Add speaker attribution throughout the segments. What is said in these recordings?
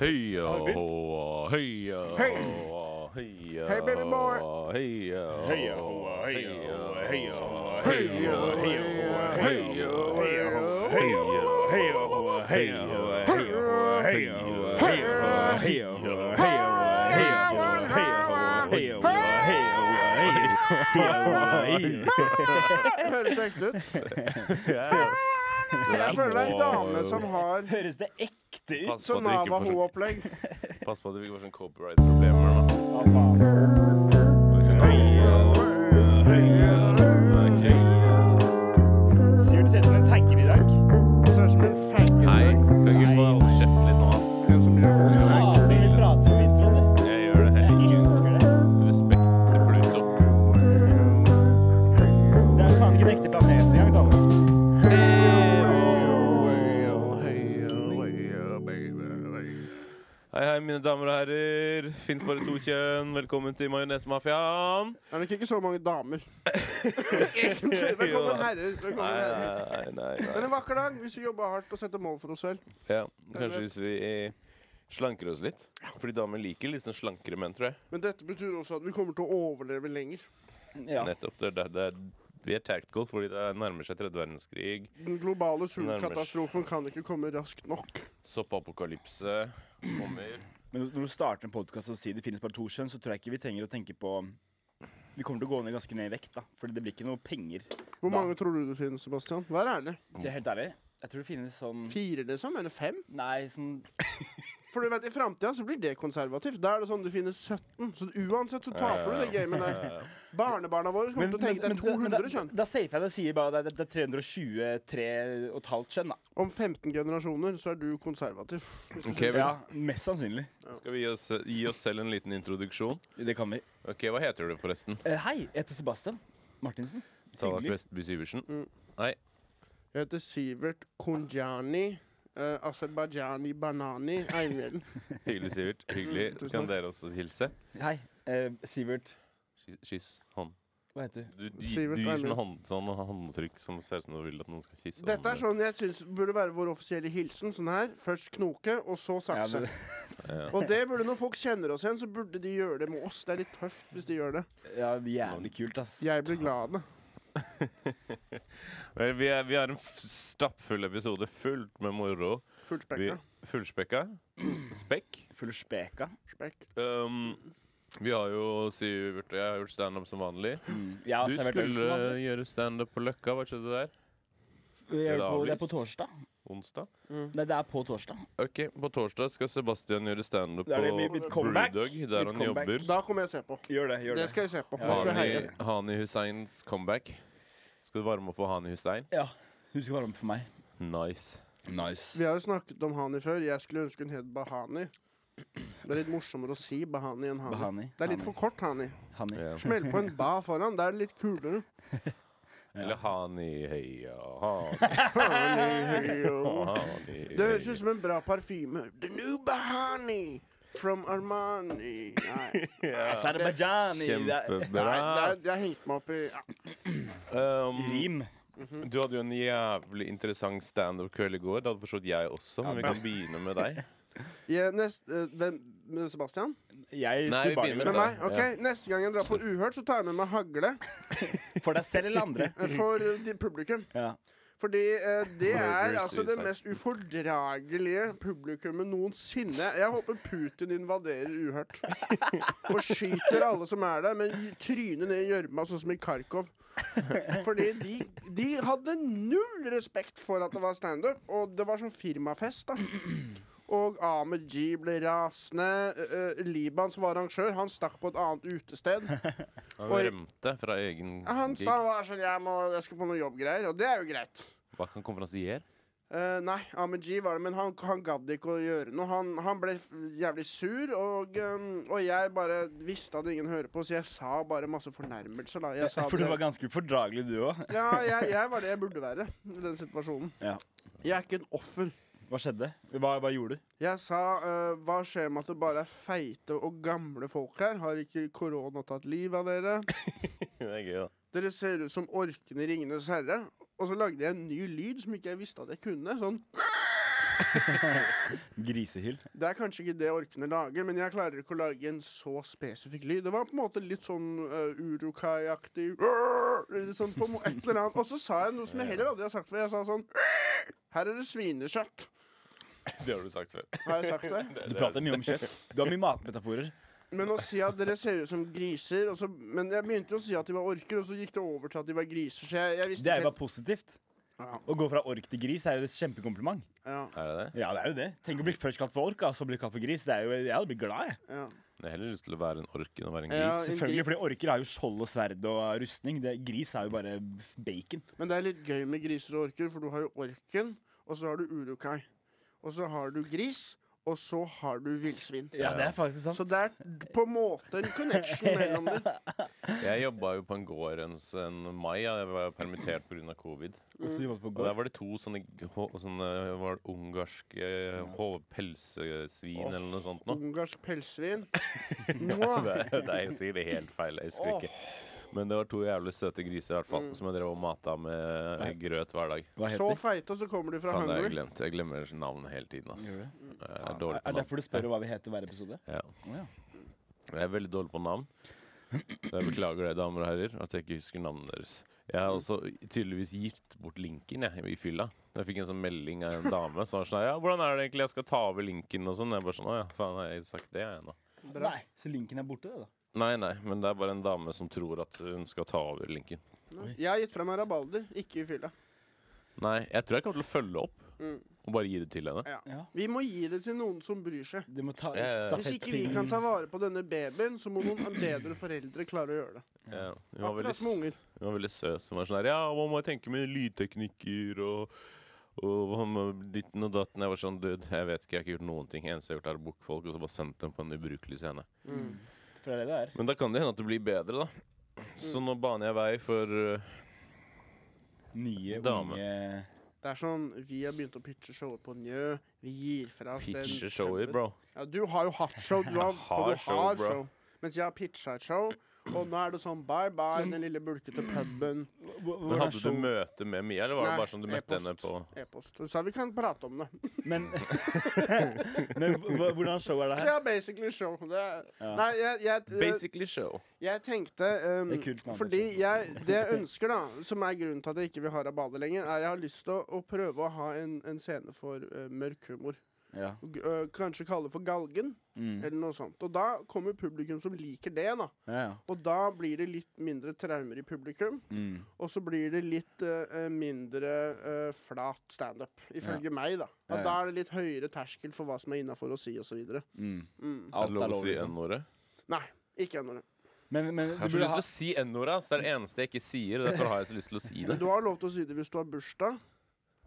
Speaker 1: Heia,
Speaker 2: Har vi begynt?
Speaker 1: hoa, heia,
Speaker 2: Hei.
Speaker 1: hoa, heia,
Speaker 2: Hei, baby boy.
Speaker 1: Heia,
Speaker 2: Heia hoa, heia hoa, heia hoa, heia hoa, heia hoa, heia hoa, heia hoa, heia hoa, heia hoa, heia hoa, heia hoa, heia hoa, heia hoa, heia hoa, heia hoa, heia hoa, heia hoa, heia hoa, heia hoa, heia hoa, heia hoa.
Speaker 3: Det høres ekte ut.
Speaker 1: Ja.
Speaker 3: Jeg føler det er en dame som har
Speaker 2: Høres det ekte ut?
Speaker 1: Pass på
Speaker 3: sånn
Speaker 1: at du ikke får sånn-
Speaker 3: Navaho-opplegg.
Speaker 1: pass på at du ikke får sånn copyright-problemer. da.
Speaker 2: Hva faen? Sivert ser ut som en tagger i dag.
Speaker 3: Ser ut som en faggot.
Speaker 1: Hei, kan ikke du bare holde kjeft litt nå? da?
Speaker 3: En som gjør folk
Speaker 2: Du
Speaker 3: faggot.
Speaker 2: hater vi prater om introen, du.
Speaker 1: Jeg gjør det
Speaker 2: Jeg
Speaker 1: helt
Speaker 2: elsker det.
Speaker 1: respekt til Pluto.
Speaker 2: Det er faen ikke en ekte planet engang, Danne.
Speaker 1: Hei, hei, mine damer og herrer. Fins bare to kjønn. Velkommen til Majonesmafiaen.
Speaker 3: Det er nok ikke så mange damer. Egentlig. Velkommen, herrer. Velkommen,
Speaker 1: Nei,
Speaker 3: herrer.
Speaker 1: nei, nei,
Speaker 3: Det er
Speaker 1: nei.
Speaker 3: en vakker dag hvis vi jobber hardt og setter mål for oss selv.
Speaker 1: Ja, kanskje hvis vi eh, slanker oss litt. Fordi damer liker litt sånn slankere menn, tror jeg.
Speaker 3: Men dette betyr også at vi kommer til å overleve lenger.
Speaker 2: Ja.
Speaker 1: Nettopp. Det, er der- det, er- vi er tactical fordi det nærmer seg tredje verdenskrig.
Speaker 3: Den globale sultkatastrofen kan ikke komme raskt nok.
Speaker 1: Soppapokalypse kommer.
Speaker 2: Men når du starter en podkast og sier det finnes bare to kjønn, så tror jeg ikke vi trenger å tenke på Vi kommer til å gå ned ganske ned i vekt, da. Fordi det blir ikke noe penger.
Speaker 3: Hvor
Speaker 2: Da.
Speaker 3: mange tror du det finnes, Sebastian? Vær ærlig.
Speaker 2: Så jeg er helt ærlig, jeg tror det finnes sånn
Speaker 3: Fire, liksom? Eller fem?
Speaker 2: Nei, sånn
Speaker 3: For du vet, I framtida så blir det konservativt. Da er det sånn du finner 17. Så uansett så taper du det gamet der. Barnebarna våre kommer til å tenke
Speaker 2: da,
Speaker 3: deg 200 kjønn.
Speaker 2: da safer jeg det og sier bare at det, det er 323 og et halvt kjønn, da.
Speaker 3: Om 15 generasjoner så er du konservativ.
Speaker 1: Ok, vel.
Speaker 2: Ja, Mest sannsynlig.
Speaker 1: Skal vi gi oss, gi oss selv en liten introduksjon?
Speaker 2: Det kan vi.
Speaker 1: Ok, Hva heter du, forresten?
Speaker 2: Eh, hei, jeg heter Sebastian Martinsen.
Speaker 1: Tallak
Speaker 2: Hyggelig.
Speaker 1: Vestby Syversen? Nei.
Speaker 3: Jeg heter Sivert Kunjani. Uh, Aserbajani Banani Eivind.
Speaker 1: Hyggelig, Sivert. Hyggelig.
Speaker 3: Tusen
Speaker 1: Kan
Speaker 3: takk.
Speaker 1: dere også hilse?
Speaker 2: Hei. Eh, Sivert.
Speaker 1: Kyss- Kyss hånd.
Speaker 2: Hva heter du?
Speaker 1: Du, du,
Speaker 3: Sivert
Speaker 1: du gir
Speaker 3: Eilund.
Speaker 1: sånn, hånd, sånn håndtrykk som ser ut som du vil at noen skal kysse.
Speaker 3: Dette er
Speaker 1: hånden
Speaker 3: sånn jeg syns burde være vår offisielle hilsen. Sånn her. Først knoke, og så
Speaker 2: Ja,
Speaker 3: sakse.
Speaker 2: men-
Speaker 1: din.
Speaker 3: Og det burde når folk kjenner oss igjen, så burde de gjøre det med oss. Det er litt tøft hvis de gjør det.
Speaker 2: ja, jævlig kult, ass.
Speaker 3: Jeg blir glad av det.
Speaker 1: Ja. Vel, Vi, er, vi har en f- stappfull episode fullt med moro. Vi,
Speaker 3: Fullspekka.
Speaker 1: fullspekka. Spekk.
Speaker 2: Full speka.
Speaker 3: Spekk.
Speaker 1: Um, vi har jo Sivert og jeg har gjort standup som vanlig.
Speaker 2: Mm. Jeg har
Speaker 1: Du
Speaker 2: servert øl som
Speaker 1: skulle
Speaker 2: vanlig.
Speaker 1: gjøre standup på Løkka. Hva skjedde der?
Speaker 2: Det er
Speaker 1: det
Speaker 2: på- Det er på
Speaker 1: avlyst?
Speaker 2: torsdag.
Speaker 1: Onsdag?
Speaker 2: Nei, det er på torsdag.
Speaker 1: Ok, På torsdag skal Sebastian gjøre standup
Speaker 2: Det
Speaker 1: på
Speaker 2: er det mitt- mitt comeback.
Speaker 1: Brewdog, der
Speaker 2: Mitt
Speaker 1: han
Speaker 2: comeback.
Speaker 1: jobber.
Speaker 3: Da kommer jeg se på.
Speaker 2: Gjør det. gjør
Speaker 3: Det skal jeg se på.
Speaker 2: Ja,
Speaker 3: Jeg skal heie.
Speaker 1: Hani, Hani Husseins comeback. Skal du varme opp for Hani Hussein?
Speaker 2: Ja. Hun skal varme opp for meg.
Speaker 1: Nice.
Speaker 2: Nice.
Speaker 3: Vi har jo snakket om Hani før. Jeg skulle ønske hun het Bahani. Det er litt morsommere å si Bahani enn Hani.
Speaker 2: Bahani.
Speaker 3: Det er litt
Speaker 2: Hani.
Speaker 3: for kort, Hani.
Speaker 2: Hani.
Speaker 1: Ja.
Speaker 3: Smell på en ba foran. Det er litt kulere.
Speaker 1: Eller Hani heia Hani, hani
Speaker 3: Det høres ut som en bra parfyme. The new Bahani from Armani. Nei,
Speaker 2: Aserbajdsjani.
Speaker 3: Nei
Speaker 1: Kjempebra.
Speaker 3: jeg, jeg hengte meg opp i ja.
Speaker 1: Um,
Speaker 2: Rim.
Speaker 1: du hadde jo en jævlig interessant standup-kveld i går. Det hadde forstått jeg også, men vi kan begynne med deg.
Speaker 3: Jeg- nest, eh, hvem, med Sebastian?
Speaker 2: Jeg
Speaker 1: Nei, vi
Speaker 2: skulle
Speaker 1: begynner da,
Speaker 2: bare
Speaker 3: Med meg? Ok,
Speaker 1: ja.
Speaker 3: Neste gang jeg drar på Uhørt, så tar jeg med meg hagle
Speaker 2: For deg selv eller andre.
Speaker 3: eh, for eh, de- publikum.
Speaker 2: Ja.
Speaker 3: Fordi eh, det er
Speaker 1: Murder
Speaker 3: altså det
Speaker 1: suicide.
Speaker 3: mest ufordragelige publikummet noensinne. Jeg håper Putin invaderer uhørt. Og skyter alle som er der, men tryner ned i gjørma, sånn som i Kharkov. Fordi de, de hadde null respekt for at det var standup, og det var sånn firmafest, da. Og Ahmed G ble rasende. eh, eh, Liban, som var arrangør, han stakk på et annet utested.
Speaker 1: Han
Speaker 3: Oi.
Speaker 1: rømte fra egen
Speaker 3: Han
Speaker 1: gig.
Speaker 3: sta var sånn jeg, må, 'Jeg skal på noen jobbgreier', og det er jo greit.
Speaker 1: Hva kan konferansier?
Speaker 3: Eh, nei, Ahmed G var det, men han, han gadd ikke å gjøre noe. Han, han ble f- jævlig sur, og, eh, og jeg bare visste at ingen hører på, så jeg sa bare masse fornærmelser, da. Jeg sa
Speaker 2: For du
Speaker 3: det-
Speaker 2: var ganske ufordragelig, du òg.
Speaker 3: ja, jeg, jeg var det jeg burde være i den situasjonen.
Speaker 2: Ja.
Speaker 3: Jeg er ikke en offer.
Speaker 2: Hva skjedde? Hva, hva gjorde du?
Speaker 3: Jeg sa eh, hva skjer med at det bare er feite og gamle folk her? Har ikke korona tatt livet av dere?
Speaker 1: Det er gøy, da.
Speaker 3: Dere ser ut som orkene i Ringenes herre. Og så lagde jeg en ny lyd som ikke jeg visste at jeg kunne. Sånn
Speaker 2: Grisehyll.
Speaker 3: Det er kanskje ikke det orkene lager, men jeg klarer ikke å lage en så spesifikk lyd. Det var på en måte litt sånn uh, urukai-aktig Litt sånn på mo- et eller annet. Og så sa jeg noe som jeg heller aldri har sagt før. Jeg sa sånn Her er det svinekjøtt.
Speaker 1: Det har du sagt før.
Speaker 3: Har jeg sagt det?
Speaker 2: Du prater mye om kjøtt. Du har mye matmetaforer.
Speaker 3: Men å si at dere ser ut som griser og så, Men jeg begynte å si at de var orker, og så gikk det over til at de var griser. Så jeg, jeg
Speaker 2: Det
Speaker 3: visste
Speaker 2: er jo
Speaker 3: ikke
Speaker 2: bare positivt.
Speaker 3: Ja,
Speaker 2: Å gå fra ork til gris er jo et kjempekompliment.
Speaker 3: ja,
Speaker 1: Er det det?
Speaker 2: Ja, det er jo det. Tenk å bli først kalt for ork, og så bli kalt for gris. Det er jo, jeg hadde blitt glad, jeg.
Speaker 3: ja.
Speaker 1: Jeg har heller lyst til å være en ork enn å være en
Speaker 3: Ja,
Speaker 1: gris.
Speaker 3: en
Speaker 2: Selvfølgelig,
Speaker 3: gris.
Speaker 2: fordi orker har jo skjold og sverd og rustning. Det, gris er jo bare bacon.
Speaker 3: Men det er litt gøy med griser og orker, for du har jo orken, og så har du urukai. Og så har du gris, og så har du villsvin.
Speaker 2: Ja, det er faktisk sant.
Speaker 3: Så det er på en måte en connection mellom dem.
Speaker 1: Jeg jobba jo på en gård en, s- en mai. ja. Jeg var permittert pga. covid.
Speaker 2: Og så jobbet på
Speaker 1: Og der
Speaker 2: gård.
Speaker 1: var det to sånne, g- hå- sånne var det ungarske hå- pelsesvin eller noe sånt nå.
Speaker 3: Ungarsk pelsvin. Mwah.
Speaker 1: Det- Nei, jeg sier det helt feil. Jeg husker ikke. Men det var to jævlig søte griser i hvert fall, som jeg drev og mata med grøt hver dag.
Speaker 2: Hva
Speaker 3: Så
Speaker 2: heter det?
Speaker 3: feite, og så kommer de fra
Speaker 1: Faen, det har jeg
Speaker 3: Hungary.
Speaker 1: glemt. Jeg glemmer navnet hele tiden. ass.
Speaker 2: Gjør
Speaker 1: Jeg
Speaker 2: det?
Speaker 1: er
Speaker 2: Er
Speaker 1: dårlig på
Speaker 2: det
Speaker 1: navn.
Speaker 2: derfor du spør hva vi heter hver episode?
Speaker 1: Ja.
Speaker 2: Å, ja.
Speaker 1: Jeg er veldig dårlig på navn. Så jeg beklager det, damer og herrer, at jeg ikke husker navnet deres. Jeg har også tydeligvis gitt bort linken jeg, i fylla. Jeg fikk en sånn melding av en dame som var sånn Ja, hvordan er det egentlig jeg skal ta over linken og sånn? Jeg bare sånn Å ja, faen, har jeg sagt det, jeg nå?
Speaker 3: Bra.
Speaker 2: Nei, så linken er borte, det, da.
Speaker 1: Nei, nei, men det er bare en dame som tror at hun skal ta over linken.
Speaker 3: Jeg har gitt fra meg rabalder, ikke i fylla.
Speaker 1: Nei, jeg tror jeg kommer til å følge opp
Speaker 3: Mm.
Speaker 1: og bare gi det til henne.
Speaker 2: Ja.
Speaker 3: Vi må gi det til noen som bryr seg.
Speaker 2: Du må ta
Speaker 1: Ja, ja, ja.
Speaker 3: Hvis ikke vi kan ta vare på denne babyen, så må noen bedre foreldre klare å gjøre det.
Speaker 1: Ja. Hun, var veldig,
Speaker 3: Akkurat som unger.
Speaker 1: hun var veldig søt. Hun var sånn her Ja, hva må jeg tenke med lydteknikker og og hva med ditten og datten. Jeg var sånn, dude, jeg vet ikke, jeg har ikke gjort noen ting. Eneste jeg har gjort, er å booke folk, og så bare sendt dem på en ubrukelig scene.
Speaker 3: Mm.
Speaker 2: For det er det det er.
Speaker 1: Men da kan det hende at det blir bedre, da. Så nå baner jeg vei for uh,
Speaker 2: Nye,
Speaker 1: Dame.
Speaker 2: unge
Speaker 3: Det er sånn, Vi har begynt å pitche showet på Njø. Vi gir fra oss den
Speaker 1: pitche shower, bro.
Speaker 3: Ja, du har jo hatt show. Du har,
Speaker 1: har
Speaker 3: du
Speaker 1: show,
Speaker 3: har
Speaker 1: bro.
Speaker 3: show. Mens jeg har pitcha et show, og nå er det sånn bye bye, den lille bulkete puben.
Speaker 2: Hva-
Speaker 1: Men
Speaker 2: Hvordan
Speaker 1: hadde du
Speaker 2: show
Speaker 1: møte med Mia, eller var
Speaker 3: Nei,
Speaker 1: det bare sånn du møtte henne på
Speaker 3: E-post. Hun sa vi kan prate om det.
Speaker 2: Men, men hva- hvordan show er det
Speaker 3: Så
Speaker 2: her?
Speaker 3: ja, basically show. Det er,
Speaker 2: Ja.
Speaker 3: nei, jeg, jeg, jeg,
Speaker 1: Basically show.
Speaker 3: jeg tenkte um,
Speaker 2: Det er kult navn,
Speaker 3: Fordi
Speaker 2: altså.
Speaker 3: jeg, det jeg ønsker, da, som er grunnen til at jeg ikke vil ha Rabade lenger, er jeg har lyst til å, å prøve å ha en, en scene for eh, mørk humor.
Speaker 2: Ja.
Speaker 3: G- eh, kanskje kalle det for Galgen,
Speaker 2: Mm.
Speaker 3: eller noe sånt. Og da kommer publikum som liker det, da.
Speaker 2: ja, ja.
Speaker 3: Og da blir det litt mindre traumer i publikum,
Speaker 2: Mm.
Speaker 3: og så blir det litt eh, mindre eh, flat standup, ifølge meg, da.
Speaker 2: Ja,
Speaker 3: At
Speaker 2: ja.
Speaker 3: Da er det litt høyere terskel for hva som er innafor å si, osv.
Speaker 2: Mm.
Speaker 3: Mm.
Speaker 1: Er det
Speaker 2: Alt er
Speaker 1: lov å
Speaker 2: lov,
Speaker 1: si
Speaker 2: liksom.
Speaker 1: N-ordet?
Speaker 3: Nei, ikke ennå.
Speaker 2: Men,
Speaker 1: Jeg
Speaker 2: men du
Speaker 1: har så
Speaker 2: burde
Speaker 1: lyst
Speaker 2: ha
Speaker 1: til å si N-ordet. ass. Det er det eneste jeg ikke sier. og Derfor har jeg så lyst til å si det.
Speaker 3: Du har lov til å si det hvis du har bursdag.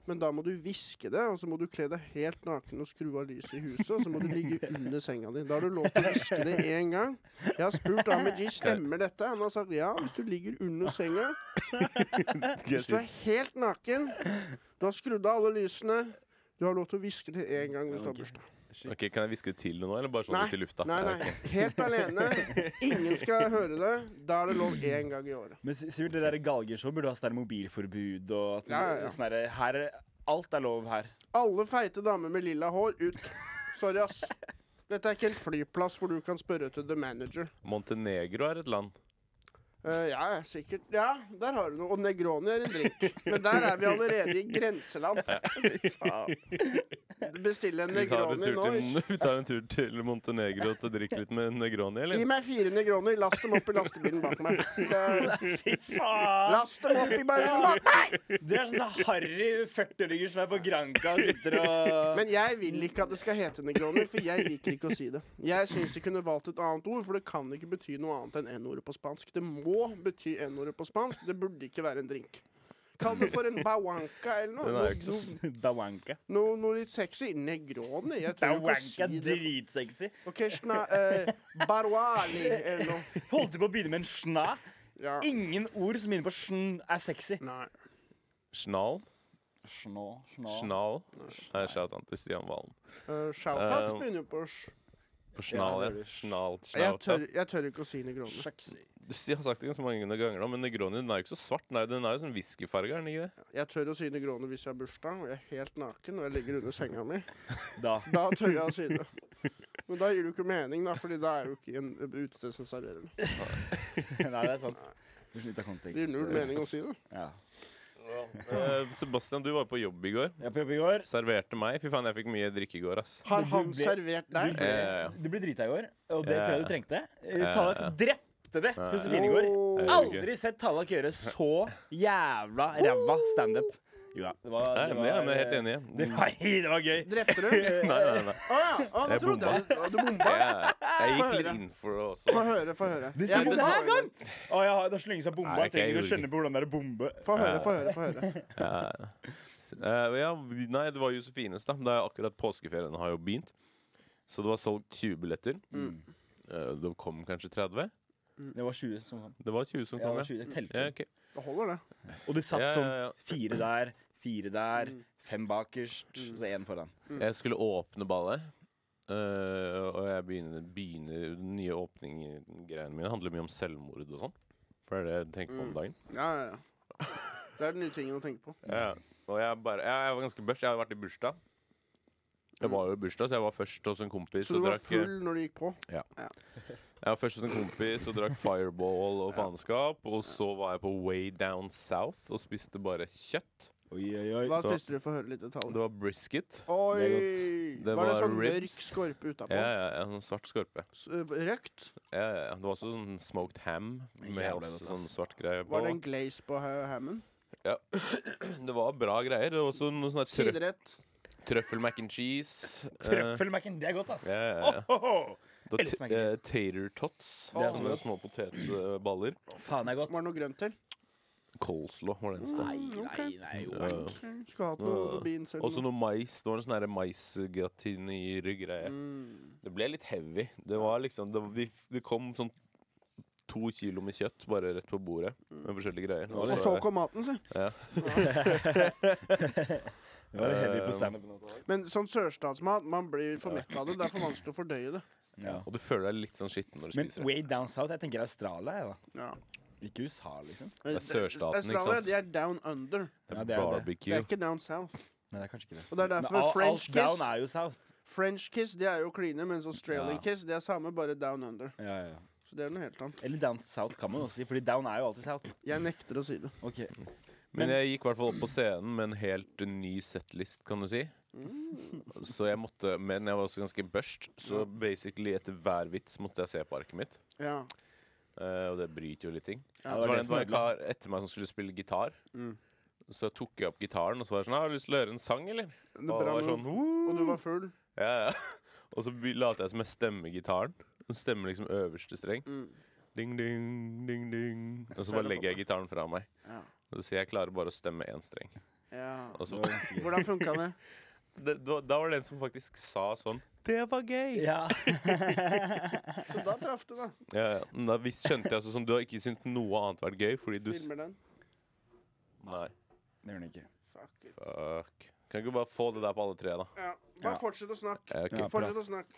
Speaker 3: Men da må du hviske det, og så må du kle deg helt naken og skru av lyset i huset. Og så må du ligge under senga di. Da har du lov til å hviske det én gang. Jeg har spurt Ahmed G stemmer dette. Han har sagt ja, hvis du ligger under senga.
Speaker 1: Skal jeg
Speaker 3: Hvis du
Speaker 1: si-
Speaker 3: er helt naken, du har skrudd av alle lysene, du har lov til å hviske det én gang hvis du har
Speaker 2: Ok.
Speaker 3: bursdag.
Speaker 1: Ok, Kan jeg hviske det til noe, eller bare sånn
Speaker 3: Nei,
Speaker 1: ut i lufta?
Speaker 3: Nei,
Speaker 1: Ja,
Speaker 3: nei.
Speaker 1: ok.
Speaker 3: Helt alene. Ingen skal høre det. Da er det lov én gang i året.
Speaker 2: Men Si- Sivert, det der galgeshow burde ha sånn der mobilforbud og at
Speaker 3: Ja, ja, ja.
Speaker 2: sånn der, her er- Alt er lov her.
Speaker 3: Alle feite damer med lilla hår ut. Sorry, ass. Dette er ikke en flyplass hvor du kan spørre til the manager.
Speaker 1: Montenegro er et land.
Speaker 3: Eh, ja, ja, sikkert. Ja, der har du noe. Og Negroni er en drink. Men der er vi allerede i grenseland. Bestille en
Speaker 1: Vi tar, en
Speaker 3: Negroni
Speaker 1: tur
Speaker 3: nå.
Speaker 1: til, vi tar en tur til Montenegro til å drikke litt med Negroni,
Speaker 3: Gi
Speaker 1: eller?
Speaker 3: meg fire Negroni. Last dem opp i lastebilen bak meg. Det-
Speaker 2: Fy faen!
Speaker 3: Last dem opp i bilen bak meg!
Speaker 2: Det er sånn som harry 40-åringer som er på Granca og sitter og
Speaker 3: Men jeg vil ikke at det skal hete Negroni, for jeg liker ikke å si det. Jeg syns de kunne valgt et annet ord, for det kan ikke bety noe annet enn N-ordet på spansk. Det må bety N-ordet på spansk. Det burde ikke være en drink. Kall det for en bawanka eller noe.
Speaker 1: Den er jo ikke
Speaker 3: Noe,
Speaker 1: så-
Speaker 2: Bawanka.
Speaker 3: noe, noe litt sexy. Negroni. Jeg tror ikke
Speaker 2: Bawanka,
Speaker 3: å si det.
Speaker 2: dritsexy.
Speaker 3: Ok, sna, eh, Barwali eller noe.
Speaker 2: Holdt du på å begynne med en sna?
Speaker 3: Ja.
Speaker 2: Ingen ord som begynner på sn, er sexy.
Speaker 3: Nei.
Speaker 1: Snal?
Speaker 2: Snå, snå.
Speaker 1: Snal? Nei, shout-out til Stian Valen.
Speaker 3: Uh, Shoutouts
Speaker 1: Eh,
Speaker 3: begynner på sj.
Speaker 1: På snal,
Speaker 2: Ja,
Speaker 1: ja.
Speaker 2: det er det.
Speaker 1: Snalt,
Speaker 3: Jeg
Speaker 1: shout-out.
Speaker 3: tør, jeg tør ikke å si Negroni.
Speaker 2: Sexy.
Speaker 1: Jeg har sagt det ganske mange ganger, nå, men Negroni den er jo ikke så svart. Nei, den er jo sånn whiskyfarge, er den ikke det?
Speaker 3: Jeg tør å si Negroni hvis jeg har bursdag, og jeg er helt naken og jeg ligger under senga mi.
Speaker 4: Da.
Speaker 3: Da tør jeg å si det. Men da gir det jo ikke mening, da, Fordi da er det jo ikke en utested som serverer det.
Speaker 4: Nei, det er sant. Det er ut av
Speaker 3: Det
Speaker 4: kontekst.
Speaker 3: gir null mening å si det.
Speaker 4: Ja.
Speaker 1: Eh, Sebastian, du var på jobb i går.
Speaker 4: Jeg er på jobb i går.
Speaker 1: Serverte meg. Fy faen, jeg fikk mye drikke i går, ass.
Speaker 3: Har
Speaker 4: Men du
Speaker 3: han
Speaker 4: ble-
Speaker 3: servert
Speaker 4: Du
Speaker 3: deg?
Speaker 4: ble,
Speaker 1: Ja.
Speaker 4: du ble drita i går, og det
Speaker 1: Ja.
Speaker 4: tror jeg du trengte. Eh,
Speaker 1: Ja.
Speaker 4: Tallak drepte det
Speaker 1: Nei.
Speaker 4: Josefine i går.
Speaker 3: Åh.
Speaker 4: Aldri sett Tallak gjøre så jævla ræva standup. Jo da. Det var,
Speaker 1: Nei, Eh,
Speaker 4: det
Speaker 1: men jeg
Speaker 4: var, eh,
Speaker 1: er helt enig.
Speaker 4: Det var, det var gøy.
Speaker 3: Drepte du?
Speaker 4: Eh,
Speaker 1: Nei, nei, nei.
Speaker 3: Å ja. Å, nå
Speaker 1: Jeg
Speaker 3: trodde jeg du- du bomba.
Speaker 1: Jeg, jeg gikk
Speaker 3: Få
Speaker 1: litt
Speaker 3: høre.
Speaker 1: inn for det
Speaker 3: Få
Speaker 1: også.
Speaker 3: høre, få høre.
Speaker 4: Det
Speaker 3: Jeg-
Speaker 4: sier du
Speaker 3: den har
Speaker 4: hver
Speaker 3: jeg
Speaker 4: gang! Å, jeg har, det er så lenge siden jeg har bomba.
Speaker 1: Nei,
Speaker 4: Jeg trenger
Speaker 1: jeg
Speaker 4: å
Speaker 1: gjorde
Speaker 4: kjenne på hvordan det er å bombe.
Speaker 3: Få høre, få høre. få høre
Speaker 1: Ja. Eh, ja, nei, det var Josefines, da. Det er akkurat påskeferien har jo begynt. Så det var solgt 20 billetter.
Speaker 3: Mm.
Speaker 1: Eh, det kom kanskje 30?
Speaker 4: Det var 20 som kom.
Speaker 1: Det var 20 som
Speaker 4: Ja, det
Speaker 1: kom,
Speaker 4: var
Speaker 1: ja.
Speaker 4: 20, jeg telte.
Speaker 1: ja ok.
Speaker 3: Det holder, det.
Speaker 4: Og de satt
Speaker 1: Ja, ja, ja. Mm.
Speaker 4: sånn fire der, fire der, fem bakerst, og så én foran.
Speaker 3: Mm.
Speaker 1: Jeg skulle åpne ballet. eh, og jeg begynner, begynner Den nye åpninggreiene mine handler mye om selvmord og sånn. For det er det jeg tenker på
Speaker 3: Mm.
Speaker 1: om dagen.
Speaker 3: Ja, ja, ja. Det er den nye tingen å tenke på.
Speaker 1: Ja. Og jeg, bare, jeg, jeg var ganske børst. Jeg hadde vært i bursdag. Jeg var jo i bursdag, så jeg var først hos en kompis
Speaker 3: Så du
Speaker 1: og
Speaker 3: var
Speaker 1: drakk eh,
Speaker 3: full når du gikk på?
Speaker 1: Jeg var først hos en kompis og drakk fireball og faenskap. Og så var jeg på Way Down South og spiste bare kjøtt.
Speaker 4: Oi, oi, oi.
Speaker 3: Hva
Speaker 1: Så-
Speaker 3: spiste du? Få høre litt
Speaker 1: Det
Speaker 3: detaljer.
Speaker 1: var brisket.
Speaker 3: Oi!
Speaker 4: Det
Speaker 1: Det
Speaker 3: var, det
Speaker 1: var
Speaker 3: sånn mørk
Speaker 1: ribs.
Speaker 3: skorpe utapå?
Speaker 1: Ja, ja, ja, en sånn svart skorpe.
Speaker 3: S- ø, Røkt?
Speaker 1: Ja, ja, ja. Det var også sånn smoked ham med
Speaker 4: Jævlig
Speaker 1: også
Speaker 4: godt,
Speaker 1: sånn
Speaker 4: ass.
Speaker 1: svart greie på.
Speaker 3: Var det en glaze på ha- hammen?
Speaker 1: Det var bra greier. Det var også noe sånn her trøff,
Speaker 3: Siderett?
Speaker 1: trøffel mac and cheese. eh,
Speaker 4: Trøffelmac-en, det er godt, ass.
Speaker 1: Ja, ja, ja.
Speaker 4: Ho, ho, ho.
Speaker 1: da
Speaker 4: elsker
Speaker 1: t- mac and
Speaker 4: mac
Speaker 1: cheese.
Speaker 4: and
Speaker 1: Tater tots.
Speaker 3: Det er så
Speaker 1: Sånne
Speaker 3: godt.
Speaker 1: små potetballer.
Speaker 4: Faen, det er godt.
Speaker 3: Var det noe grønt til?
Speaker 1: Coleslaw var det eneste.
Speaker 4: Nei, nei,
Speaker 3: ok.
Speaker 4: nei. jo.
Speaker 1: Mm, Ja.
Speaker 3: Mm, Skulle hatt noe
Speaker 1: Ja.
Speaker 3: beans eller
Speaker 1: Og så
Speaker 3: noe.
Speaker 1: noe mais. Det var en sånn her maisgratinyre-greie.
Speaker 3: Mm.
Speaker 1: Det ble litt heavy. Det var liksom Det, de, det kom sånn to kilo med kjøtt bare rett på bordet med forskjellige greier.
Speaker 4: Og
Speaker 1: Og
Speaker 3: Og
Speaker 1: så-
Speaker 3: Mm. så kom maten, si.
Speaker 4: Det var heavy
Speaker 1: Eh,
Speaker 4: på standupen. også.
Speaker 3: Men sånn sørstatsmat, man blir for mett av det. Det er for vanskelig å fordøye det.
Speaker 4: Ja.
Speaker 1: Og du føler deg litt sånn skitten når du
Speaker 4: Men
Speaker 1: spiser det.
Speaker 4: Way Down South, jeg tenker Australia, jeg, da.
Speaker 3: Ja.
Speaker 4: Ikke USA, liksom.
Speaker 3: Eh, Det
Speaker 1: er sørstaten, ikke sant?
Speaker 3: Australia, de er down under.
Speaker 4: Ja,
Speaker 1: det
Speaker 4: det
Speaker 1: er
Speaker 4: er jo det.
Speaker 3: Det
Speaker 1: barbecue.
Speaker 3: er ikke down south.
Speaker 4: Nei, det er kanskje ikke det.
Speaker 3: Og det er derfor
Speaker 4: Men all-
Speaker 3: French
Speaker 4: alt down
Speaker 3: kiss-
Speaker 4: er jo South.
Speaker 3: French kiss det er jo kline, mens Australian
Speaker 4: Ja.
Speaker 3: kiss det er samme, bare down under.
Speaker 4: Ja, ja, ja.
Speaker 3: Så det er noe helt annet.
Speaker 4: Eller Down South kan man også si, fordi down er jo alltid South.
Speaker 3: Jeg nekter å si det.
Speaker 4: Ok.
Speaker 1: Men jeg gikk i hvert fall opp på scenen med en helt ny settlist, kan du si.
Speaker 3: Mm.
Speaker 1: Så jeg måtte Men jeg var også ganske børst, så basically etter hver vits måtte jeg se på arket mitt.
Speaker 3: Ja.
Speaker 1: Eh, og det bryter jo litt ting.
Speaker 3: Ja,
Speaker 1: så
Speaker 4: det var
Speaker 1: var
Speaker 4: det
Speaker 1: det en som var en
Speaker 4: som ødela.
Speaker 1: kar etter meg som skulle spille gitar.
Speaker 3: Mm.
Speaker 1: Så tok jeg opp gitaren og så var jeg sånn «Ah, 'Har du lyst til å høre en sang, eller?'
Speaker 3: Det
Speaker 1: Og det var
Speaker 3: brann
Speaker 1: sånn
Speaker 3: jo.
Speaker 1: «Woo!»
Speaker 3: Og du var full.
Speaker 1: Ja, ja. Og så by- later jeg som jeg stemmer gitaren. Så stemmer liksom øverste streng.
Speaker 3: Mm.
Speaker 1: Ding, ding, ding, ding. Og så bare legger jeg gitaren fra meg.
Speaker 3: Ja.
Speaker 1: Og så sier jeg jeg klarer bare å stemme én streng.
Speaker 3: ja.
Speaker 1: Og så,
Speaker 3: Hvordan funka det?
Speaker 1: det, da, da var det en som faktisk sa sånn Det var gøy!
Speaker 4: Ja.
Speaker 3: Så da traff du, da.
Speaker 1: Ja, ja. Men da visst skjønte jeg altså sånn Du har ikke syntes noe annet vært gøy fordi du s-
Speaker 3: Filmer den.
Speaker 1: Nei,
Speaker 4: Det gjør den ikke.
Speaker 3: Fuck it.
Speaker 1: fuck. Kan ikke bare få det der på alle tre, da.
Speaker 3: Ja. Bare
Speaker 4: Ja.
Speaker 3: fortsett å snakke.
Speaker 1: Eh, ok.
Speaker 4: Ja, bra.
Speaker 3: Fortsett å snakke.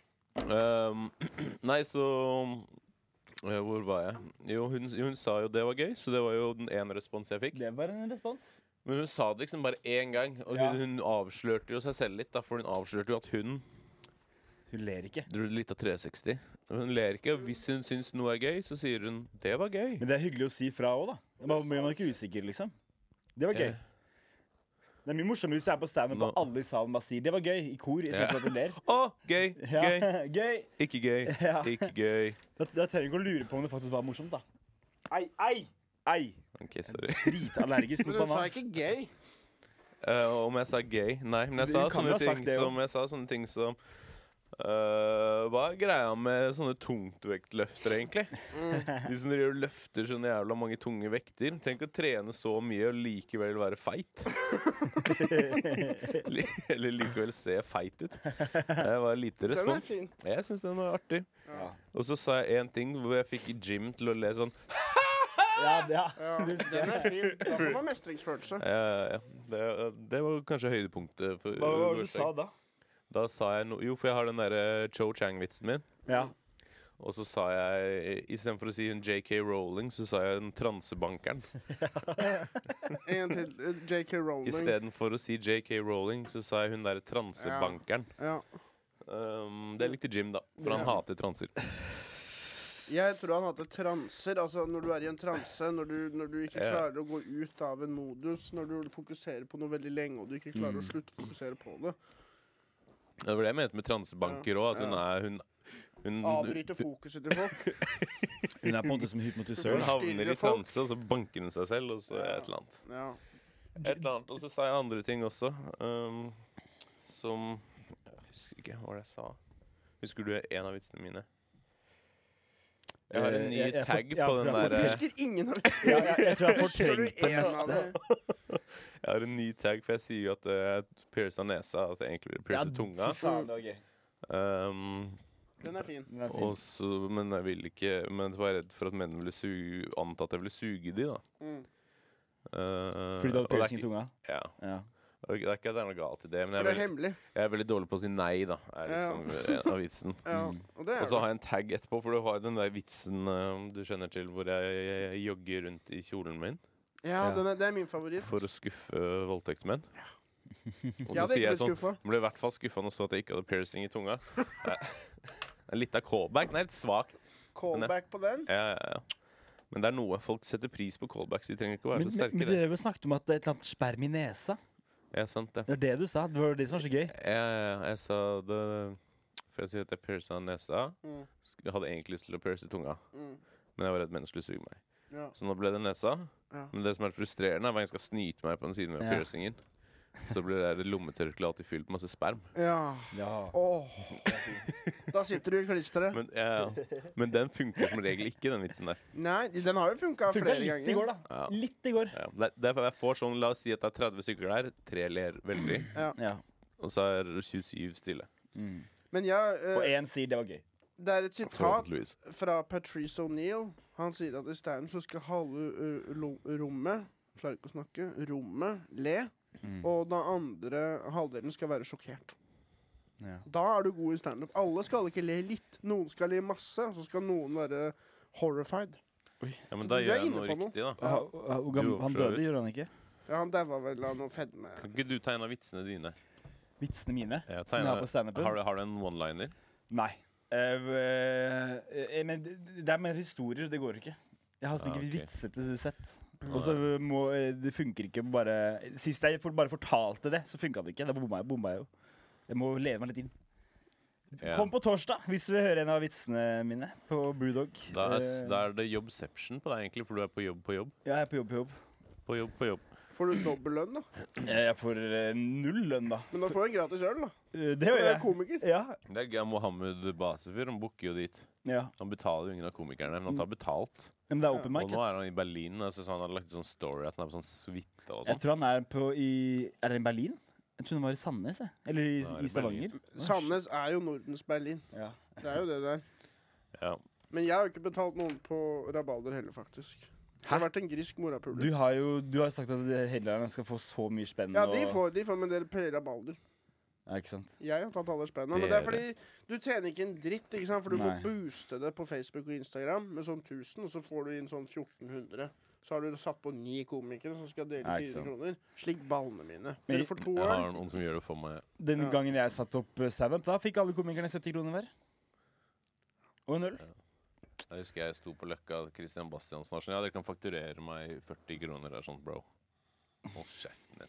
Speaker 1: Ehm, nei, så eh, Hvor var jeg? Jo hun, jo, hun sa jo det var gøy, så det var jo den ene respons jeg fikk.
Speaker 4: Det var en respons.
Speaker 1: Men hun sa det liksom bare én gang, og
Speaker 4: Ja.
Speaker 1: hun, hun avslørte jo seg selv litt. da, For hun avslørte jo at hun
Speaker 4: Hun ler ikke.
Speaker 1: dro litt av 360. Hun ler ikke. og Hvis hun syns noe er gøy, så sier hun 'det var gøy'.
Speaker 4: Men det er hyggelig å si fra òg, da. Man blir man ikke usikker, liksom. Det var gøy.
Speaker 1: Ja.
Speaker 4: Det er mye morsommere hvis du er på standup
Speaker 1: Nå-
Speaker 4: og alle i salen bare sier 'det var gøy' i kor. I stedet for at du ler.
Speaker 1: Å, gøy! Gøy!
Speaker 4: Ja, gøy.
Speaker 1: Ikke gøy.
Speaker 4: Ja.
Speaker 1: Ikke gøy.
Speaker 4: Da, da trenger du ikke å lure på om det faktisk var morsomt, da. Ei, ei, ei.
Speaker 1: OK, sorry.
Speaker 4: Dritallergisk mot
Speaker 3: Men hun sa
Speaker 4: banan.
Speaker 3: ikke gay.
Speaker 1: Eh, om jeg sa gøy? Nei, men jeg
Speaker 4: Du
Speaker 1: sa
Speaker 4: kan jo
Speaker 1: sånne
Speaker 4: ha sagt
Speaker 1: ting
Speaker 4: det, jo.
Speaker 1: som Jeg sa sånne ting som eh, Hva er greia med sånne tungtvektløftere, egentlig? De som driver og løfter sånne jævla mange tunge vekter. Tenk å trene så mye og likevel være feit. Li- Eller likevel se feit ut. Det var lite
Speaker 3: Den er
Speaker 1: respons.
Speaker 3: fin.
Speaker 1: Jeg syns den var artig.
Speaker 4: Ja.
Speaker 1: Og så sa jeg én ting hvor jeg fikk Jim til å le sånn.
Speaker 4: Ja, ja.
Speaker 3: Ja,
Speaker 4: Det husker jeg.
Speaker 3: den er fin. Da får man mestringsfølelse.
Speaker 1: Eh, det, det var kanskje høydepunktet. For,
Speaker 4: Hva var det du sa da?
Speaker 1: Da sa jeg no Jo, for jeg har den derre Cho Chang-vitsen min.
Speaker 4: Ja.
Speaker 1: Og så sa jeg istedenfor å si hun JK Rowling, så sa jeg den transebankeren.
Speaker 3: En til. eh, JK Rowling.
Speaker 1: Istedenfor å si JK Rowling, så sa jeg hun derre transebankeren.
Speaker 3: Ja.
Speaker 1: Um, det likte Jim, da. For han
Speaker 3: Ja.
Speaker 1: hater transer.
Speaker 3: Jeg tror han hadde transer. Altså når du er i en transe, når du, når du ikke
Speaker 1: Ja.
Speaker 3: klarer å gå ut av en modus, når du fokuserer på noe veldig lenge og du ikke klarer å
Speaker 1: Mm.
Speaker 3: slutte å fokusere på det.
Speaker 1: Det var det jeg mente med transebanker òg. At hun er hun, hun, hun,
Speaker 3: Avbryte fokuset til folk.
Speaker 4: Hun er på en måte som hypnotisør.
Speaker 3: Hun har-
Speaker 1: havner
Speaker 3: forstyrre
Speaker 1: i
Speaker 3: folk.
Speaker 1: transe, og så banker hun seg selv, og så
Speaker 3: Ja.
Speaker 1: et eller annet.
Speaker 3: Ja.
Speaker 1: Et eller annet. Og så sa jeg andre ting også, um, som Jeg husker ikke hva det jeg sa. Husker du en av vitsene mine? Jeg har en ny
Speaker 4: Eh, jeg- jeg får-
Speaker 1: tag
Speaker 4: ja,
Speaker 1: på
Speaker 4: for
Speaker 1: den eh,
Speaker 4: jeg
Speaker 3: Du
Speaker 4: får-
Speaker 1: derre
Speaker 3: husker ingen av
Speaker 4: Ja, jeg, jeg tror jeg
Speaker 3: Husker du
Speaker 4: fortrengte det
Speaker 3: en av
Speaker 4: meste.
Speaker 3: dem?
Speaker 1: Jeg har en ny tag, for jeg sier jo at det er pierca nesa, at det egentlig blir
Speaker 4: Ja,
Speaker 1: pierca tunga.
Speaker 4: fy faen, det var gøy.
Speaker 1: Um,
Speaker 3: Den er fin.
Speaker 4: Den er fin.
Speaker 1: og så, men jeg ville ikke Men jeg var redd for at mennene ville suge, anta at jeg ville suge de, da.
Speaker 3: Mm.
Speaker 1: Uh,
Speaker 4: Fordi du
Speaker 1: og
Speaker 4: hadde
Speaker 1: det er
Speaker 4: piercing i
Speaker 1: ikke-
Speaker 4: tunga?
Speaker 1: Ja.
Speaker 4: Ja.
Speaker 1: Og Det er ikke at det er noe galt i det, men jeg
Speaker 3: For
Speaker 1: er,
Speaker 3: det er
Speaker 1: veldig,
Speaker 3: hemmelig.
Speaker 1: jeg er veldig dårlig på å si nei, da. Er
Speaker 3: Ja.
Speaker 1: liksom eh, avisen.
Speaker 3: Ja,
Speaker 4: Mm.
Speaker 3: og det er
Speaker 1: Og så
Speaker 3: det.
Speaker 1: har jeg en tag etterpå, for du har jo den der vitsen eh, du kjenner til, hvor jeg, jogger rundt i kjolen min
Speaker 3: Ja,
Speaker 4: Ja.
Speaker 3: den er, det er min favoritt.
Speaker 1: for å skuffe voldtektsmenn. Og
Speaker 3: Jeg
Speaker 1: så sier
Speaker 3: hadde ikke
Speaker 1: jeg
Speaker 3: blitt
Speaker 1: sånn
Speaker 3: skuffa.
Speaker 1: Ble i hvert fall skuffa når jeg så at jeg ikke hadde piercing i tunga. Det er litt av callback. Den er litt svak.
Speaker 3: Callback på den.
Speaker 1: Ja, ja, ja. Men det er noe folk setter pris på callbacks. De trenger ikke å være
Speaker 4: Men,
Speaker 1: så
Speaker 4: men,
Speaker 1: sterke.
Speaker 4: men
Speaker 1: det.
Speaker 4: dere vel snakket om at det er et eller annet sperm i nesa.
Speaker 1: Ja, sant det.
Speaker 4: Det var det du sa. Det var det som var så gøy.
Speaker 1: Jeg, jeg, Eh, jeg sa det For jeg sier at jeg pierca nesa.
Speaker 3: Mm.
Speaker 1: Sk- Jeg hadde egentlig lyst til å pierce i tunga,
Speaker 3: Mm.
Speaker 1: men jeg var redd mennesker skulle suge meg.
Speaker 3: Ja.
Speaker 1: Så nå ble det nesa.
Speaker 3: Ja.
Speaker 1: Men det som er frustrerende, er hver gang jeg skal snyte meg på den siden med
Speaker 4: Ja.
Speaker 1: piercingen, så blir det der lommetørkleet alltid fylt med masse sperm.
Speaker 3: ja.
Speaker 4: Ja.
Speaker 3: Åh. Da sitter du i klisteret.
Speaker 1: Men, ja, ja. men den funker som regel ikke, den vitsen der.
Speaker 3: Nei, den har jo funka
Speaker 4: Funka
Speaker 3: flere
Speaker 4: litt i
Speaker 3: ganger.
Speaker 4: går, da.
Speaker 1: Ja.
Speaker 4: Litt i går.
Speaker 1: Ja, det, er- det er, jeg får sånn, La oss si at det er 30 stykker der. Tre ler veldig,
Speaker 4: Ja.
Speaker 1: og så er 27 stille.
Speaker 4: Mm.
Speaker 3: Men jeg,
Speaker 4: Og
Speaker 3: eh,
Speaker 4: én sier det var gøy.
Speaker 3: det er et sitat
Speaker 1: Forhåpentligvis.
Speaker 3: fra Patrice O'Neill. Han sier at i stedet så skal halve eh, lo- rommet Klarer ikke å snakke. Rommet le.
Speaker 4: Mm.
Speaker 3: Og den andre halvdelen skal være sjokkert.
Speaker 4: Ja.
Speaker 3: Da er du god i standup. Alle skal ikke le litt. Noen skal le masse, og så skal noen være horrified.
Speaker 1: Ja, men da
Speaker 3: Du
Speaker 1: gjør
Speaker 3: er
Speaker 1: jeg
Speaker 3: inne
Speaker 1: noe
Speaker 3: på noe.
Speaker 1: riktig, da.
Speaker 4: Ah, ah, hvor gammel-
Speaker 1: Jo, for
Speaker 4: han
Speaker 1: så
Speaker 4: døde,
Speaker 1: vidt.
Speaker 4: gjorde han ikke?
Speaker 3: Ja, han daua vel av noe fedme.
Speaker 1: Kan ikke du tegne vitsene dine?
Speaker 4: Vitsene mine?
Speaker 1: Jeg
Speaker 4: Som jeg har på standupen?
Speaker 1: har, du, har du en one-liner?
Speaker 4: Nei. Eh, eh, eh, men det det er mer historier. Det går ikke. Jeg har liksom
Speaker 1: Ah,
Speaker 4: ikke
Speaker 1: ok.
Speaker 4: vitsete sett. Og så må eh, Det funker ikke bare Sist jeg for- bare fortalte det, så funka det ikke. Da bomma jeg, bomma jeg jo. Jeg må leve meg litt inn.
Speaker 1: Ja.
Speaker 4: Kom på torsdag hvis du vil høre en av vitsene mine på Brewdog.
Speaker 1: Da er, s-
Speaker 4: Eh,
Speaker 1: da er det jobbception på deg, egentlig, for du er på jobb på jobb.
Speaker 4: ja, jeg er på jobb på jobb.
Speaker 1: På jobb på jobb.
Speaker 3: Får du dobbel lønn, da?
Speaker 4: Eh, Jeg får eh, null lønn, da.
Speaker 3: Men da får du en gratis øl, da.
Speaker 4: Eh, Det
Speaker 3: Du
Speaker 4: gjør
Speaker 3: er
Speaker 4: jeg.
Speaker 3: komiker.
Speaker 4: Ja.
Speaker 1: Det er gøy, Mohammed Basefyr han booker jo dit.
Speaker 4: ja.
Speaker 1: Han betaler jo ingen av komikerne, men han tar betalt.
Speaker 4: Men det er open
Speaker 1: Og
Speaker 4: Mm. mic.
Speaker 1: nå
Speaker 4: vet
Speaker 1: er han i Berlin. og Jeg synes han hadde lagt ut sånn story at han er på sånn suite og
Speaker 4: du. Jeg
Speaker 1: sånn.
Speaker 4: tror han er på i Er det i Berlin? Jeg trodde han var i Sandnes. jeg. Eller i,
Speaker 1: Nå er det
Speaker 4: i Stavanger.
Speaker 3: Sandnes er jo Nordens Berlin.
Speaker 4: Ja.
Speaker 3: Det er jo det der.
Speaker 1: Ja.
Speaker 3: Men jeg har jo ikke betalt noen på Rabalder heller, faktisk. Det har vært en grisk morapuler.
Speaker 4: Du har jo du har sagt at headlinerne skal få så mye spenn.
Speaker 3: Ja, de
Speaker 4: og-
Speaker 3: får, de får, men dere pleier Rabalder.
Speaker 4: Ja, ikke sant?
Speaker 3: Jeg har tatt alle spennene. Men det er fordi
Speaker 1: Dere.
Speaker 3: du tjener ikke en dritt, ikke sant? for du må
Speaker 4: Nei.
Speaker 3: booste det på Facebook og Instagram med sånn 1000, og så får du inn sånn 1400. Så har du satt på ni komikere som skal dele
Speaker 4: Ja,
Speaker 3: 400
Speaker 4: ikke sant.
Speaker 3: kroner. Slik ballene mine.
Speaker 4: Men-
Speaker 3: Dere får to
Speaker 1: Jeg har
Speaker 3: år.
Speaker 1: noen som gjør det for meg.
Speaker 4: Den
Speaker 3: Ja.
Speaker 4: gangen jeg satte opp eh, standup, da fikk alle komikerne 70 kroner hver. Og en øl.
Speaker 1: Jeg husker jeg sto på Løkka, Christian Bastiansen var sånn Ja, dere kan fakturere meg 40 kroner her, sånn, bro. Hold kjeften din.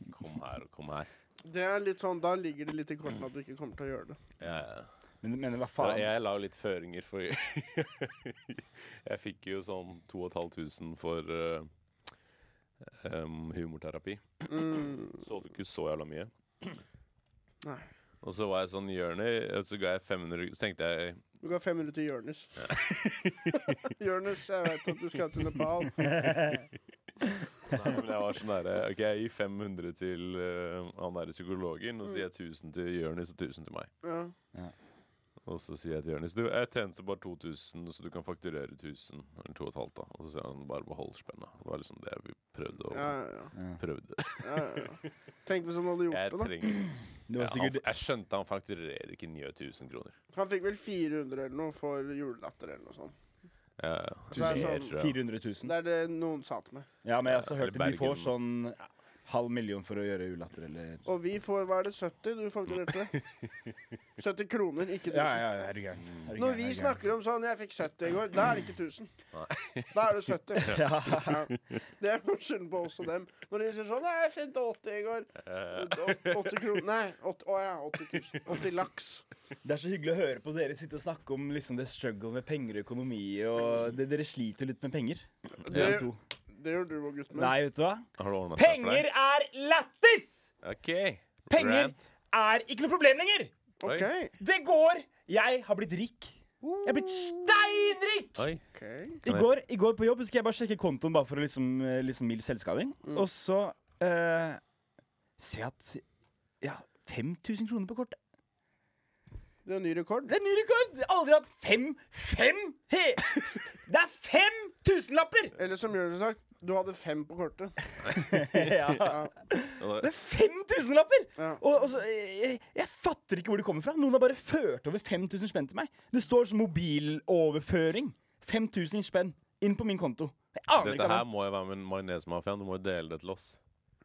Speaker 1: Ikke kom her og kom her.
Speaker 3: Det er litt sånn, Da ligger det litt i kortene at du ikke kommer til å gjøre det.
Speaker 1: Ja, ja.
Speaker 4: Men, men hva
Speaker 1: Ja,
Speaker 4: faen?
Speaker 1: jeg la jo litt føringer, for jeg fikk jo sånn 2500 for eh, em, humorterapi.
Speaker 3: Mm.
Speaker 1: Så det ikke så jævla mye.
Speaker 3: Nei.
Speaker 1: Og så var jeg sånn Jørni, så ga jeg 500 Så tenkte jeg
Speaker 3: Du ga 500 til Jørnis. Jørnis, jeg vet at du skal til Nepal.
Speaker 1: Nei, men jeg var sånn derre OK, jeg gir 500 til eh, han derre psykologen, og så gir jeg 1000 til Jørnis og 1000 til meg.
Speaker 3: Ja.
Speaker 1: Og så sier jeg til Jørnis Du, jeg tjente bare 2000, så du kan fakturere 1000. Eller 2500, da. Og så sier han bare behold spenna. Det var liksom det vi prøvde
Speaker 3: Ja,
Speaker 1: og
Speaker 3: ja,
Speaker 1: prøvde.
Speaker 3: ja, ja, ja. Tenk hvis han hadde gjort
Speaker 1: Jeg
Speaker 3: det, da.
Speaker 1: trenger
Speaker 4: Det
Speaker 1: Ja,
Speaker 4: var
Speaker 1: han,
Speaker 4: sikkert
Speaker 1: jeg skjønte han fakturerer ikke 9000 kroner.
Speaker 3: Han fikk vel 400 eller noe for julelatter eller noe sånt.
Speaker 1: Ja,
Speaker 3: Så det er
Speaker 1: mer,
Speaker 3: sånn
Speaker 1: tror jeg.
Speaker 4: 400 000.
Speaker 3: Det er det noen sa til meg.
Speaker 4: Ja, men jeg har også hørt
Speaker 1: Eller
Speaker 4: at de får
Speaker 1: Bergen.
Speaker 4: sånn ja, halv million for å gjøre ulatter, eller
Speaker 3: Og vi får, hva er det, 70 du fakturerte? 70 kroner, ikke 1000.
Speaker 4: Ja, ja, er du gæren. Er
Speaker 3: Når
Speaker 4: du gæren,
Speaker 3: vi
Speaker 4: er du gæren?
Speaker 3: snakker om sånn 'jeg fikk 70 i går', da er det ikke 1000. Da er det 70. Ja. Det er forskjellen på oss og dem. Når de sier sånn 'nei, jeg sendte 80 i går'. Åt- 80 kroner Nei, 80, å ja, 80 000. 80 laks.
Speaker 4: Det er så hyggelig å høre på dere sitte og snakke om liksom, det struggle med penger og økonomi. Og det, dere sliter jo litt med penger.
Speaker 3: Det,
Speaker 4: to.
Speaker 3: det gjør du og gutten min.
Speaker 4: Nei, vet du hva?
Speaker 1: Har du ordnet seg for
Speaker 4: Penger
Speaker 1: deg?
Speaker 4: er lættis!
Speaker 1: Ok.
Speaker 4: Penger
Speaker 1: Rant.
Speaker 4: er ikke noe problem lenger!
Speaker 3: OK.
Speaker 4: Det går! Jeg har blitt rik. Jeg er blitt steinrik!
Speaker 1: Oi.
Speaker 3: ok.
Speaker 4: I går, I går på jobb skulle jeg bare sjekke kontoen bare for å liksom, eh, liksom mild selvskading.
Speaker 1: Mm.
Speaker 4: Og så eh, ser jeg at jeg har 5000 kroner på kortet.
Speaker 3: Det er en ny rekord.
Speaker 4: Det er ny rekord! Jeg har Aldri hatt fem Fem! He. Det er fem tusenlapper!
Speaker 3: Eller som Jørgen har sagt, du hadde fem på kortet.
Speaker 4: Ja. Det
Speaker 1: Ja,
Speaker 4: er fem tusenlapper!
Speaker 3: Ja.
Speaker 4: Og, og så, jeg, jeg fatter ikke hvor det kommer fra. Noen har bare ført over 5000 spenn til meg. Det står som mobiloverføring. 5000 spenn inn på min konto. Jeg aner
Speaker 1: Dette
Speaker 4: ikke hva
Speaker 1: her må jo være med Majonesmafiaen. Du må jo dele det til oss.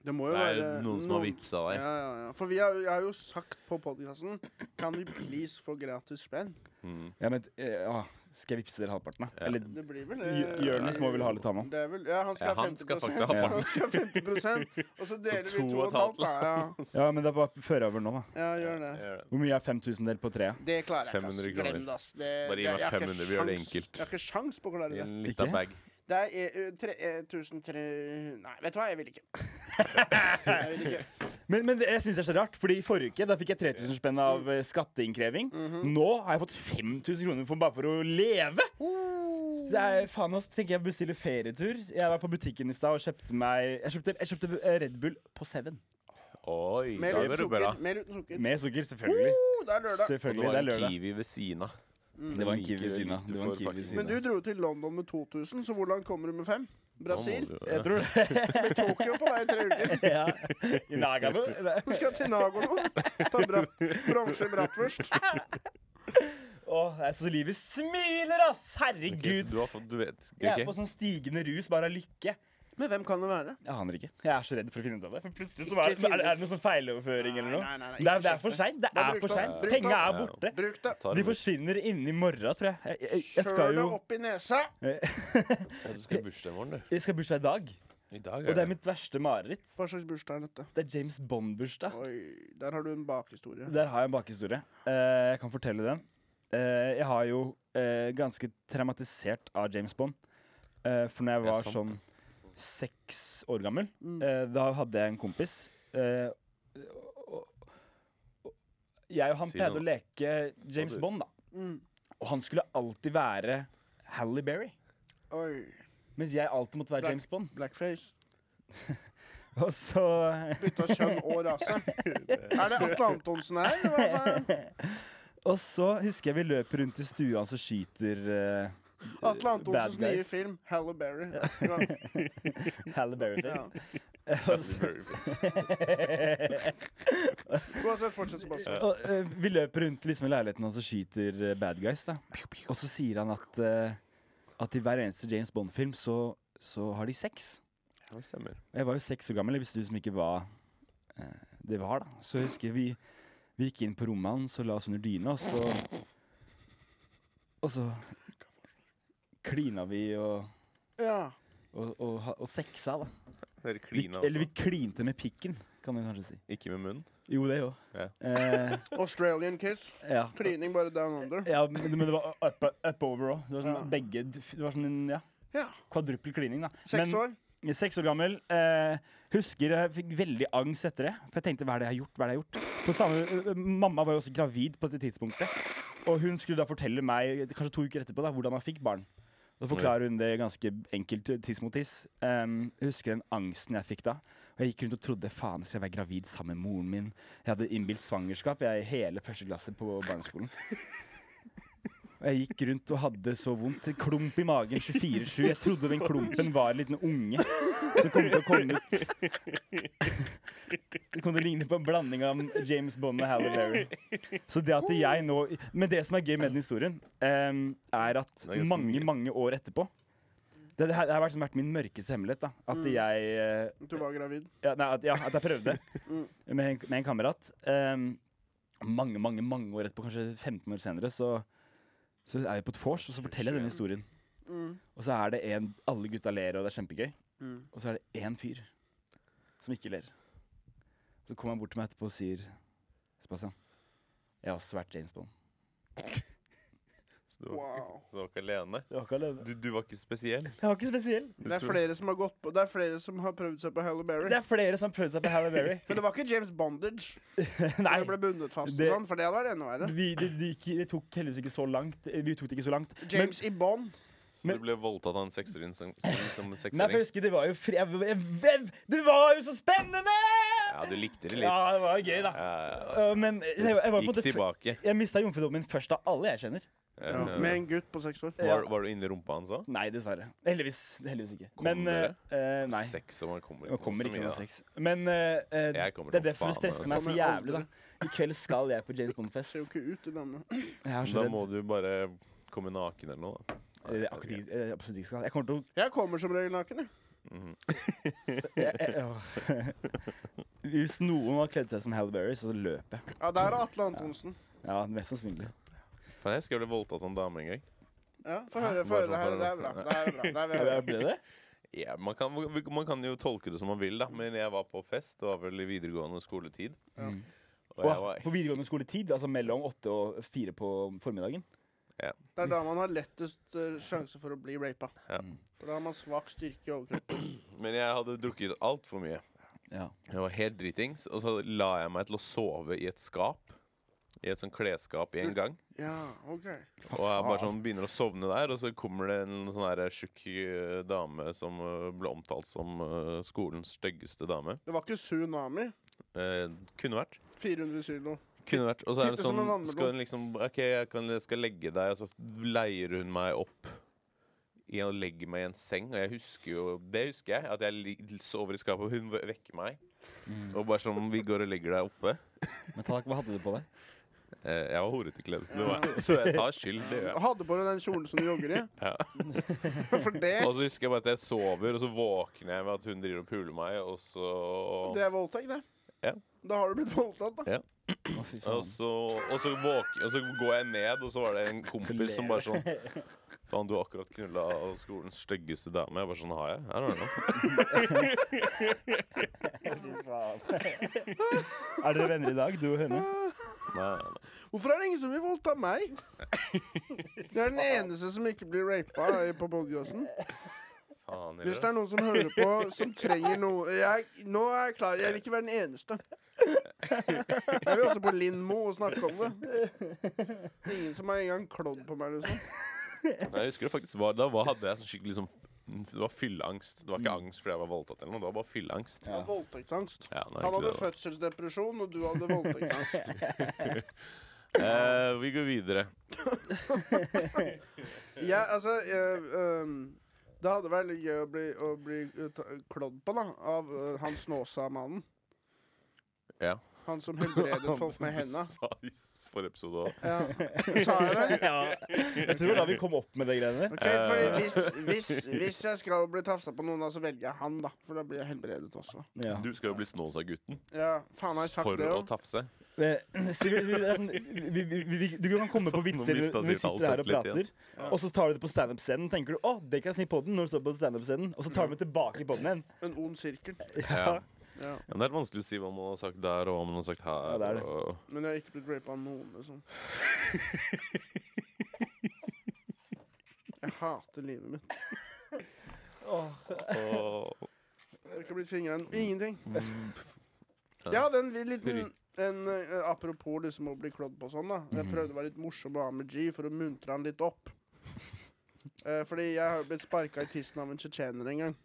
Speaker 3: Det må jo
Speaker 1: Det er
Speaker 3: være
Speaker 1: noen som har vippsa
Speaker 3: Ja,
Speaker 1: deg.
Speaker 3: ja, ja. For vi har, jeg har jo sagt på podkasten Kan vi please få gratis spenn?
Speaker 4: ja, men, eh, ah, Skal jeg vippse dere halvparten, da? Eller
Speaker 3: Det blir vel eh,
Speaker 4: J- Jonis må vel ha litt, han òg.
Speaker 3: Det er vel, ja, han skal
Speaker 1: Ja,
Speaker 3: ha
Speaker 1: han
Speaker 3: 50
Speaker 1: skal faktisk ha
Speaker 3: Han skal ha 50 Og så deler
Speaker 1: Så
Speaker 3: vi
Speaker 1: to
Speaker 3: to
Speaker 1: og
Speaker 3: og
Speaker 1: et
Speaker 3: et halvt,
Speaker 1: halvt, altså.
Speaker 3: da. Ja.
Speaker 4: Ja, men det er bare føre over nå, da.
Speaker 3: ja, gjør det.
Speaker 4: Hvor mye er 5000 delt på treet?
Speaker 3: Det klarer jeg ikke.
Speaker 1: 500
Speaker 3: ass.
Speaker 1: kroner.
Speaker 3: Glem det, ass. Det,
Speaker 1: Bare gi
Speaker 3: det-
Speaker 1: meg
Speaker 3: jeg har ikke
Speaker 1: 500, vi gjør det
Speaker 3: sjans.
Speaker 1: enkelt.
Speaker 3: Jeg har ikke sjans på å klare
Speaker 1: I
Speaker 3: det.
Speaker 1: en lita
Speaker 4: Ikke?
Speaker 1: bag.
Speaker 3: Det er eh, eh, tre- eh, 1300 Nei, vet du hva, jeg vil ikke. Jeg vil ikke.
Speaker 4: Men, men det, jeg synes det er så rart, fordi i forrige uke da fikk jeg 3000 spenn av eh, skatteinnkreving. Nå har jeg fått 5000 kroner for, bare for å leve! Så jeg, faen også, tenker jeg bestiller ferietur. Jeg var på butikken i stad og kjøpte meg Jeg kjøpte, jeg kjøpte eh, Red Bull på Seven.
Speaker 1: Oi,
Speaker 3: Mer
Speaker 1: da
Speaker 3: uten
Speaker 1: blir du bra.
Speaker 3: sukker. Mer uten sukker.
Speaker 4: Med sukker, selvfølgelig.
Speaker 3: Oh, det er lørdag.
Speaker 1: Og det
Speaker 4: Selvfølgelig,
Speaker 1: var
Speaker 4: Det er
Speaker 1: en
Speaker 4: lørdag. Mm.
Speaker 1: kiwi ved siden av.
Speaker 4: Det var en kiwi ved siden av.
Speaker 1: Du
Speaker 4: Det var en
Speaker 1: får
Speaker 4: kiwi ved
Speaker 1: fucking-
Speaker 4: siden
Speaker 3: Men du dro til London med 2000, så hvor langt kommer du med fem?
Speaker 1: Da må
Speaker 3: Brasil?
Speaker 1: du-
Speaker 4: Jeg tror det.
Speaker 3: Tokyo på deg i tre uker.
Speaker 4: ja. I Nagano.
Speaker 3: Du skal til Nagano. Ta brat, bronse i bratwurst.
Speaker 4: Åh, jeg er så livet smiler, ass!
Speaker 1: Ok,
Speaker 4: Herregud.
Speaker 1: så du har fått Du vet.
Speaker 4: Jeg er
Speaker 1: ok.
Speaker 4: på sånn stigende rus bare av lykke.
Speaker 3: Men hvem kan det være?
Speaker 4: Jeg aner ikke. Jeg er så redd for å finne ut av det. For plutselig så er,
Speaker 3: Ikke finn
Speaker 4: er,
Speaker 3: ut.
Speaker 4: er det noe sånn feiloverføring eller noe.
Speaker 3: Nei, nei, nei,
Speaker 4: det, er, det
Speaker 3: ikke
Speaker 4: er for seint. Det
Speaker 3: Da
Speaker 4: er
Speaker 3: bruk
Speaker 4: for
Speaker 3: den.
Speaker 4: seint.
Speaker 3: Bruk
Speaker 4: Penga er
Speaker 1: den.
Speaker 4: borte.
Speaker 3: Bruk det.
Speaker 1: Tar
Speaker 4: De
Speaker 1: med-
Speaker 4: forsvinner innen i morgen, tror jeg. Jeg, jeg, jeg
Speaker 3: Kjør
Speaker 4: skal jo
Speaker 3: deg opp i nesa.
Speaker 1: Ja, Du skal i bursdag i morgen, du.
Speaker 4: jeg skal ha bursdag i dag.
Speaker 1: I dag
Speaker 4: Og det
Speaker 1: er
Speaker 4: er
Speaker 1: det.
Speaker 4: mitt verste mareritt.
Speaker 3: Hva slags bursdag er dette?
Speaker 4: Det er James Bond-bursdag.
Speaker 3: Oi, der har du en bakhistorie.
Speaker 4: Der har jeg en bakhistorie. Eh, jeg kan fortelle den. Eh, jeg har jo eh, ganske traumatisert av James Bond. Eh, for når jeg
Speaker 1: Det er
Speaker 4: var
Speaker 1: sant,
Speaker 4: sånn seks år gammel,
Speaker 3: Mm.
Speaker 4: eh, da hadde jeg en kompis. Eh, og, og, jeg og han
Speaker 1: Si
Speaker 4: pleide
Speaker 1: noe.
Speaker 4: å leke James
Speaker 1: det ut.
Speaker 4: Bond, da.
Speaker 3: Mm.
Speaker 4: Og han skulle alltid være Halle Berry.
Speaker 3: Oi.
Speaker 4: Mens jeg alltid måtte være
Speaker 3: Black-
Speaker 4: James Bond.
Speaker 3: Blackface.
Speaker 4: Og så
Speaker 3: Bytta kjønn og rase. Er det Atle Antonsen her? eller Hva faen?
Speaker 4: Og så husker jeg vi løp rundt i stua hans og skyter eh,
Speaker 3: Atle Antonsens
Speaker 4: Bad guys.
Speaker 3: nye film, Halle Berry. Ja.
Speaker 4: Halle Berry.
Speaker 3: Ja.
Speaker 4: Og så-
Speaker 3: Uansett, fortsett, Sebastian.
Speaker 4: Og, eh, vi løper rundt liksom, i leiligheten hans og skyter eh, bad guys. da Og så sier han at, eh, at i hver eneste James Bond-film så, så har de sex.
Speaker 1: Ja, det stemmer.
Speaker 4: Og Jeg var jo seks år gammel, jeg visste liksom ikke hva eh, det var. da Så jeg husker vi, vi gikk inn på rommet hans og la oss under dyna, og så Og så klina vi og,
Speaker 3: Ja.
Speaker 4: og, og, ha- og sexa, da.
Speaker 1: Dere
Speaker 4: Vi,
Speaker 1: klina
Speaker 4: eller vi
Speaker 1: også.
Speaker 4: klinte med pikken, kan du kanskje si.
Speaker 1: Ikke med munnen.
Speaker 4: Jo, det òg.
Speaker 1: Ja.
Speaker 4: Eh,
Speaker 3: Australian Kiss.
Speaker 4: ja.
Speaker 3: Klining bare down under.
Speaker 4: Ja, men men det var up, up over òg. Det var sånn
Speaker 3: Ja.
Speaker 4: begge Det var sånn en ja,
Speaker 3: Ja.
Speaker 4: kvadruppel klining, da.
Speaker 3: Seks år.
Speaker 4: Men seks år gammel. Eh, husker jeg fikk veldig angst etter det. For jeg tenkte hva er det jeg har gjort? Hva er det jeg har gjort? På samme, ø- ø, mamma var jo også gravid på dette tidspunktet. Og hun skulle da fortelle meg kanskje to uker etterpå da, hvordan man fikk barn. Da forklarer hun det ganske enkelt, eh, tiss mot tiss. Em, jeg husker den angsten jeg fikk da. Og jeg gikk rundt og trodde faen, skal jeg være gravid sammen med moren min? Jeg hadde innbilt svangerskap jeg, hele første klasse på barneskolen. Og jeg gikk rundt og hadde så vondt. En klump i magen 24-7. Jeg trodde den klumpen var en liten unge som kom til å komme ut. Det kom til å ligne på en blanding av James Bond og Halle Berry. Så det at jeg nå Men det som er gøy med den historien, em, er at
Speaker 1: Det er ganske
Speaker 4: mange,
Speaker 1: mye.
Speaker 4: mange år etterpå det, det, her, det har vært, som vært min mørkeste hemmelighet. da At
Speaker 3: Mm.
Speaker 4: jeg eh,
Speaker 3: Du var gravid.
Speaker 4: ja, nei, at, ja, at jeg prøvde
Speaker 3: Mm.
Speaker 4: med en, med en kamerat. Ehm, mange mange, mange år etterpå, kanskje 15 år senere, så, så er vi på et vors, og så forteller jeg denne historien.
Speaker 3: Mm.
Speaker 4: Og så er det en Alle gutta ler, og det er kjempegøy.
Speaker 3: Mm.
Speaker 4: Og så er det én fyr som ikke ler. Så kommer han bort til meg etterpå og sier Sebastian, jeg har også vært James Bond.
Speaker 1: Så du var,
Speaker 3: Wow.
Speaker 1: så du var ikke alene.
Speaker 4: Jeg var ikke alene.
Speaker 1: Du, du var ikke spesiell.
Speaker 4: Jeg var ikke spesiell.
Speaker 1: Du
Speaker 3: Det er
Speaker 1: tror-
Speaker 3: flere som har gått på Det er flere som har prøvd seg på Halle
Speaker 4: Det
Speaker 3: Berry.
Speaker 4: er flere som har prøvd seg på Harry Berry.
Speaker 3: Men det var ikke James Bondage.
Speaker 4: Nei.
Speaker 3: Det ble bundet fast
Speaker 4: Det-
Speaker 3: og sånn, for det hadde vært enda verre.
Speaker 4: Vi, det, det, gikk- det tok heldigvis ikke så langt. Vi tok det ikke så langt.
Speaker 3: James i Bond.
Speaker 1: Så
Speaker 4: Men-
Speaker 1: du ble voldtatt av en seksåring som, som, som en
Speaker 4: Nei, for jeg
Speaker 1: seksåring?
Speaker 4: husker det var jo fri... Jeg, jeg, jeg, det var jo så spennende!
Speaker 1: Ja, du likte det litt.
Speaker 4: Ja, det var jo gøy, da.
Speaker 1: Ja,
Speaker 4: Uh, men jeg, jeg var på en
Speaker 1: Gikk
Speaker 4: måte f-
Speaker 1: tilbake.
Speaker 4: Jeg mista jomfrudommen først av alle jeg kjenner.
Speaker 1: Ja.
Speaker 3: Med en gutt på seks år.
Speaker 1: Var, var du inni rumpa hans òg?
Speaker 4: Nei, dessverre. Heldigvis. heldigvis ikke.
Speaker 1: Kom
Speaker 4: Men
Speaker 1: dere?
Speaker 4: uh, uh, Nei.
Speaker 1: Sex, og man kommer
Speaker 4: Man
Speaker 1: ikke
Speaker 4: kommer
Speaker 1: på så
Speaker 4: ikke
Speaker 1: mye,
Speaker 4: med
Speaker 1: da.
Speaker 4: sex. Men uh, uh,
Speaker 1: Jeg kommer
Speaker 4: det
Speaker 1: til
Speaker 4: er
Speaker 1: å
Speaker 4: derfor
Speaker 1: faen
Speaker 4: det
Speaker 1: altså. meg
Speaker 4: stresser meg så
Speaker 3: Kommer
Speaker 4: jævlig,
Speaker 3: aldri.
Speaker 4: da. I kveld skal jeg på James Bond-fest.
Speaker 3: Ser jo ikke ut, det damen.
Speaker 4: Jeg er så
Speaker 1: Da
Speaker 4: redd.
Speaker 1: må du bare komme naken eller noe. da.
Speaker 4: Eh, det er akkurat ikke- eh, Absolutt ikke skal. Jeg kommer til å
Speaker 3: Jeg kommer som regel naken, jeg.
Speaker 4: jeg, jeg, åh. Hvis noen har kledd seg som Halle Berry, så løper jeg.
Speaker 3: Ja, der er Atle Antonsen.
Speaker 4: Ja, mest sannsynlig.
Speaker 1: Faen, jeg husker jeg ble voldtatt av en dame en gang.
Speaker 3: Ja, Få høre.
Speaker 1: Bare
Speaker 3: Få høre det her.
Speaker 1: sånn
Speaker 3: Det
Speaker 1: for-
Speaker 3: er bra. Det er bra. Det er
Speaker 4: Ja,
Speaker 3: bra.
Speaker 4: det ble det?
Speaker 1: Ja, man, kan, man kan jo tolke det som man vil, da, men jeg var på fest. Det var vel i videregående skoletid.
Speaker 3: Ja.
Speaker 4: Mm.
Speaker 1: Og jeg
Speaker 4: Åh,
Speaker 1: var
Speaker 4: På videregående skoletid, altså mellom åtte og fire på formiddagen.
Speaker 3: Det er da man har lettest eh, sjanse for å bli rapa.
Speaker 1: Ja.
Speaker 3: For da har man svak styrke i overkroppen.
Speaker 1: Men jeg hadde drukket altfor mye.
Speaker 4: Ja.
Speaker 1: Jeg var helt dritings, og så la jeg meg til å sove i et skap. I et sånn klesskap i en gang.
Speaker 3: Ja, OK.
Speaker 1: Og jeg bare sånn begynner å sovne der, og så kommer det en sånn her tjukk eh, dame som eh, ble omtalt som eh, skolens styggeste dame.
Speaker 3: Det var ikke tsunami.
Speaker 1: Eh, kunne vært.
Speaker 3: 400 kilo.
Speaker 1: Kunne vært. Og så er det
Speaker 3: Type som
Speaker 1: sånn
Speaker 3: en vannmelon.
Speaker 1: Skal hun liksom OK, jeg, kan, jeg skal legge deg, og så leier hun meg opp. Jeg legger meg i en seng, og jeg husker jo Det husker jeg. At jeg li- sover i skapet, og hun ve- vekker meg. Og bare sånn Vi går og legger deg oppe.
Speaker 4: Men takk, hva hadde du på deg?
Speaker 1: Eh, jeg var horete kledd, det var jeg. så jeg tar skyld. Det gjør jeg.
Speaker 3: Og hadde på deg den kjolen som du jogger i.
Speaker 1: Ja.
Speaker 3: For det,
Speaker 1: Og så husker jeg bare at jeg sover, og så våkner jeg med at hun driver og puler meg, og så
Speaker 3: det er voldtekt, det.
Speaker 1: Ja.
Speaker 3: Da har du blitt voldtatt, da.
Speaker 4: Å, fy
Speaker 1: Og
Speaker 4: faen.
Speaker 1: så, og, så våk- og så går jeg ned, og så var det en kompis som bare sånn Faen, du har akkurat knulla skolens styggeste dame. Jeg bare sånn har jeg. Her har du noe.
Speaker 4: Er dere venner i dag, du og henne?
Speaker 1: Nei, nei, nei.
Speaker 3: Hvorfor er det ingen som vil voldta meg? Du er den eneste som ikke blir rapa i- på podcasten.
Speaker 1: Faen,
Speaker 3: Hvis
Speaker 1: Hvis
Speaker 3: det er noen som hører på, som trenger noe jeg, Nå er jeg klar. Jeg vil ikke være den eneste. Jeg vil også på Lindmo og snakke om det. Ingen som har engang klådd på meg, liksom.
Speaker 1: Jeg husker det faktisk var Da var, hadde jeg sånn skikkelig sånn Det var fylleangst. Det var
Speaker 3: Mm.
Speaker 1: ikke angst fordi jeg var voldtatt eller noe. Det var bare fylleangst.
Speaker 3: Jeg har voldtektsangst.
Speaker 1: Ja, nå er
Speaker 3: Han
Speaker 1: ikke
Speaker 3: hadde
Speaker 1: det, da.
Speaker 3: fødselsdepresjon, og du hadde voldtektsangst.
Speaker 1: Eh, vi går videre.
Speaker 3: Jeg, altså, jeg, øhm, det hadde vært litt gøy å bli, å bli eh, ta- klådd på, da, av eh, han Snåsa-mannen.
Speaker 1: Ja.
Speaker 3: Han Sånn som helbredet folk med henda.
Speaker 1: Sa i s- forrige episode også.
Speaker 3: Ja. Sa jeg det?
Speaker 4: Ja. Jeg tror da vi kom opp med de greiene der.
Speaker 3: Ok,
Speaker 1: Eh.
Speaker 3: fordi hvis, hvis, hvis jeg skal bli tafsa på noen, da, så velger jeg han, da. For da blir jeg helbredet også.
Speaker 4: Ja.
Speaker 1: Du skal jo bli Snåsa-gutten
Speaker 3: Ja, faen har jeg sagt
Speaker 1: for
Speaker 3: det
Speaker 1: å
Speaker 3: òg?
Speaker 1: tafse.
Speaker 4: Eh, Sigurd, vi- det er sånn- vi- vi- vi- Du kan komme på vitser
Speaker 1: Nå mistet
Speaker 4: når vi
Speaker 1: Sigurd all
Speaker 4: sitter her og
Speaker 1: selvtillit
Speaker 4: prater, og så tar du det på standup-scenen. Tenker du 'Å, det kan jeg si i podden når du står på standup-scenen, og så tar du det tilbake i podden igjen.
Speaker 3: En ond sirkel.
Speaker 1: Mm. Ja.
Speaker 3: Ja.
Speaker 1: Ja, det er vanskelig å si hva man har sagt der, og hva man har sagt her.
Speaker 4: Ja, det er det.
Speaker 1: Og...
Speaker 3: Men jeg har ikke blitt rapa av noen, liksom. Jeg hater livet mitt.
Speaker 1: og...
Speaker 3: Jeg har ikke blitt fingra i noe- ingenting. Jeg hadde en liten en, eh, Apropos liksom å bli klådd på sånn, da. Jeg prøvde å være litt morsom og ha med G for å muntre han litt opp. Eh, fordi jeg har jo blitt sparka i tissen av en tsjetsjener en gang.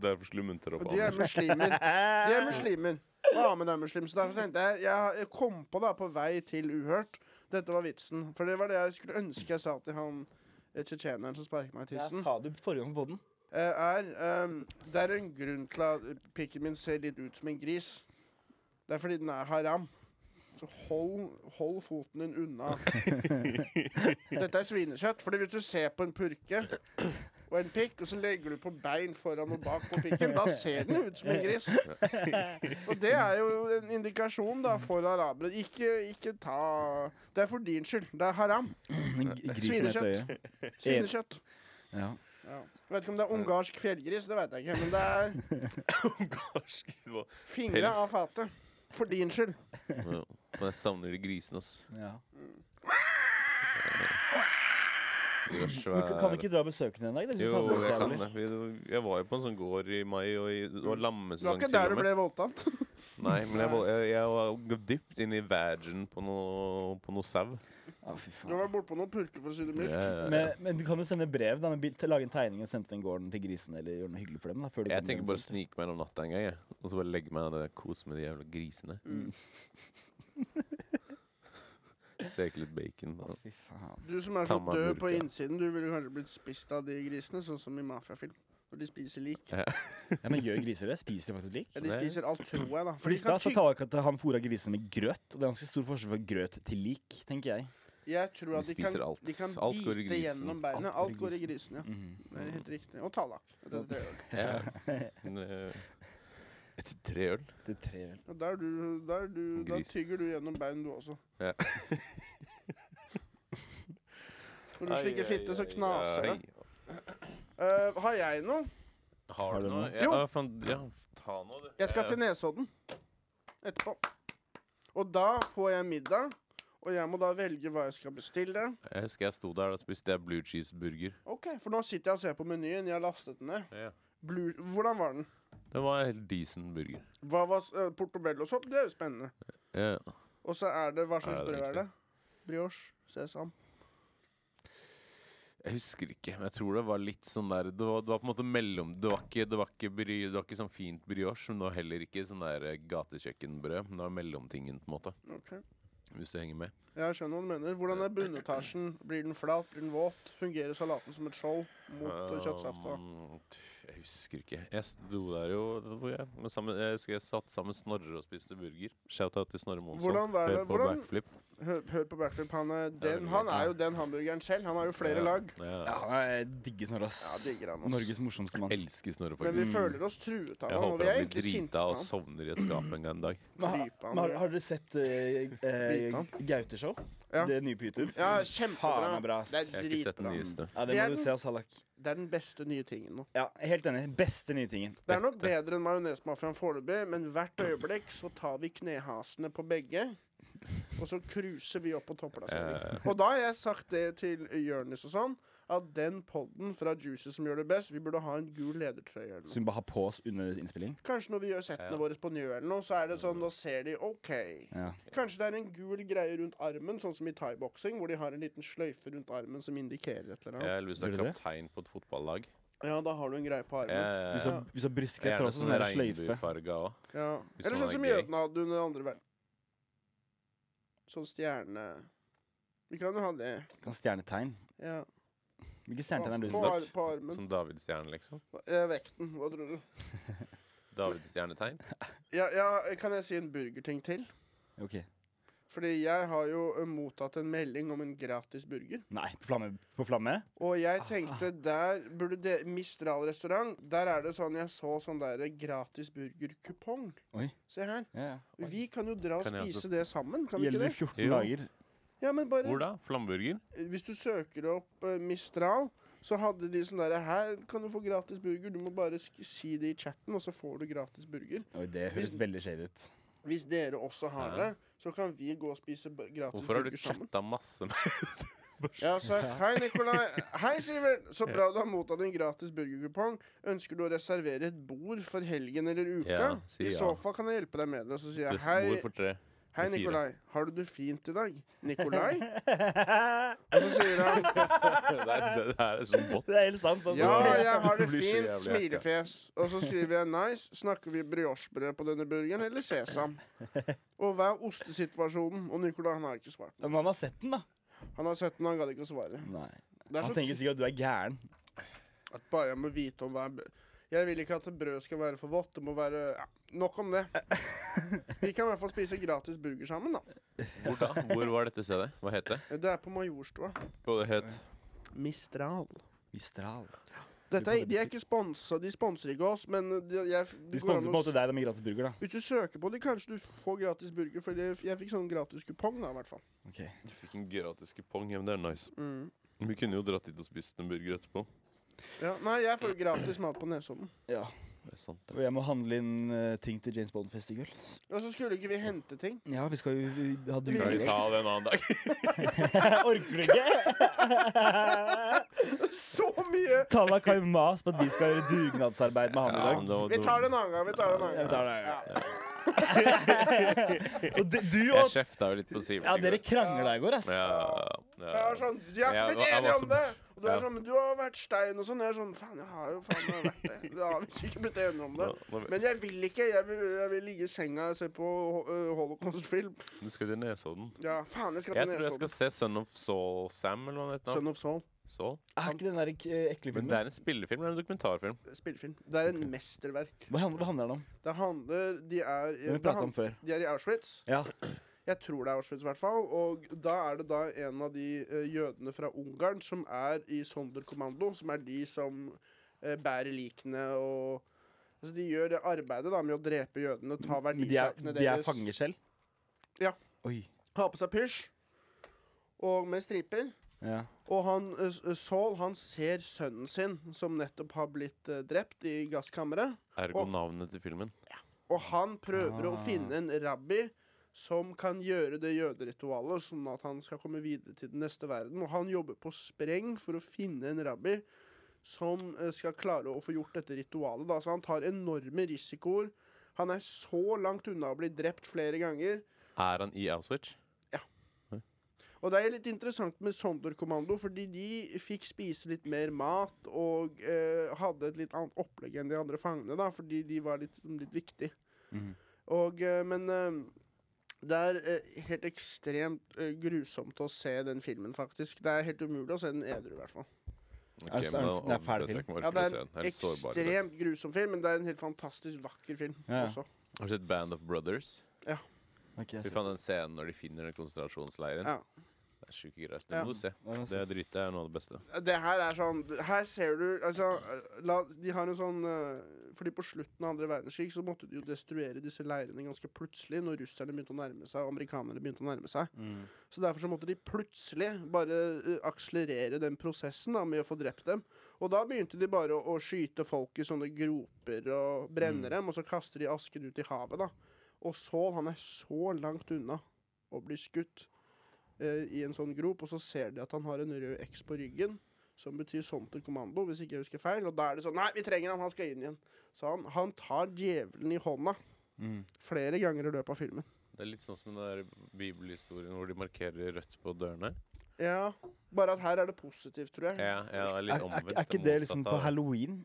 Speaker 1: Derfor skulle du muntre opp
Speaker 3: Og de er
Speaker 1: Anders.
Speaker 3: muslimer. De er muslimer. Mohammed er muslim. Så derfor tenkte jeg Jeg jeg kom på, da, på vei til Uhørt Dette var vitsen. For det var det jeg skulle ønske jeg sa til han eh, tsjetsjeneren som sparket meg i tissen.
Speaker 4: sa du forrige gang på den.
Speaker 3: eh, er ehm, Det er en grunn til at pikken min ser litt ut som en gris. Det er fordi den er haram. Så hold, hold foten din unna. Dette er svinekjøtt. Fordi hvis du ser på en purke og en pikk, og så legger du på bein foran og bak på pikken, da ser den ut som en gris. Og det er jo en indikasjon da for arabere. Ikke, ikke ta Det er for din skyld. Det er haram.
Speaker 4: Men g- grisen heter øye.
Speaker 3: Svinekjøtt.
Speaker 4: Ja.
Speaker 3: Ja. Jeg vet ikke om det er ungarsk fjellgris, det vet jeg ikke. Men det er
Speaker 2: Ungarsk hva?
Speaker 3: Fingre
Speaker 1: Pels.
Speaker 3: av fatet. For din skyld.
Speaker 1: Ja. Men jeg savner de grisene, ass.
Speaker 4: ja.
Speaker 1: De var
Speaker 4: Men kan- kan du
Speaker 1: svære.
Speaker 4: ikke dra og besøke den en dag? Det synes
Speaker 1: Jo,
Speaker 4: jeg hadde vært
Speaker 1: jeg kan
Speaker 4: jævlig.
Speaker 1: det. Vi- Jeg var jo på en sånn gård i mai, og i, det var
Speaker 3: Det var
Speaker 1: lammesesong Sånn
Speaker 3: ikke
Speaker 1: til
Speaker 3: der
Speaker 1: og
Speaker 3: du
Speaker 1: med.
Speaker 3: ble voldtatt.
Speaker 1: Nei, men jeg var, jeg, jeg var dypt inn i vagin på noe, på noe sau.
Speaker 4: Å, fy
Speaker 3: Du
Speaker 4: faen.
Speaker 3: var bortpå noen purker, for å si det mildt.
Speaker 1: Jeg-
Speaker 4: Men, men du kan jo sende brev, da. Med bil, til, lage en tegning og sende den gården til grisen. Eller gjøre noe hyggelig for dem. da før du
Speaker 1: Jeg
Speaker 4: kommer
Speaker 1: tenker
Speaker 4: hjem,
Speaker 1: bare å
Speaker 4: sånn.
Speaker 1: snike meg gjennom natta en gang, jeg. Og så bare legge meg ned og kose med de jævla grisene.
Speaker 3: Mm.
Speaker 1: Steke litt bacon.
Speaker 4: Å,
Speaker 1: Og.
Speaker 4: fy faen.
Speaker 3: Du som er så
Speaker 1: Ta meg en
Speaker 3: død
Speaker 1: burk,
Speaker 3: på
Speaker 1: ja.
Speaker 3: innsiden, du ville kanskje blitt spist av de grisene, sånn som i mafiafilm. Når de spiser lik.
Speaker 4: Ja, men gjør griser det? Spiser de faktisk lik?
Speaker 3: Ja, de
Speaker 1: Sånn Det-
Speaker 3: spiser alt, tror jeg, da. For
Speaker 4: For altså I
Speaker 3: de kan
Speaker 4: stad sa
Speaker 3: tygge.
Speaker 4: Tallak at han fôra grisene med grøt. Og det er ganske stor forskjell fra grøt til lik, tenker jeg.
Speaker 3: Jeg tror
Speaker 1: De
Speaker 3: at de kan,
Speaker 1: spiser alt.
Speaker 3: de kan
Speaker 1: Alt går i Mm.
Speaker 3: bite
Speaker 1: grisen.
Speaker 3: gjennom beinet. Alt går i grisen, ja.
Speaker 4: Mhm.
Speaker 3: Det er helt riktig. Og tallak. Det er tre øl.
Speaker 1: Ja. Men, eh, Etter tre øl
Speaker 4: Det er tre øl.
Speaker 3: Og der du, der du, da
Speaker 1: Gris.
Speaker 3: tygger du gjennom beinet, du også.
Speaker 1: Ja.
Speaker 3: Når du slikker fitte, så knaser det.
Speaker 1: Ai.
Speaker 3: Eh, har jeg noe?
Speaker 1: Har du noe? Ja,
Speaker 3: Jo.
Speaker 1: ja, faen, ja, ta noe, du. Eh,
Speaker 3: Jeg skal til Nesodden etterpå. Og da får jeg middag, og jeg må da velge hva jeg skal bestille.
Speaker 1: Jeg husker jeg sto der og spiste jeg blue cheese-burger.
Speaker 3: Ok, For nå sitter jeg og ser på menyen. Jeg har lastet den ned.
Speaker 1: Ja.
Speaker 3: Blue, hvordan var den?
Speaker 1: Det var en helt decent burger.
Speaker 3: Hva var uh, portobellosopp? Det er jo spennende.
Speaker 1: Ja.
Speaker 3: Og så er det Hva slags
Speaker 1: Er det
Speaker 3: brød er
Speaker 1: riktig?
Speaker 3: det? Brioche? Sesam?
Speaker 1: Jeg husker ikke, men jeg tror det var litt sånn der Det var, det var på en måte mellom Det var ikke, det var ikke, bry, det var ikke sånn fint brioche, men det var heller ikke sånn der eh, gatekjøkkenbrød. Men det var mellomtingen, på en måte.
Speaker 3: Ok.
Speaker 1: Hvis du henger med.
Speaker 3: Jeg skjønner hva du mener. Hvordan er bunnetasjen? Blir den flat? Blir den våt? Fungerer salaten som et skjold mot uh, kjøttsafta?
Speaker 1: Um, Jeg husker ikke. Jeg sto der jo det var jeg, med sammen, Jeg husker jeg satt sammen med Snorre og spiste burger. Shout-out til Snorre Monsson.
Speaker 3: Hvordan var det-
Speaker 1: Hør på
Speaker 3: hvordan-
Speaker 1: backflip.
Speaker 3: Hør, hør på Bertlup. Han, er den-
Speaker 1: veldig
Speaker 3: han
Speaker 1: godt, ja.
Speaker 3: er jo den hamburgeren selv. Han har jo flere
Speaker 1: Ja,
Speaker 3: lag.
Speaker 1: Ja.
Speaker 4: Ja, jeg digger Snorre, ass.
Speaker 3: Ja, digger han, ass.
Speaker 4: Norges morsomste mann.
Speaker 1: Jeg elsker Snorre,
Speaker 3: Men vi
Speaker 1: faktisk.
Speaker 3: føler oss truet av
Speaker 1: Jeg
Speaker 3: ham, og vi
Speaker 1: håper
Speaker 3: er
Speaker 1: han blir
Speaker 3: egentlig sinte
Speaker 1: drita
Speaker 3: på
Speaker 1: og
Speaker 3: ham.
Speaker 1: sovner i et skap en gang en dag.
Speaker 4: Men har-
Speaker 3: Klypa han,
Speaker 4: men har,
Speaker 3: eller?
Speaker 4: har dere sett eh, eh,
Speaker 3: Bita
Speaker 4: Gaute-show?
Speaker 3: Ja.
Speaker 4: Det nye på YouTube?
Speaker 3: Ja,
Speaker 4: Faen,
Speaker 3: kjempebra.
Speaker 4: er bra, ass.
Speaker 3: Det
Speaker 1: Jeg
Speaker 3: er
Speaker 1: har ikke sett den
Speaker 3: dritbra.
Speaker 1: nyeste.
Speaker 4: Ja, det
Speaker 3: Det er
Speaker 4: må du
Speaker 3: den-
Speaker 4: se, ass, Hallak.
Speaker 3: Det er den beste nye tingen nå.
Speaker 4: Ja, helt enig. Beste nye tingen.
Speaker 3: Det er nok bedre enn Majonesmafiaen foreløpig, men hvert øyeblikk så tar vi knehasene på begge, og så cruiser vi opp på topplassering. Og da har jeg sagt det til Jørnis og sånn, at den podden fra Juices som gjør det best, vi burde ha en gul ledertrøye eller
Speaker 4: Så vi
Speaker 3: noe.
Speaker 4: bare har på oss under innspilling?
Speaker 3: Kanskje når vi gjør settene
Speaker 1: Ja. Mm.
Speaker 3: våre på Njø eller noe, så er det sånn, da ser de OK.
Speaker 4: Ja.
Speaker 3: Kanskje det er en gul greie rundt armen, sånn som i thaiboksing, hvor de har en liten sløyfe rundt armen som indikerer et
Speaker 1: Jeg
Speaker 3: eller annet.
Speaker 1: har lyst til å
Speaker 4: Blir
Speaker 1: være
Speaker 4: det
Speaker 1: kaptein på et fotballag.
Speaker 3: Ja, da har du en greie på
Speaker 1: Jeg,
Speaker 3: armen.
Speaker 4: Hvis du har- hvis du har brystkreft, har du
Speaker 1: gjerne
Speaker 4: også
Speaker 1: sånn
Speaker 4: sånn der sløyfe.
Speaker 1: regnbuefarga òg.
Speaker 3: Ja.
Speaker 1: Hvis
Speaker 3: Eller
Speaker 1: man
Speaker 3: sånn
Speaker 1: er
Speaker 3: som
Speaker 1: gay.
Speaker 3: jødene hadde under andre verden. Sånn stjerne... Vi kan jo ha det.
Speaker 4: Kan stjernetegn.
Speaker 3: Ja.
Speaker 4: Hvilke stjernetegn er det du
Speaker 3: på,
Speaker 4: som
Speaker 3: ar på armen.
Speaker 1: Som Davidstjerne, liksom.
Speaker 3: Eh, vekten, hva tror du?
Speaker 1: Davidstjernetegn.
Speaker 3: Ja, ja, kan jeg si en burgerting til?
Speaker 4: Ok.
Speaker 3: Fordi jeg har jo eh, mottatt en melding om en gratis burger.
Speaker 4: Nei, på flamme? På flamme?
Speaker 3: Og jeg tenkte der burde det Mistral restaurant, der er det sånn jeg så sånn der gratis burgerkupong.
Speaker 4: Oi.
Speaker 3: Se her.
Speaker 4: Ja, ja.
Speaker 3: Vi kan jo dra og
Speaker 1: Kan jeg også-
Speaker 3: spise det sammen, kan vi ikke det?
Speaker 4: Gjelder i 14
Speaker 1: Jo.
Speaker 4: dager.
Speaker 3: Ja, men bare
Speaker 1: Hvor da? Flamburger?
Speaker 3: Hvis du søker opp eh, Mistral, så hadde de sånn derre Her kan du få gratis burger. Du må bare sk si det i chatten, og så får du gratis burger.
Speaker 4: Oi, det høres
Speaker 3: Hvis-
Speaker 4: veldig shady ut.
Speaker 3: Hvis dere også har
Speaker 1: Ja.
Speaker 3: det, så kan vi gå og spise b- gratis
Speaker 1: Hvorfor har du
Speaker 3: burger sammen.
Speaker 1: chatta masse med
Speaker 3: Jeg har sagt hei, Nikolai. Hei, Sivert. Så bra du har mottatt en gratis burgerkupong. Ønsker du å reservere et bord for helgen eller uka?
Speaker 1: Ja, si
Speaker 3: I
Speaker 1: ja.
Speaker 3: så fall kan jeg hjelpe deg med det. Så sier jeg
Speaker 1: bestemor
Speaker 3: hei.
Speaker 1: for tre?
Speaker 3: Hei,
Speaker 1: Det er fire.
Speaker 3: Nikolai. Har du det fint i dag? Nikolai? Og så sier han
Speaker 1: Det er, det er sånn bot.
Speaker 4: Det er helt sant. Altså.
Speaker 3: ja, jeg har det
Speaker 1: Du blir så
Speaker 3: fint.
Speaker 1: jævlig hekta.
Speaker 3: Smilefjes. Og så skriver jeg nice. Snakker vi briochebrød på denne burgeren eller sesam? Og hva er ostesituasjonen? Og Nikolai han har ikke svart.
Speaker 4: Men han har sett den, da.
Speaker 3: Han er 17, han gadd ikke å svare.
Speaker 4: Nei.
Speaker 3: Det er
Speaker 4: Han
Speaker 3: så
Speaker 4: tenker sikkert at du er gæren.
Speaker 3: t- at bare jeg må vite om hva er brød. Jeg vil ikke at brød skal være for vått. Det må være ja, Nok om det. Vi kan i hvert fall spise gratis burger sammen, da.
Speaker 1: Hvor da? Hvor var dette stedet? Hva het det?
Speaker 3: Det er på Majorstua.
Speaker 1: Jo, det het
Speaker 3: Mistral.
Speaker 4: Mistral.
Speaker 3: Dette er, de er ikke sponsa, de sponser ikke oss, men de, jeg,
Speaker 4: De
Speaker 3: det går
Speaker 4: sponser på en
Speaker 3: an å s-
Speaker 4: måte deg da med gratis burger, da.
Speaker 3: Hvis du søker på det, kanskje du får gratis burger, for det- jeg fikk sånn gratis kupong, da, i hvert fall.
Speaker 1: Du fikk en gratis kupong. Ja, men det er nice.
Speaker 3: Mm.
Speaker 1: Vi kunne jo dratt dit og spist en burger etterpå.
Speaker 3: Ja, nei, jeg får jo gratis mat på Nesodden.
Speaker 4: Ja.
Speaker 1: Det er sant.
Speaker 4: Og jeg må handle inn eh, ting til James Bond-fest i kveld.
Speaker 3: Og så skulle ikke vi hente ting.
Speaker 4: Ja, vi skal jo vi- ha
Speaker 1: Kan vi
Speaker 4: dugnad.
Speaker 1: ta det en annen dag?
Speaker 4: Orker du ikke?
Speaker 3: Så mye!
Speaker 4: Talla kan jo mase på at vi skal gjøre dugnadsarbeid med han i
Speaker 1: Ja,
Speaker 4: dag.
Speaker 1: men det var-
Speaker 3: Vi tar det en annen gang. vi tar det en
Speaker 4: Ja,
Speaker 3: annen
Speaker 4: vi
Speaker 3: gang.
Speaker 4: tar det, ja. Og de, du
Speaker 1: Jeg
Speaker 4: og
Speaker 1: kjefta jo litt på Simen.
Speaker 4: Ja,
Speaker 1: i
Speaker 4: dere
Speaker 1: går.
Speaker 4: krangla i går, ass.
Speaker 1: ja,
Speaker 3: Jeg
Speaker 1: ja.
Speaker 3: er sånn, De har
Speaker 1: Jeg- jeg
Speaker 3: ikke blitt
Speaker 1: var
Speaker 3: enige
Speaker 1: så-
Speaker 3: om det! Og du er
Speaker 1: ja.
Speaker 3: sånn, men du har vært stein og sånn. Jeg er sånn, faen, jeg har jo faen meg vært det. Da har vi ikke blitt enige om det.
Speaker 1: Nå- nå-
Speaker 3: Men jeg vil ikke. Jeg vil, jeg vil ligge i senga og se på øh, holocaust-film.
Speaker 1: Du skal til Nesodden.
Speaker 3: Ja, faen, jeg skal
Speaker 1: Jeg
Speaker 3: til
Speaker 1: tror jeg skal se
Speaker 3: Nesodden.
Speaker 1: Son of Saul Sam, eller hva det heter. nå.
Speaker 3: Son of Soul.
Speaker 1: Saul?
Speaker 4: Er ikke den der eh, ekle
Speaker 1: Men det
Speaker 4: filmen?
Speaker 1: er en spillefilm eller en dokumentarfilm?
Speaker 3: Spillefilm. Det er en mesterverk.
Speaker 4: Hva handler, hva handler den om?
Speaker 3: Det handler De er,
Speaker 4: Den vi
Speaker 3: det
Speaker 4: prata
Speaker 3: han-
Speaker 4: om før.
Speaker 3: de er i Auschwitz.
Speaker 4: Ja.
Speaker 3: Jeg tror det er Auschwitz, i hvert fall. Og da er det da en av de eh, jødene fra Ungarn som er i Sonderkommando, som er de som eh, bærer likene og Altså, de gjør det arbeidet da med å drepe jødene, ta
Speaker 4: Men de er,
Speaker 3: verdisakene
Speaker 4: de er
Speaker 3: deres,
Speaker 4: fanger selv?
Speaker 3: Ja.
Speaker 4: Oi.
Speaker 3: ha på seg pysj og med striper.
Speaker 4: Ja.
Speaker 3: Og han, eh, s- eh, Saul han ser sønnen sin, som nettopp har blitt eh, drept i gasskammeret.
Speaker 1: Ergo
Speaker 3: Å.
Speaker 1: navnet til filmen.
Speaker 3: Og han prøver å
Speaker 4: Ah.
Speaker 3: finne en rabbi som kan gjøre det jøderitualet, sånn at han skal komme videre til den neste verden. Og han jobber på spreng for å finne en rabbi som eh, skal klare å få gjort dette ritualet. Da. Så han tar enorme risikoer. Han er så langt unna å bli drept flere ganger.
Speaker 1: Er han i Auschwitz?
Speaker 3: Og det er litt interessant med Sonderkommando, fordi de fikk spise litt mer mat og eh, hadde et litt annet opplegg enn de andre fangene, da, fordi de var litt, litt viktige.
Speaker 4: Mhm.
Speaker 3: Og, eh, men eh, det er eh, helt ekstremt eh, grusomt å se den filmen, faktisk. Det er helt umulig å se den edru, i hvert fall.
Speaker 1: Ok,
Speaker 4: Er det-
Speaker 1: men
Speaker 4: er
Speaker 1: da-
Speaker 4: det- det er
Speaker 1: dette
Speaker 4: ferdig film?
Speaker 1: kan jeg
Speaker 3: Ja,
Speaker 1: orke å
Speaker 3: det er
Speaker 1: se. Jeg er
Speaker 3: en
Speaker 1: litt sårbar i dag.
Speaker 3: ekstremt grusom film, men det er en helt fantastisk vakker film
Speaker 4: Ja, ja.
Speaker 3: også.
Speaker 1: Har du sett Band of Brothers?
Speaker 4: Ok, jeg
Speaker 1: Vi
Speaker 4: ser.
Speaker 1: fant den scenen når de finner den konsentrasjonsleiren.
Speaker 3: Ja.
Speaker 1: Det er sjuke greier. Det
Speaker 3: Ja.
Speaker 1: må du se.
Speaker 4: Ja, jeg
Speaker 1: Det
Speaker 4: ser.
Speaker 1: er dritt. Det er noe av det beste.
Speaker 3: Det her er sånn Her ser du Altså, la, de har en sånn eh, Fordi på slutten av andre verdenskrig så måtte de jo destruere disse leirene ganske plutselig når russerne begynte å nærme seg og amerikanerne begynte å nærme seg.
Speaker 4: Mm.
Speaker 3: Så derfor så måtte de plutselig bare eh, akselerere den prosessen da med å få drept dem. Og da begynte de bare å, å skyte folk i sånne groper og brenne dem, og så kaster de asken ut i havet, da. Og Saul, han er så langt unna å bli skutt eh, i en sånn grop, og så ser de at han har en rød X på ryggen, som betyr sånn til kommando, hvis ikke jeg husker feil. Og da er det sånn Nei, vi trenger han, han skal inn igjen. Så han, han tar djevelen i hånda
Speaker 4: Mm.
Speaker 3: flere ganger i løpet av filmen.
Speaker 1: Det er litt sånn som den der bibelhistorien hvor de markerer rødt på dørene.
Speaker 3: Ja, bare at her er det positivt, tror jeg.
Speaker 1: Ja, ja, det er
Speaker 4: Er,
Speaker 1: litt
Speaker 4: er,
Speaker 1: omvendt.
Speaker 4: er ikke det liksom
Speaker 1: motsatte
Speaker 4: på
Speaker 1: av-
Speaker 4: halloween?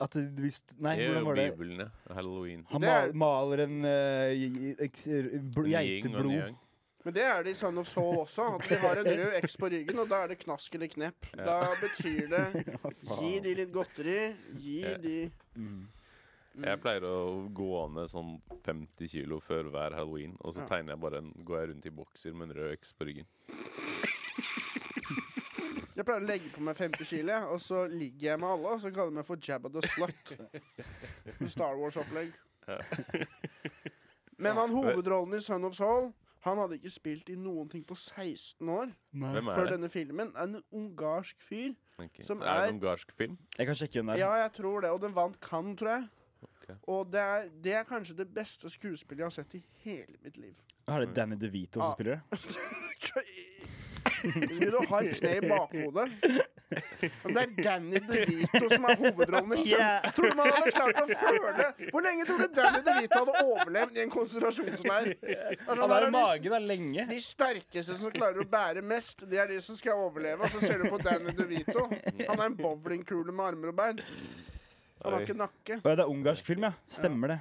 Speaker 4: At du- hvis Nei,
Speaker 1: Det er
Speaker 4: hvordan
Speaker 1: jo
Speaker 4: var det?
Speaker 1: Bibelen, ja. Halloween.
Speaker 4: Han
Speaker 3: Det er-
Speaker 4: mal- maler en eh, i- i- ek- r-
Speaker 1: En yin og en
Speaker 4: bl- geiteblod.
Speaker 1: yang.
Speaker 3: Men det er det i Son of Soul også. At de har en rød X på ryggen, og da er det knask eller knep. Da betyr det gi de litt godteri, gi
Speaker 1: Ja.
Speaker 3: de
Speaker 4: Mm.
Speaker 1: Jeg pleier å gå ned sånn 50 kilo før hver halloween, og så
Speaker 3: Ja.
Speaker 1: tegner jeg bare en, går jeg rundt i bokser med en rød X på ryggen.
Speaker 3: Jeg pleier å legge på meg 50 kilo, jeg, og så ligger jeg med alle, og så kaller jeg meg for Jabba the Slut. Star Wars-opplegg. Men han hovedrollen i Son of Soul han hadde ikke spilt i noen ting på 16 år
Speaker 1: Hvem
Speaker 3: før
Speaker 1: er det?
Speaker 3: denne filmen. En ungarsk fyr.
Speaker 1: Ok.
Speaker 3: som
Speaker 1: det er
Speaker 3: er-
Speaker 1: en ungarsk film.
Speaker 4: Jeg kan sjekke den der.
Speaker 3: Ja, jeg tror det. Og den vant Cannes, tror jeg.
Speaker 1: Ok.
Speaker 3: Og det er, det er kanskje det beste skuespillet jeg har sett i hele mitt liv.
Speaker 4: Har det Danny DeVito som
Speaker 3: Ah.
Speaker 4: spiller det?
Speaker 3: Skulle du ha et kne i bakhodet? Men det er Danny DeVito som er hovedrollen i Sum.
Speaker 4: Yeah.
Speaker 3: Tror du man hadde klart å føle Hvor lenge tror du Danny DeVito hadde overlevd i en konsentrasjonsleir? Altså,
Speaker 4: Han
Speaker 3: der er
Speaker 4: har jo
Speaker 3: de-
Speaker 4: mage da lenge.
Speaker 3: De sterkeste som klarer å bære mest, det er de som skal overleve. Og så ser du på Danny DeVito. Han er en bowlingkule med armer og bein. Han har ikke nakke. Mm.
Speaker 4: Å ja, det er ungarsk film, ja. Stemmer det.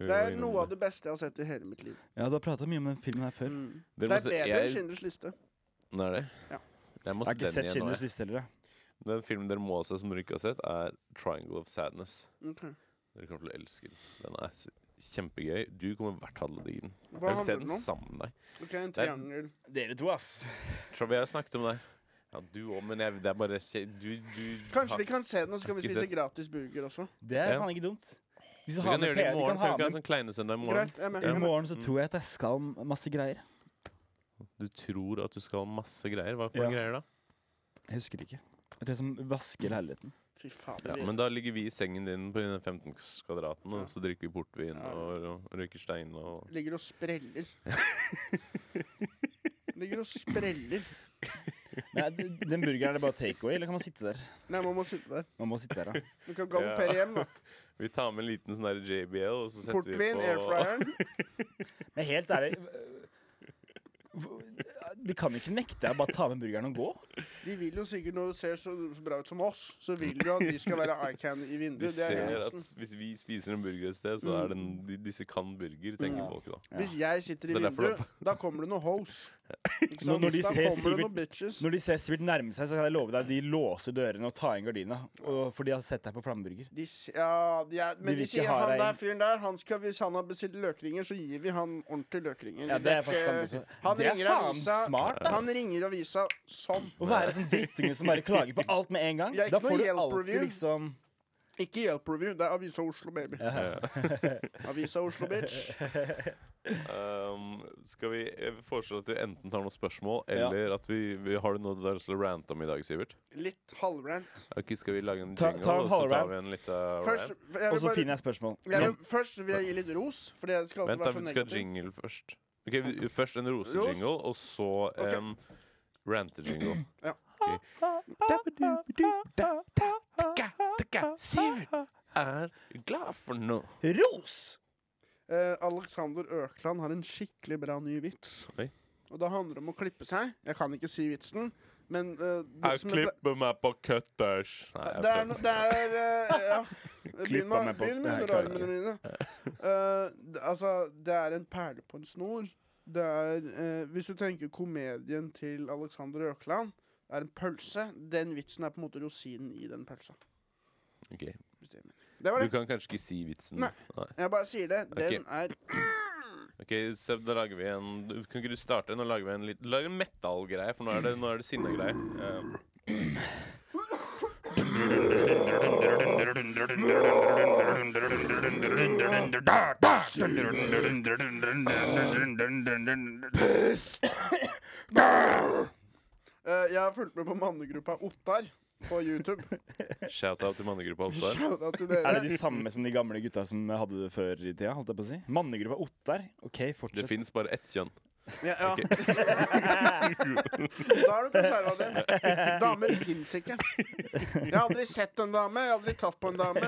Speaker 3: Det er noe av det beste jeg har sett i hele mitt liv.
Speaker 4: Ja, du har prata mye om den filmen her før.
Speaker 3: Mm.
Speaker 1: Dere
Speaker 3: Det
Speaker 1: må
Speaker 3: er
Speaker 1: se-
Speaker 3: bedre enn
Speaker 1: jeg-
Speaker 3: Schindlers liste.
Speaker 1: Nå er det?
Speaker 3: Ja.
Speaker 1: Jeg må
Speaker 4: Jeg
Speaker 1: se
Speaker 4: har ikke
Speaker 1: den igjen.
Speaker 4: sett
Speaker 1: nå,
Speaker 4: Schindlers
Speaker 1: jeg.
Speaker 4: liste heller. jeg.
Speaker 1: Den filmen dere må se som dere ikke har sett, er 'Triangle of Sadness'.
Speaker 3: Ok.
Speaker 1: Dere kommer til å elske den. Den er s- kjempegøy. Du kommer i hvert fall til å digge den. Jeg
Speaker 3: Hva
Speaker 1: vil se
Speaker 3: handler
Speaker 1: den
Speaker 3: den om?
Speaker 1: sammen med deg.
Speaker 3: Ok, en triangel.
Speaker 4: Dere to, ass.
Speaker 1: Tror vi har snakket om det. Ja, du òg, men jeg, det er bare kje- Du, du
Speaker 3: Kanskje vi kan se den, og så kan vi
Speaker 1: Ikke
Speaker 3: spise
Speaker 1: sett.
Speaker 3: gratis burger også.
Speaker 4: Det er
Speaker 1: Ja.
Speaker 4: faen ikke dumt. Hvis
Speaker 1: Vi
Speaker 4: du har
Speaker 1: kan
Speaker 4: med
Speaker 1: gjøre det i
Speaker 4: P- du
Speaker 1: morgen.
Speaker 4: kan ha
Speaker 1: Kan vi ikke ha
Speaker 4: med
Speaker 1: sånn kleinesøndag i morgen?
Speaker 3: Greit, jeg er med.
Speaker 4: I
Speaker 3: Jeg er med.
Speaker 4: morgen så
Speaker 1: Mm.
Speaker 4: tror jeg at jeg skal masse greier.
Speaker 1: Du tror at du skal ha masse greier? Hva for
Speaker 4: Ja.
Speaker 1: greier da?
Speaker 4: Jeg husker ikke. Jeg tror jeg som vasker leiligheten.
Speaker 3: Fy
Speaker 1: Ja,
Speaker 3: fader.
Speaker 1: men da ligger vi i sengen din på den 15 kvadraten, og så drikker vi portvin
Speaker 3: Ja.
Speaker 1: og, og røyker stein og
Speaker 3: vi Ligger og spreller. Ligger og spreller.
Speaker 4: Nei, d- den burgeren er det bare takeaway, eller kan man sitte der?
Speaker 3: Nei, man må sitte der.
Speaker 4: Man må sitte der, da.
Speaker 3: Du kan galoppere
Speaker 1: Ja.
Speaker 3: hjem, da.
Speaker 1: Vi tar med en liten sånn der JBL, og så setter
Speaker 3: Portvin,
Speaker 1: vi på
Speaker 3: airfryeren.
Speaker 4: Men helt ærlig øh, De kan jo ikke nekte deg å bare ta med burgeren og gå.
Speaker 3: De vil jo sikkert, når du ser så så bra ut som oss, så vil du at de skal være eye-can i
Speaker 1: De
Speaker 3: vinduet. Det er Mm. hele
Speaker 1: ser
Speaker 3: vitsen.
Speaker 1: at hvis vi spiser en burger et sted, så er den de, Disse kan burger,
Speaker 3: Mm.
Speaker 1: tenker folk da.
Speaker 4: Ja.
Speaker 3: Hvis jeg sitter i
Speaker 1: Det er derfor
Speaker 3: vinduet, da kommer det noen hoes. Ikke
Speaker 4: Når-
Speaker 3: sant?
Speaker 4: når de
Speaker 3: da
Speaker 4: ser
Speaker 3: kommer det
Speaker 4: Sivert-
Speaker 3: noen bitches.
Speaker 4: Når de ser Sivert nærme seg, så kan jeg love deg de låser dørene og tar inn gardina. Og, for de har sett deg på flammeburger.
Speaker 3: De, s- ja, de er, men
Speaker 4: vil
Speaker 3: de
Speaker 4: ikke
Speaker 3: sier
Speaker 4: ha
Speaker 3: han
Speaker 4: deg
Speaker 3: der
Speaker 4: inn.
Speaker 3: fyren der, han skal, hvis han har bestilt løkringer, så gir vi han ordentlige løkringer.
Speaker 4: Ja, det er
Speaker 3: ikke-
Speaker 4: faktisk sant også.
Speaker 3: han
Speaker 4: Det er
Speaker 3: ringer
Speaker 4: faen
Speaker 3: avisa,
Speaker 4: smart, ass.
Speaker 3: Han ringer avisa sånn.
Speaker 4: Å være sånn drittunge som bare klager på alt med en gang.
Speaker 3: Jeg er ikke
Speaker 4: Da
Speaker 3: noe
Speaker 4: får du
Speaker 3: hjelp
Speaker 4: alltid
Speaker 3: review.
Speaker 4: liksom
Speaker 3: Ikke Hjelp Review, det er Avisa Oslo, baby. avisa Oslo, bitch.
Speaker 1: Um, skal vi jeg foreslår at vi enten tar noen spørsmål, eller at vi, vi Har du noe du har lyst til å rante om i dag, Sivert?
Speaker 3: Litt halvrant.
Speaker 1: Ok, skal vi lage en
Speaker 4: Ta-
Speaker 1: jingle,
Speaker 4: ta en
Speaker 1: og så tar
Speaker 4: halvrant.
Speaker 1: vi en liten
Speaker 3: Først,
Speaker 1: rant?
Speaker 3: jeg
Speaker 4: Og
Speaker 3: vil
Speaker 4: så
Speaker 3: bare,
Speaker 4: finner jeg spørsmål.
Speaker 3: jeg vil, først vil jeg gi litt ros, for det skal alltid
Speaker 1: Vent, da,
Speaker 3: være så
Speaker 1: vi skal ha
Speaker 3: negativt.
Speaker 1: jingle først. Ok, vi, Først en rosejingle, og så
Speaker 3: Ok.
Speaker 1: en rantejingle.
Speaker 3: Ja.
Speaker 1: Ok. Sivert er glad for noe.
Speaker 4: Ros!
Speaker 3: Eh, Alexander Økland har en skikkelig bra ny vits.
Speaker 1: Oi.
Speaker 3: Og det handler om å klippe seg. Jeg kan ikke si vitsen, men eh, det,
Speaker 1: Jeg
Speaker 3: som er bra-
Speaker 1: klipper meg på cutters. Nei, jeg
Speaker 3: det er,
Speaker 1: prøver.
Speaker 3: no, det er eh, ja. Begynn
Speaker 4: Klipper
Speaker 3: med,
Speaker 4: meg på-
Speaker 3: begynn
Speaker 4: Nei,
Speaker 3: med
Speaker 4: jeg klarer
Speaker 3: underarmene mine. Eh, d- altså, det er en perle på en snor. Det er eh, Hvis du tenker komedien til Alexander Økland, det er en pølse. Den vitsen er på en måte rosinen i den pølsa.
Speaker 1: Ok.
Speaker 3: Hvis det, er meningen. det var
Speaker 1: Du
Speaker 3: det.
Speaker 1: kan kanskje ikke si vitsen.
Speaker 3: Nei. Jeg bare sier det. Den er
Speaker 1: Ok, Seb, da lager vi en du- Kan ikke du starte? Nå lager vi en litt Lag en metal-greie, for nå er det, nå er det sinne-greie. Eh,
Speaker 3: Eh, Jeg har fulgt med på mannegruppa Ottar på YouTube.
Speaker 1: Shout-out til mannegruppa Oppdal.
Speaker 3: Shoutout til dere.
Speaker 4: Er det de samme som de gamle gutta som hadde det før i tida? holdt jeg på å si? Mannegruppa Ottar. OK,
Speaker 1: Det
Speaker 4: fortsett.
Speaker 1: fins bare ett kjønn.
Speaker 3: Ja, ja. da er du konservativ. Damer fins ikke. Jeg har aldri sett en dame, jeg har aldri tatt på en dame.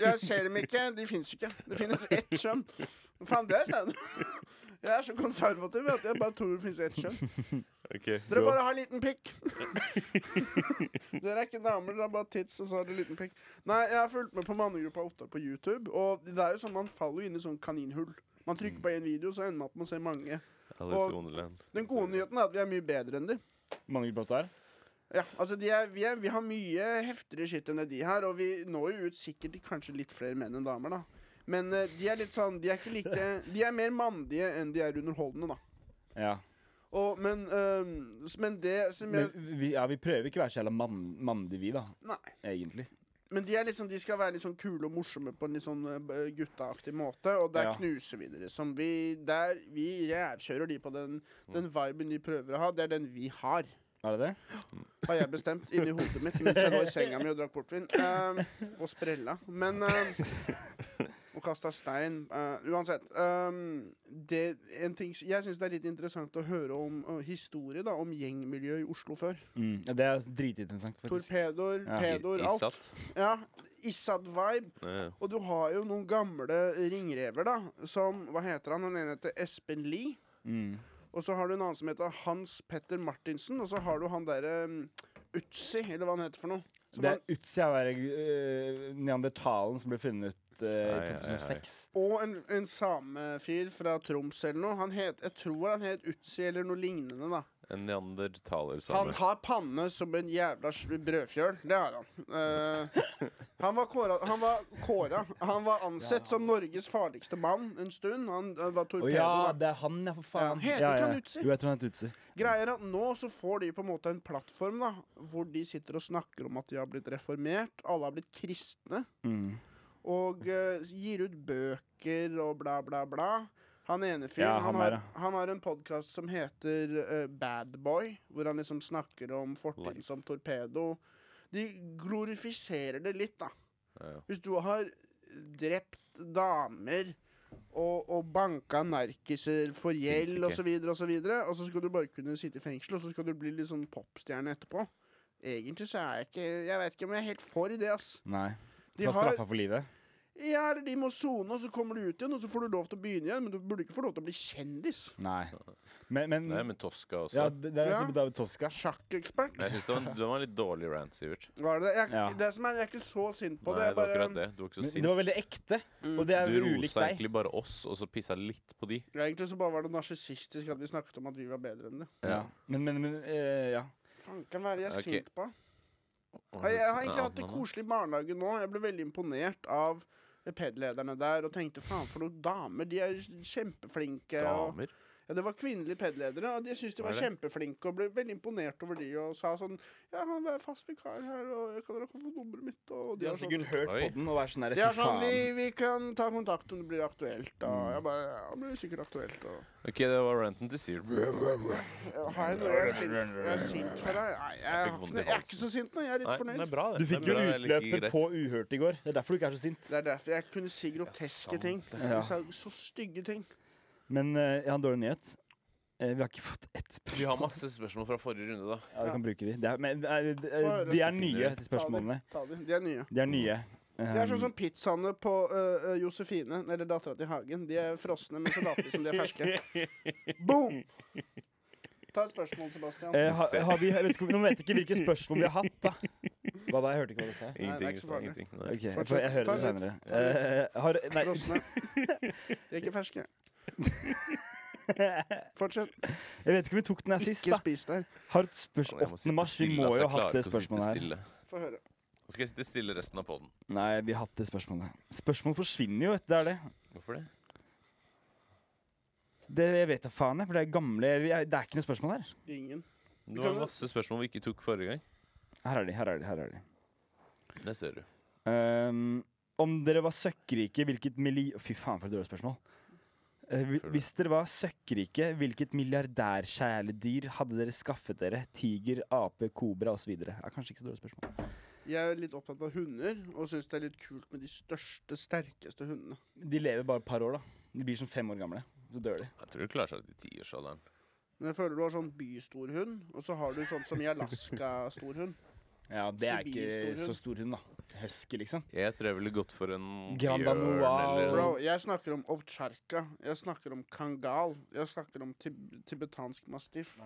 Speaker 3: Jeg ser dem ikke, de fins ikke. Det finnes ett kjønn. Faen, det er stein. Jeg er så konservativ at jeg bare tror det finnes ett kjønn.
Speaker 1: Ok,
Speaker 3: Dere
Speaker 1: gå.
Speaker 3: bare har liten pikk. dere er ikke damer, dere har bare tits, og så har dere liten pikk. Nei, jeg har fulgt med på mannegruppa Ottar på YouTube, og det er jo sånn man faller jo inn i sånn kaninhull. Man trykker på én video, så ender man opp med å se mange.
Speaker 1: Alice i Wonderland.
Speaker 3: Den gode nyheten er at vi er mye bedre enn de.
Speaker 4: Mannegruppa Ottar.
Speaker 3: Ja, altså de er, vi, er, vi har mye heftigere shit enn det de her, og vi når jo ut sikkert til kanskje litt flere menn enn damer, da. Men eh, de er litt sånn De er ikke like De er mer mandige enn de er underholdende, da.
Speaker 4: Ja.
Speaker 3: Og, men, eh, s- men det som
Speaker 4: Men
Speaker 3: jeg
Speaker 4: vi, ja, vi prøver ikke å være så jævla mann, mandig, vi, da.
Speaker 3: Nei.
Speaker 4: Egentlig.
Speaker 3: Men de, er liksom, de skal være litt sånn kule og morsomme på en litt sånn eh, b- guttaaktig måte, og der
Speaker 4: Ja.
Speaker 3: knuser vi det, liksom. Vi, der, vi rævkjører de på den,
Speaker 4: Mm.
Speaker 3: den viben de prøver å ha. Det er den vi har.
Speaker 4: Er det det?
Speaker 3: har jeg bestemt inni hodet mitt mens jeg lå i senga mi og drakk portvin. ehm, og sprella. Men ehm, OK, kasta stein. eh, uansett. ehm, det, en ting, s- jeg syns det er litt interessant å høre om eh, historie da, om gjengmiljøet i Oslo før.
Speaker 4: Mm. Ja, det er dritinteressant, faktisk.
Speaker 3: Torpedoer,
Speaker 4: Ja.
Speaker 3: pedoer,
Speaker 1: I-
Speaker 3: alt.
Speaker 1: Isat.
Speaker 3: Ja, Issad-vibe.
Speaker 1: Ja, ja.
Speaker 3: Og du har jo noen gamle ringrever, da, som Hva heter han? Den ene heter Espen Lie.
Speaker 4: Mm.
Speaker 3: Og så har du en annen som heter Hans Petter Martinsen. Og så har du han derre um, Utsi, eller hva han heter for noe. Som
Speaker 4: Det
Speaker 3: han-
Speaker 4: er Utsi av være øh, neandertalen som ble funnet øh,
Speaker 1: Ai, ai,
Speaker 4: i
Speaker 1: ai.
Speaker 4: 2006.
Speaker 3: Og en, en samefyr fra Troms eller noe. Han het, jeg tror han het Utsi eller noe lignende. da
Speaker 1: En neandertalersame.
Speaker 3: Han har panne som en jævla s- brødfjøl. Det har han. Eh, han var kåra Han var, kåra. Han var ansett som Norges farligste mann en stund. Han eh, var
Speaker 4: Å
Speaker 3: torpedo.
Speaker 4: ja,
Speaker 3: da.
Speaker 4: det er han, ja, for
Speaker 3: Ja,
Speaker 4: faen.
Speaker 3: heter
Speaker 4: ja,
Speaker 3: ikke
Speaker 4: ja.
Speaker 3: han Utsi?
Speaker 4: Jo, jeg tror han heter Utsi.
Speaker 3: Greier at nå så får de på en måte en plattform da hvor de sitter og snakker om at de har blitt reformert. Alle har blitt kristne.
Speaker 4: Mm.
Speaker 3: Og eh, gir ut bøker og bla, bla, bla. Han ene fyren
Speaker 4: Ja,
Speaker 3: han,
Speaker 4: han
Speaker 3: har-
Speaker 4: der,
Speaker 3: han har en podkast som heter eh, Bad Boy, hvor han liksom snakker om fortiden
Speaker 1: Life.
Speaker 3: som torpedo. De glorifiserer det litt, da.
Speaker 1: Ja, ja.
Speaker 3: Hvis du har drept damer og, og banka narkiser for gjeld
Speaker 1: ikke.
Speaker 3: osv., og, så videre, og, så videre, og så skal du bare kunne sitte i fengsel, og så skal du bli litt sånn popstjerne etterpå. Egentlig så er jeg ikke Jeg vet ikke om jeg er helt for det, ass.
Speaker 4: Nei.
Speaker 3: De
Speaker 4: De var
Speaker 3: har-
Speaker 4: straffa for livet.
Speaker 3: Ja, eller de må sone, og så kommer du ut igjen, og så får du lov til å begynne igjen. Men du burde ikke få lov til å bli kjendis.
Speaker 4: Nei. Men, men,
Speaker 1: Nei, men Toska også.
Speaker 4: ja, det, det er
Speaker 3: Ja.
Speaker 4: liksom David Toska.
Speaker 3: Sjakkekspert.
Speaker 1: Jeg synes det var en, det var en litt dårlig rant, Sivert.
Speaker 3: Var det det? Jeg,
Speaker 4: Ja.
Speaker 3: det som er, jeg er ikke så sint på
Speaker 1: Nei, det
Speaker 3: det. Jeg
Speaker 1: var
Speaker 3: bare,
Speaker 1: akkurat det. Du var ikke så
Speaker 4: Men
Speaker 1: sint.
Speaker 4: Det var veldig ekte,
Speaker 3: Mm.
Speaker 4: og det er
Speaker 1: Du
Speaker 4: ulikt
Speaker 1: rosa
Speaker 4: deg.
Speaker 1: egentlig bare oss, og så pissa litt på de.
Speaker 3: Ja, egentlig så bare var det narsissistisk at vi snakket om at vi var bedre enn det.
Speaker 4: Ja. Men, men, men eh, ja.
Speaker 3: Fanken, hva er det jeg er
Speaker 1: Ok.
Speaker 3: sint på? Ja, Jeg, har egentlig hatt det koselig i barnehagen nå. Jeg ble veldig imponert av PED-lederne der og tenkte faen for noen damer. De er kjempeflinke. Og,
Speaker 1: Damer.
Speaker 3: ja, det var kvinnelige PED-ledere, og de syntes de
Speaker 1: Var
Speaker 3: var
Speaker 1: det?
Speaker 3: kjempeflinke og ble veldig imponert over de og sa sånn Ja, han er fast vikar her, og jeg kan dere få nummeret mitt? Og
Speaker 4: De
Speaker 3: de
Speaker 4: har
Speaker 3: er sånn,
Speaker 4: sikkert hørt
Speaker 1: Oi.
Speaker 4: på den og vært sånn der,
Speaker 3: de er
Speaker 4: fy
Speaker 3: sånn vi,
Speaker 4: faen.
Speaker 3: vi kan ta kontakt om det blir aktuelt. Og jeg bare Ja, det blir sikkert aktuelt. Og
Speaker 1: OK, det var ranten til Sivert.
Speaker 3: Ja, har jeg noe jeg er sint, jeg er sint for deg? Nei, jeg,
Speaker 1: fikk vondt i
Speaker 3: jeg, er ikke så sint nå. Jeg er litt
Speaker 1: Nei,
Speaker 3: fornøyd.
Speaker 1: den er bra, det.
Speaker 4: Du fikk
Speaker 1: Den
Speaker 4: jo
Speaker 1: er bra, jeg liker
Speaker 4: utløpet
Speaker 1: greit.
Speaker 4: på Uhørt i går. Det er derfor du ikke er så sint.
Speaker 3: Det er derfor jeg kunne si groteske
Speaker 1: sant
Speaker 3: ting.
Speaker 1: det.
Speaker 3: Jeg sa så stygge ting.
Speaker 4: Men eh, jeg har en dårlig nyhet. Eh, vi har ikke fått ett spørsmål.
Speaker 1: Vi har masse spørsmål fra forrige runde, da.
Speaker 4: Ja, vi kan bruke de. Det er, men, eh, de,
Speaker 3: Bare
Speaker 4: de
Speaker 3: så
Speaker 4: er
Speaker 1: finner
Speaker 4: nye,
Speaker 1: jeg.
Speaker 4: de spørsmålene.
Speaker 3: Ta de. De er nye.
Speaker 1: Mm.
Speaker 4: De er nye.
Speaker 3: De er sånn
Speaker 4: Um,
Speaker 3: som pizzaene på øh, øh, Josefine, eller dattera til Hagen. De er frosne, men så later de som de er ferske. Boom! Ta et spørsmål, Sebastian.
Speaker 4: eh, har, har vi, jeg vet ikke, nå vet jeg ikke hvilke spørsmål vi har hatt, da. Hva da? Jeg hørte ikke hva du sa.
Speaker 3: Nei, det er
Speaker 1: Ingenting.
Speaker 3: ikke så farlig.
Speaker 1: ingenting. Nei.
Speaker 4: Ok, jeg,
Speaker 3: Fortsett.
Speaker 4: får, jeg hører
Speaker 3: Ta
Speaker 4: det
Speaker 3: litt.
Speaker 4: senere.
Speaker 3: Ta litt.
Speaker 4: Eh, har, nei,
Speaker 3: Frosne. De er ikke ferske. Fortsett.
Speaker 4: jeg vet ikke om vi tok den her sist,
Speaker 3: Ikke
Speaker 4: da.
Speaker 3: spis der.
Speaker 4: Har et spørsmål
Speaker 1: Jeg må sitte
Speaker 4: 8. mars. Vi
Speaker 1: stille,
Speaker 4: må
Speaker 1: altså,
Speaker 4: jo
Speaker 1: jeg
Speaker 4: ha hatt
Speaker 1: klarer
Speaker 4: det
Speaker 1: ikke å sitte
Speaker 4: spørsmålet her.
Speaker 1: stille.
Speaker 3: Få høre.
Speaker 1: Nå Skal jeg sitte stille resten av poden?
Speaker 4: Nei, vi har hatt det spørsmålet. Spørsmål forsvinner jo, vet du. Det er det.
Speaker 1: Hvorfor det?
Speaker 4: Det jeg vet da faen, jeg, for det er gamle vi er, Det er ikke noe spørsmål her.
Speaker 3: Ingen.
Speaker 1: Det
Speaker 3: kan
Speaker 1: var
Speaker 3: jo-
Speaker 1: masse spørsmål vi ikke tok forrige gang.
Speaker 4: Her er de, her er de. her er de
Speaker 1: Det ser du.
Speaker 4: Ehm, Om dere var søkkrike, hvilket milli... Fy faen, for et dårlig spørsmål. Eh, hvi-
Speaker 1: Føler det.
Speaker 4: hvis dere var søkkrike, hvilket milliardærkjæledyr hadde dere skaffet dere? Tiger, ape, kobra osv.? Er kanskje ikke så dårlig spørsmål.
Speaker 3: Jeg er litt opptatt av hunder, og syns det er litt kult med de største, sterkeste hundene.
Speaker 4: De lever bare et par år, da. De blir som fem år gamle. Så dør de.
Speaker 1: Jeg tror du klarer seg til tiårsalderen.
Speaker 3: Men jeg føler du har sånn bystor hund, og så har du sånn som i Alaska-stor hund.
Speaker 4: Ja, Det er ikke
Speaker 3: Sibir-stor
Speaker 4: så
Speaker 3: hund.
Speaker 4: stor hund, da. Husky, liksom.
Speaker 1: Jeg tror jeg ville gått for en
Speaker 4: Grand Danois.
Speaker 1: bjørn
Speaker 3: Bro,
Speaker 1: eller
Speaker 3: jeg snakker om ovtsjarka. Jeg snakker om kangal. Jeg snakker om tib tibetansk mastiff.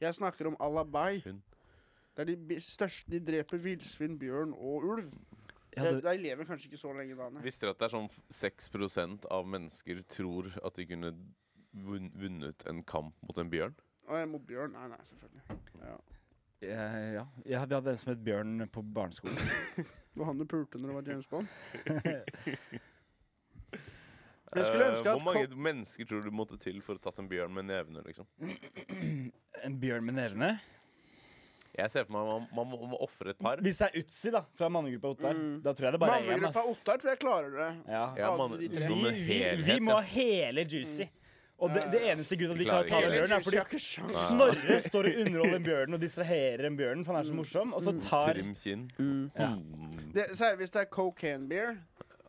Speaker 3: Jeg snakker om alabai.
Speaker 1: Hund.
Speaker 3: Det er de bi- største De dreper villsvin, bjørn og ulv.
Speaker 4: Jeg
Speaker 3: De,
Speaker 4: hadde,
Speaker 3: de lever kanskje ikke så lenge, Dane.
Speaker 1: Visste dere at det er sånn 6 av mennesker tror at de kunne vun- vunnet en kamp mot en bjørn?
Speaker 3: Å, jeg må bjørn. Nei, nei, selvfølgelig. Ja.
Speaker 4: jeg, Eh, ja. jeg hadde, vi hadde en som het Bjørn på barneskolen.
Speaker 3: Det var han du pulte når det var James Bond. Jeg skulle
Speaker 1: Eh,
Speaker 3: ønske at
Speaker 1: Hvor mange
Speaker 3: Col-
Speaker 1: mennesker tror du måtte til for å tatt en bjørn med nevene? liksom?
Speaker 4: En bjørn med nevene?
Speaker 1: Jeg ser for meg man, man må, må ofre et par.
Speaker 4: Hvis det er Utsi, da, fra mannegruppa Ottar, da tror jeg det bare er én.
Speaker 3: Mannegruppa
Speaker 4: ass.
Speaker 3: Ottar tror jeg klarer det.
Speaker 4: Ja.
Speaker 1: Ja, man,
Speaker 3: Vi-
Speaker 4: Vi,
Speaker 1: som en
Speaker 4: vi,
Speaker 1: helhet.
Speaker 4: vi må
Speaker 1: ja.
Speaker 4: ha hele Juicy. Og det, det eneste grunnen at vi klarer å ta
Speaker 1: Klarer
Speaker 4: den
Speaker 1: ikke.
Speaker 4: bjørnen, er fordi
Speaker 3: Jeg har ikke sjans.
Speaker 4: Snorre står og underholder en bjørn og distraherer en bjørn, for han er så morsom, og så tar
Speaker 1: Trim kinn. Mm.
Speaker 3: Det, særlig hvis det er cocaine beer.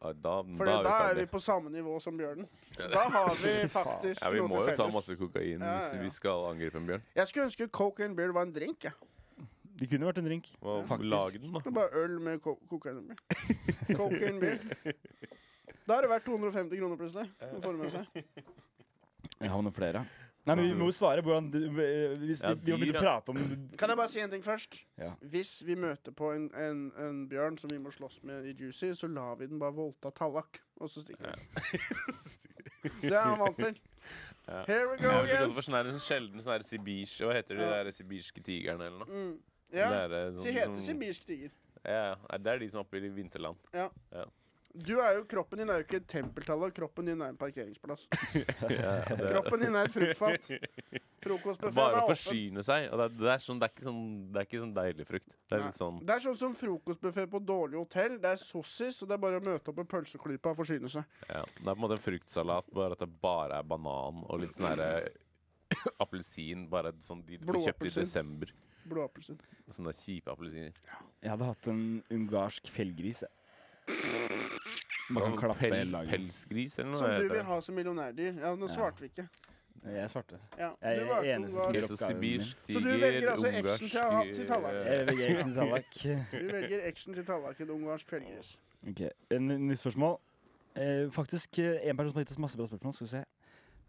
Speaker 1: Ja, da,
Speaker 3: For
Speaker 1: da er
Speaker 3: da,
Speaker 1: vi
Speaker 3: er vi
Speaker 1: ferdig.
Speaker 3: på samme nivå som bjørnen. Da har vi faktisk
Speaker 1: Ja, vi må
Speaker 3: noe
Speaker 1: jo
Speaker 3: til
Speaker 1: ta
Speaker 3: felles.
Speaker 1: masse kokain
Speaker 3: Ja,
Speaker 1: hvis
Speaker 3: ja.
Speaker 1: vi skal angripe en bjørn.
Speaker 3: Jeg skulle ønske coke and beer var en drink. jeg.
Speaker 4: Det kunne vært en drink.
Speaker 1: Hva-
Speaker 4: Faktisk.
Speaker 1: Lag den, da.
Speaker 3: Det er Bare øl med co coke and beer. Coke and beer. Da er det verdt 250 kroner plutselig. å få det med seg.
Speaker 4: Jeg har noen flere. Nei, men Vi må jo svare hvordan du, eh, hvis,
Speaker 1: Ja,
Speaker 4: vi- Vi må begynne
Speaker 1: dyra.
Speaker 4: å prate om
Speaker 3: Kan jeg bare si en ting først?
Speaker 4: Ja.
Speaker 3: Hvis vi møter på en, en, en bjørn som vi må slåss med i Juicy, så lar vi den bare voldta Tallak, og så stikker vi. Det er han vant til.
Speaker 1: Ja.
Speaker 3: Here we go
Speaker 1: Jeg vet ikke
Speaker 3: again.
Speaker 1: hvorfor sånn er det en sjelden sånn her sibirsk Hva heter de
Speaker 3: Ja.
Speaker 1: der sibirske tigerne eller noe?
Speaker 3: Mm. Ja,
Speaker 1: Det er, eh, sånn
Speaker 3: de heter
Speaker 1: som-
Speaker 3: sibirsk tiger.
Speaker 1: Ja, ja. det er de som er oppe i vinterland.
Speaker 3: Du er jo, Kroppen din er jo ikke et tempeltall, og kroppen din er en parkeringsplass.
Speaker 1: Ja, det er-
Speaker 3: Kroppen din er et fruktfat. Frokostbuffeen
Speaker 1: Bare
Speaker 3: er
Speaker 1: å
Speaker 3: åpen.
Speaker 1: forsyne seg. Og det, er, det, er sånn, det, er ikke sånn, det er ikke sånn deilig frukt. Det er
Speaker 3: Nei.
Speaker 1: litt sånn
Speaker 3: Det er sånn som frokostbuffé på dårlig hotell. Det er sossis, og det er bare å møte opp en pølseklype og forsyne seg.
Speaker 1: ja. Det er på en måte en fruktsalat, bare at det bare er banan og litt sånn herre Appelsin. Bare sånn de du får kjøpt i
Speaker 3: Blåappelsin.
Speaker 1: desember.
Speaker 3: Blåappelsin.
Speaker 1: Sånne der kjipe appelsiner.
Speaker 4: Jeg hadde hatt en ungarsk fjellgris. jeg. Man kan
Speaker 1: Pel,
Speaker 4: klappe hele dagen.
Speaker 1: pelsgris eller noe?
Speaker 3: Som du
Speaker 1: heter
Speaker 3: vil
Speaker 1: det.
Speaker 3: ha som millionærdyr. Ja, nå
Speaker 4: Ja.
Speaker 3: svarte vi ikke.
Speaker 4: Jeg svarte.
Speaker 3: Ja,
Speaker 4: Jeg
Speaker 3: du
Speaker 4: er
Speaker 3: valgte
Speaker 4: eneste
Speaker 3: ungarsk.
Speaker 4: som
Speaker 1: Ok, så
Speaker 4: Oppgaven min.
Speaker 1: sibirsk
Speaker 3: Så du
Speaker 1: tiger,
Speaker 3: velger altså eksen
Speaker 1: ungarsk,
Speaker 3: til å ha til tallak?
Speaker 1: eh,
Speaker 4: Jeg vil Eriksen Salak.
Speaker 3: Du velger eksen til Tallaken ungarsk fjellgris.
Speaker 4: Ok, en ny spørsmål. Eh, faktisk eh, en person som har gitt oss masse bra spørsmål. Skal vi se.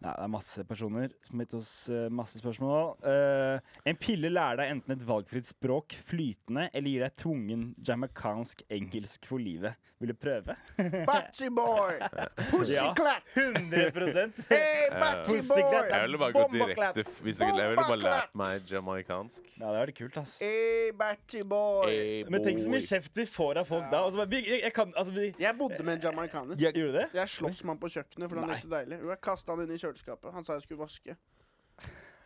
Speaker 4: Nei, det er masse personer som har gitt oss eh, masse spørsmål. Eh, en pille lærer deg enten et valgfritt språk flytende, eller gir deg tvungen jamaicansk engelsk for livet. Vil du prøve?
Speaker 3: Batchy boy! Pussyclack!
Speaker 4: 100
Speaker 3: Hey, batchy
Speaker 4: Pussyclack.
Speaker 3: boy!
Speaker 1: Jeg ville bare gått
Speaker 4: Bomba clap.
Speaker 1: direkte f- hvis jeg, jeg ville bare
Speaker 3: Bomba clap.
Speaker 1: lært meg jamaicansk.
Speaker 4: Ja, det hadde vært kult, ass.
Speaker 3: Hey, batchy boy!
Speaker 1: Hey,
Speaker 4: Men tenk så mye
Speaker 1: boy.
Speaker 4: kjeft de får av folk da. Og så bare, jeg, jeg kan, altså, vi,
Speaker 3: Jeg bodde med en jamaikaner.
Speaker 4: Gjorde du det?
Speaker 3: Jeg sloss med han på kjøkkenet, for han
Speaker 4: Nei.
Speaker 3: likte deilig. Jo, Jeg kasta han inn i kjøleskapet. Han sa jeg skulle vaske.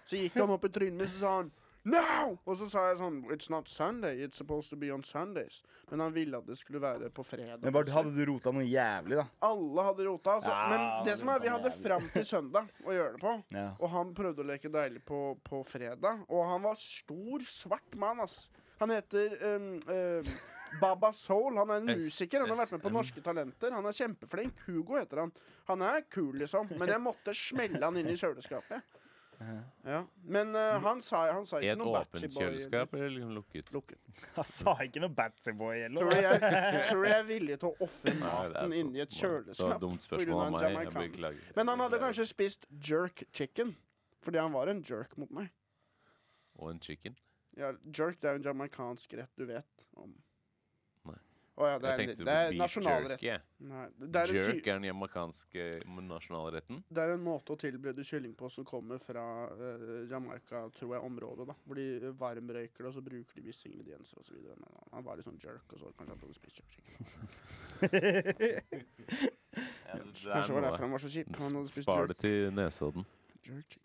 Speaker 3: Så gikk han opp i trynet mitt, så sa han No! Og så sa jeg sånn It's not Sunday. It's supposed to be on Sundays. Men han ville at det skulle være på fredag.
Speaker 4: Men bare, hadde du rota noe jævlig, da?
Speaker 3: Alle hadde rota. Altså.
Speaker 4: Ja,
Speaker 3: Men det
Speaker 4: det
Speaker 3: som er,
Speaker 4: var
Speaker 3: vi hadde
Speaker 4: jævlig.
Speaker 3: fram til søndag å gjøre det på.
Speaker 4: Ja.
Speaker 3: Og han prøvde å leke deilig på, på fredag. Og han var stor, svart mann, ass. Han heter øhm, øhm, Baba Soul. Han er en
Speaker 1: S-
Speaker 3: musiker. Han har vært med på
Speaker 1: SM.
Speaker 3: Norske Talenter. Han er kjempeflink. Hugo heter han. Han er kul, liksom. Men jeg måtte smelle han inn i kjøleskapet. Ja. Men øh, han, sa, han sa
Speaker 1: I
Speaker 3: ikke
Speaker 1: et
Speaker 3: noe Batchy
Speaker 1: åpent
Speaker 3: Boy. eller-
Speaker 1: kjøleskap eller liksom lukket?
Speaker 3: Lukket.
Speaker 4: Han sa ikke noe Batsy Boy
Speaker 3: Tror
Speaker 4: eller
Speaker 3: du
Speaker 4: noe.
Speaker 3: jeg, tror du jeg er villig til å
Speaker 1: Nei,
Speaker 3: ofre
Speaker 1: det er
Speaker 3: maten
Speaker 1: så-
Speaker 3: inni et
Speaker 1: Det var et
Speaker 3: kjøleskap?
Speaker 1: dumt
Speaker 3: på grunn
Speaker 1: spørsmål
Speaker 3: av
Speaker 1: av
Speaker 3: en
Speaker 1: meg. Jeg
Speaker 3: jamaikaner?
Speaker 1: beklager.
Speaker 3: Men han hadde
Speaker 1: Beklager.
Speaker 3: kanskje spist jerk chicken. Fordi han var en jerk mot meg.
Speaker 1: Og en chicken.
Speaker 3: Ja, jerk det er jo en jamaicansk rett du vet om.
Speaker 1: Nei.
Speaker 3: Å ja, det
Speaker 1: Jeg
Speaker 3: er,
Speaker 1: tenkte
Speaker 3: en-
Speaker 1: på
Speaker 3: det er
Speaker 1: beef jerky.
Speaker 3: nasjonalrett.
Speaker 1: jeg.
Speaker 3: Nei, det, er en
Speaker 1: Jerk
Speaker 3: ty
Speaker 1: er den jamaicanske eh, nasjonalretten.
Speaker 3: det er en måte å tilberede kylling på som kommer fra eh, Jamaica, tror jeg, området. da. Hvor de varmrøyker det, og så bruker de visse ingredienser osv. Han var litt sånn jerk, og så kanskje han hadde spist jerk chicken. Kanskje det var derfor han var så kjip. Han hadde spist
Speaker 1: Spar
Speaker 3: jerk,
Speaker 1: det til Nesodden.
Speaker 3: jerk chicken.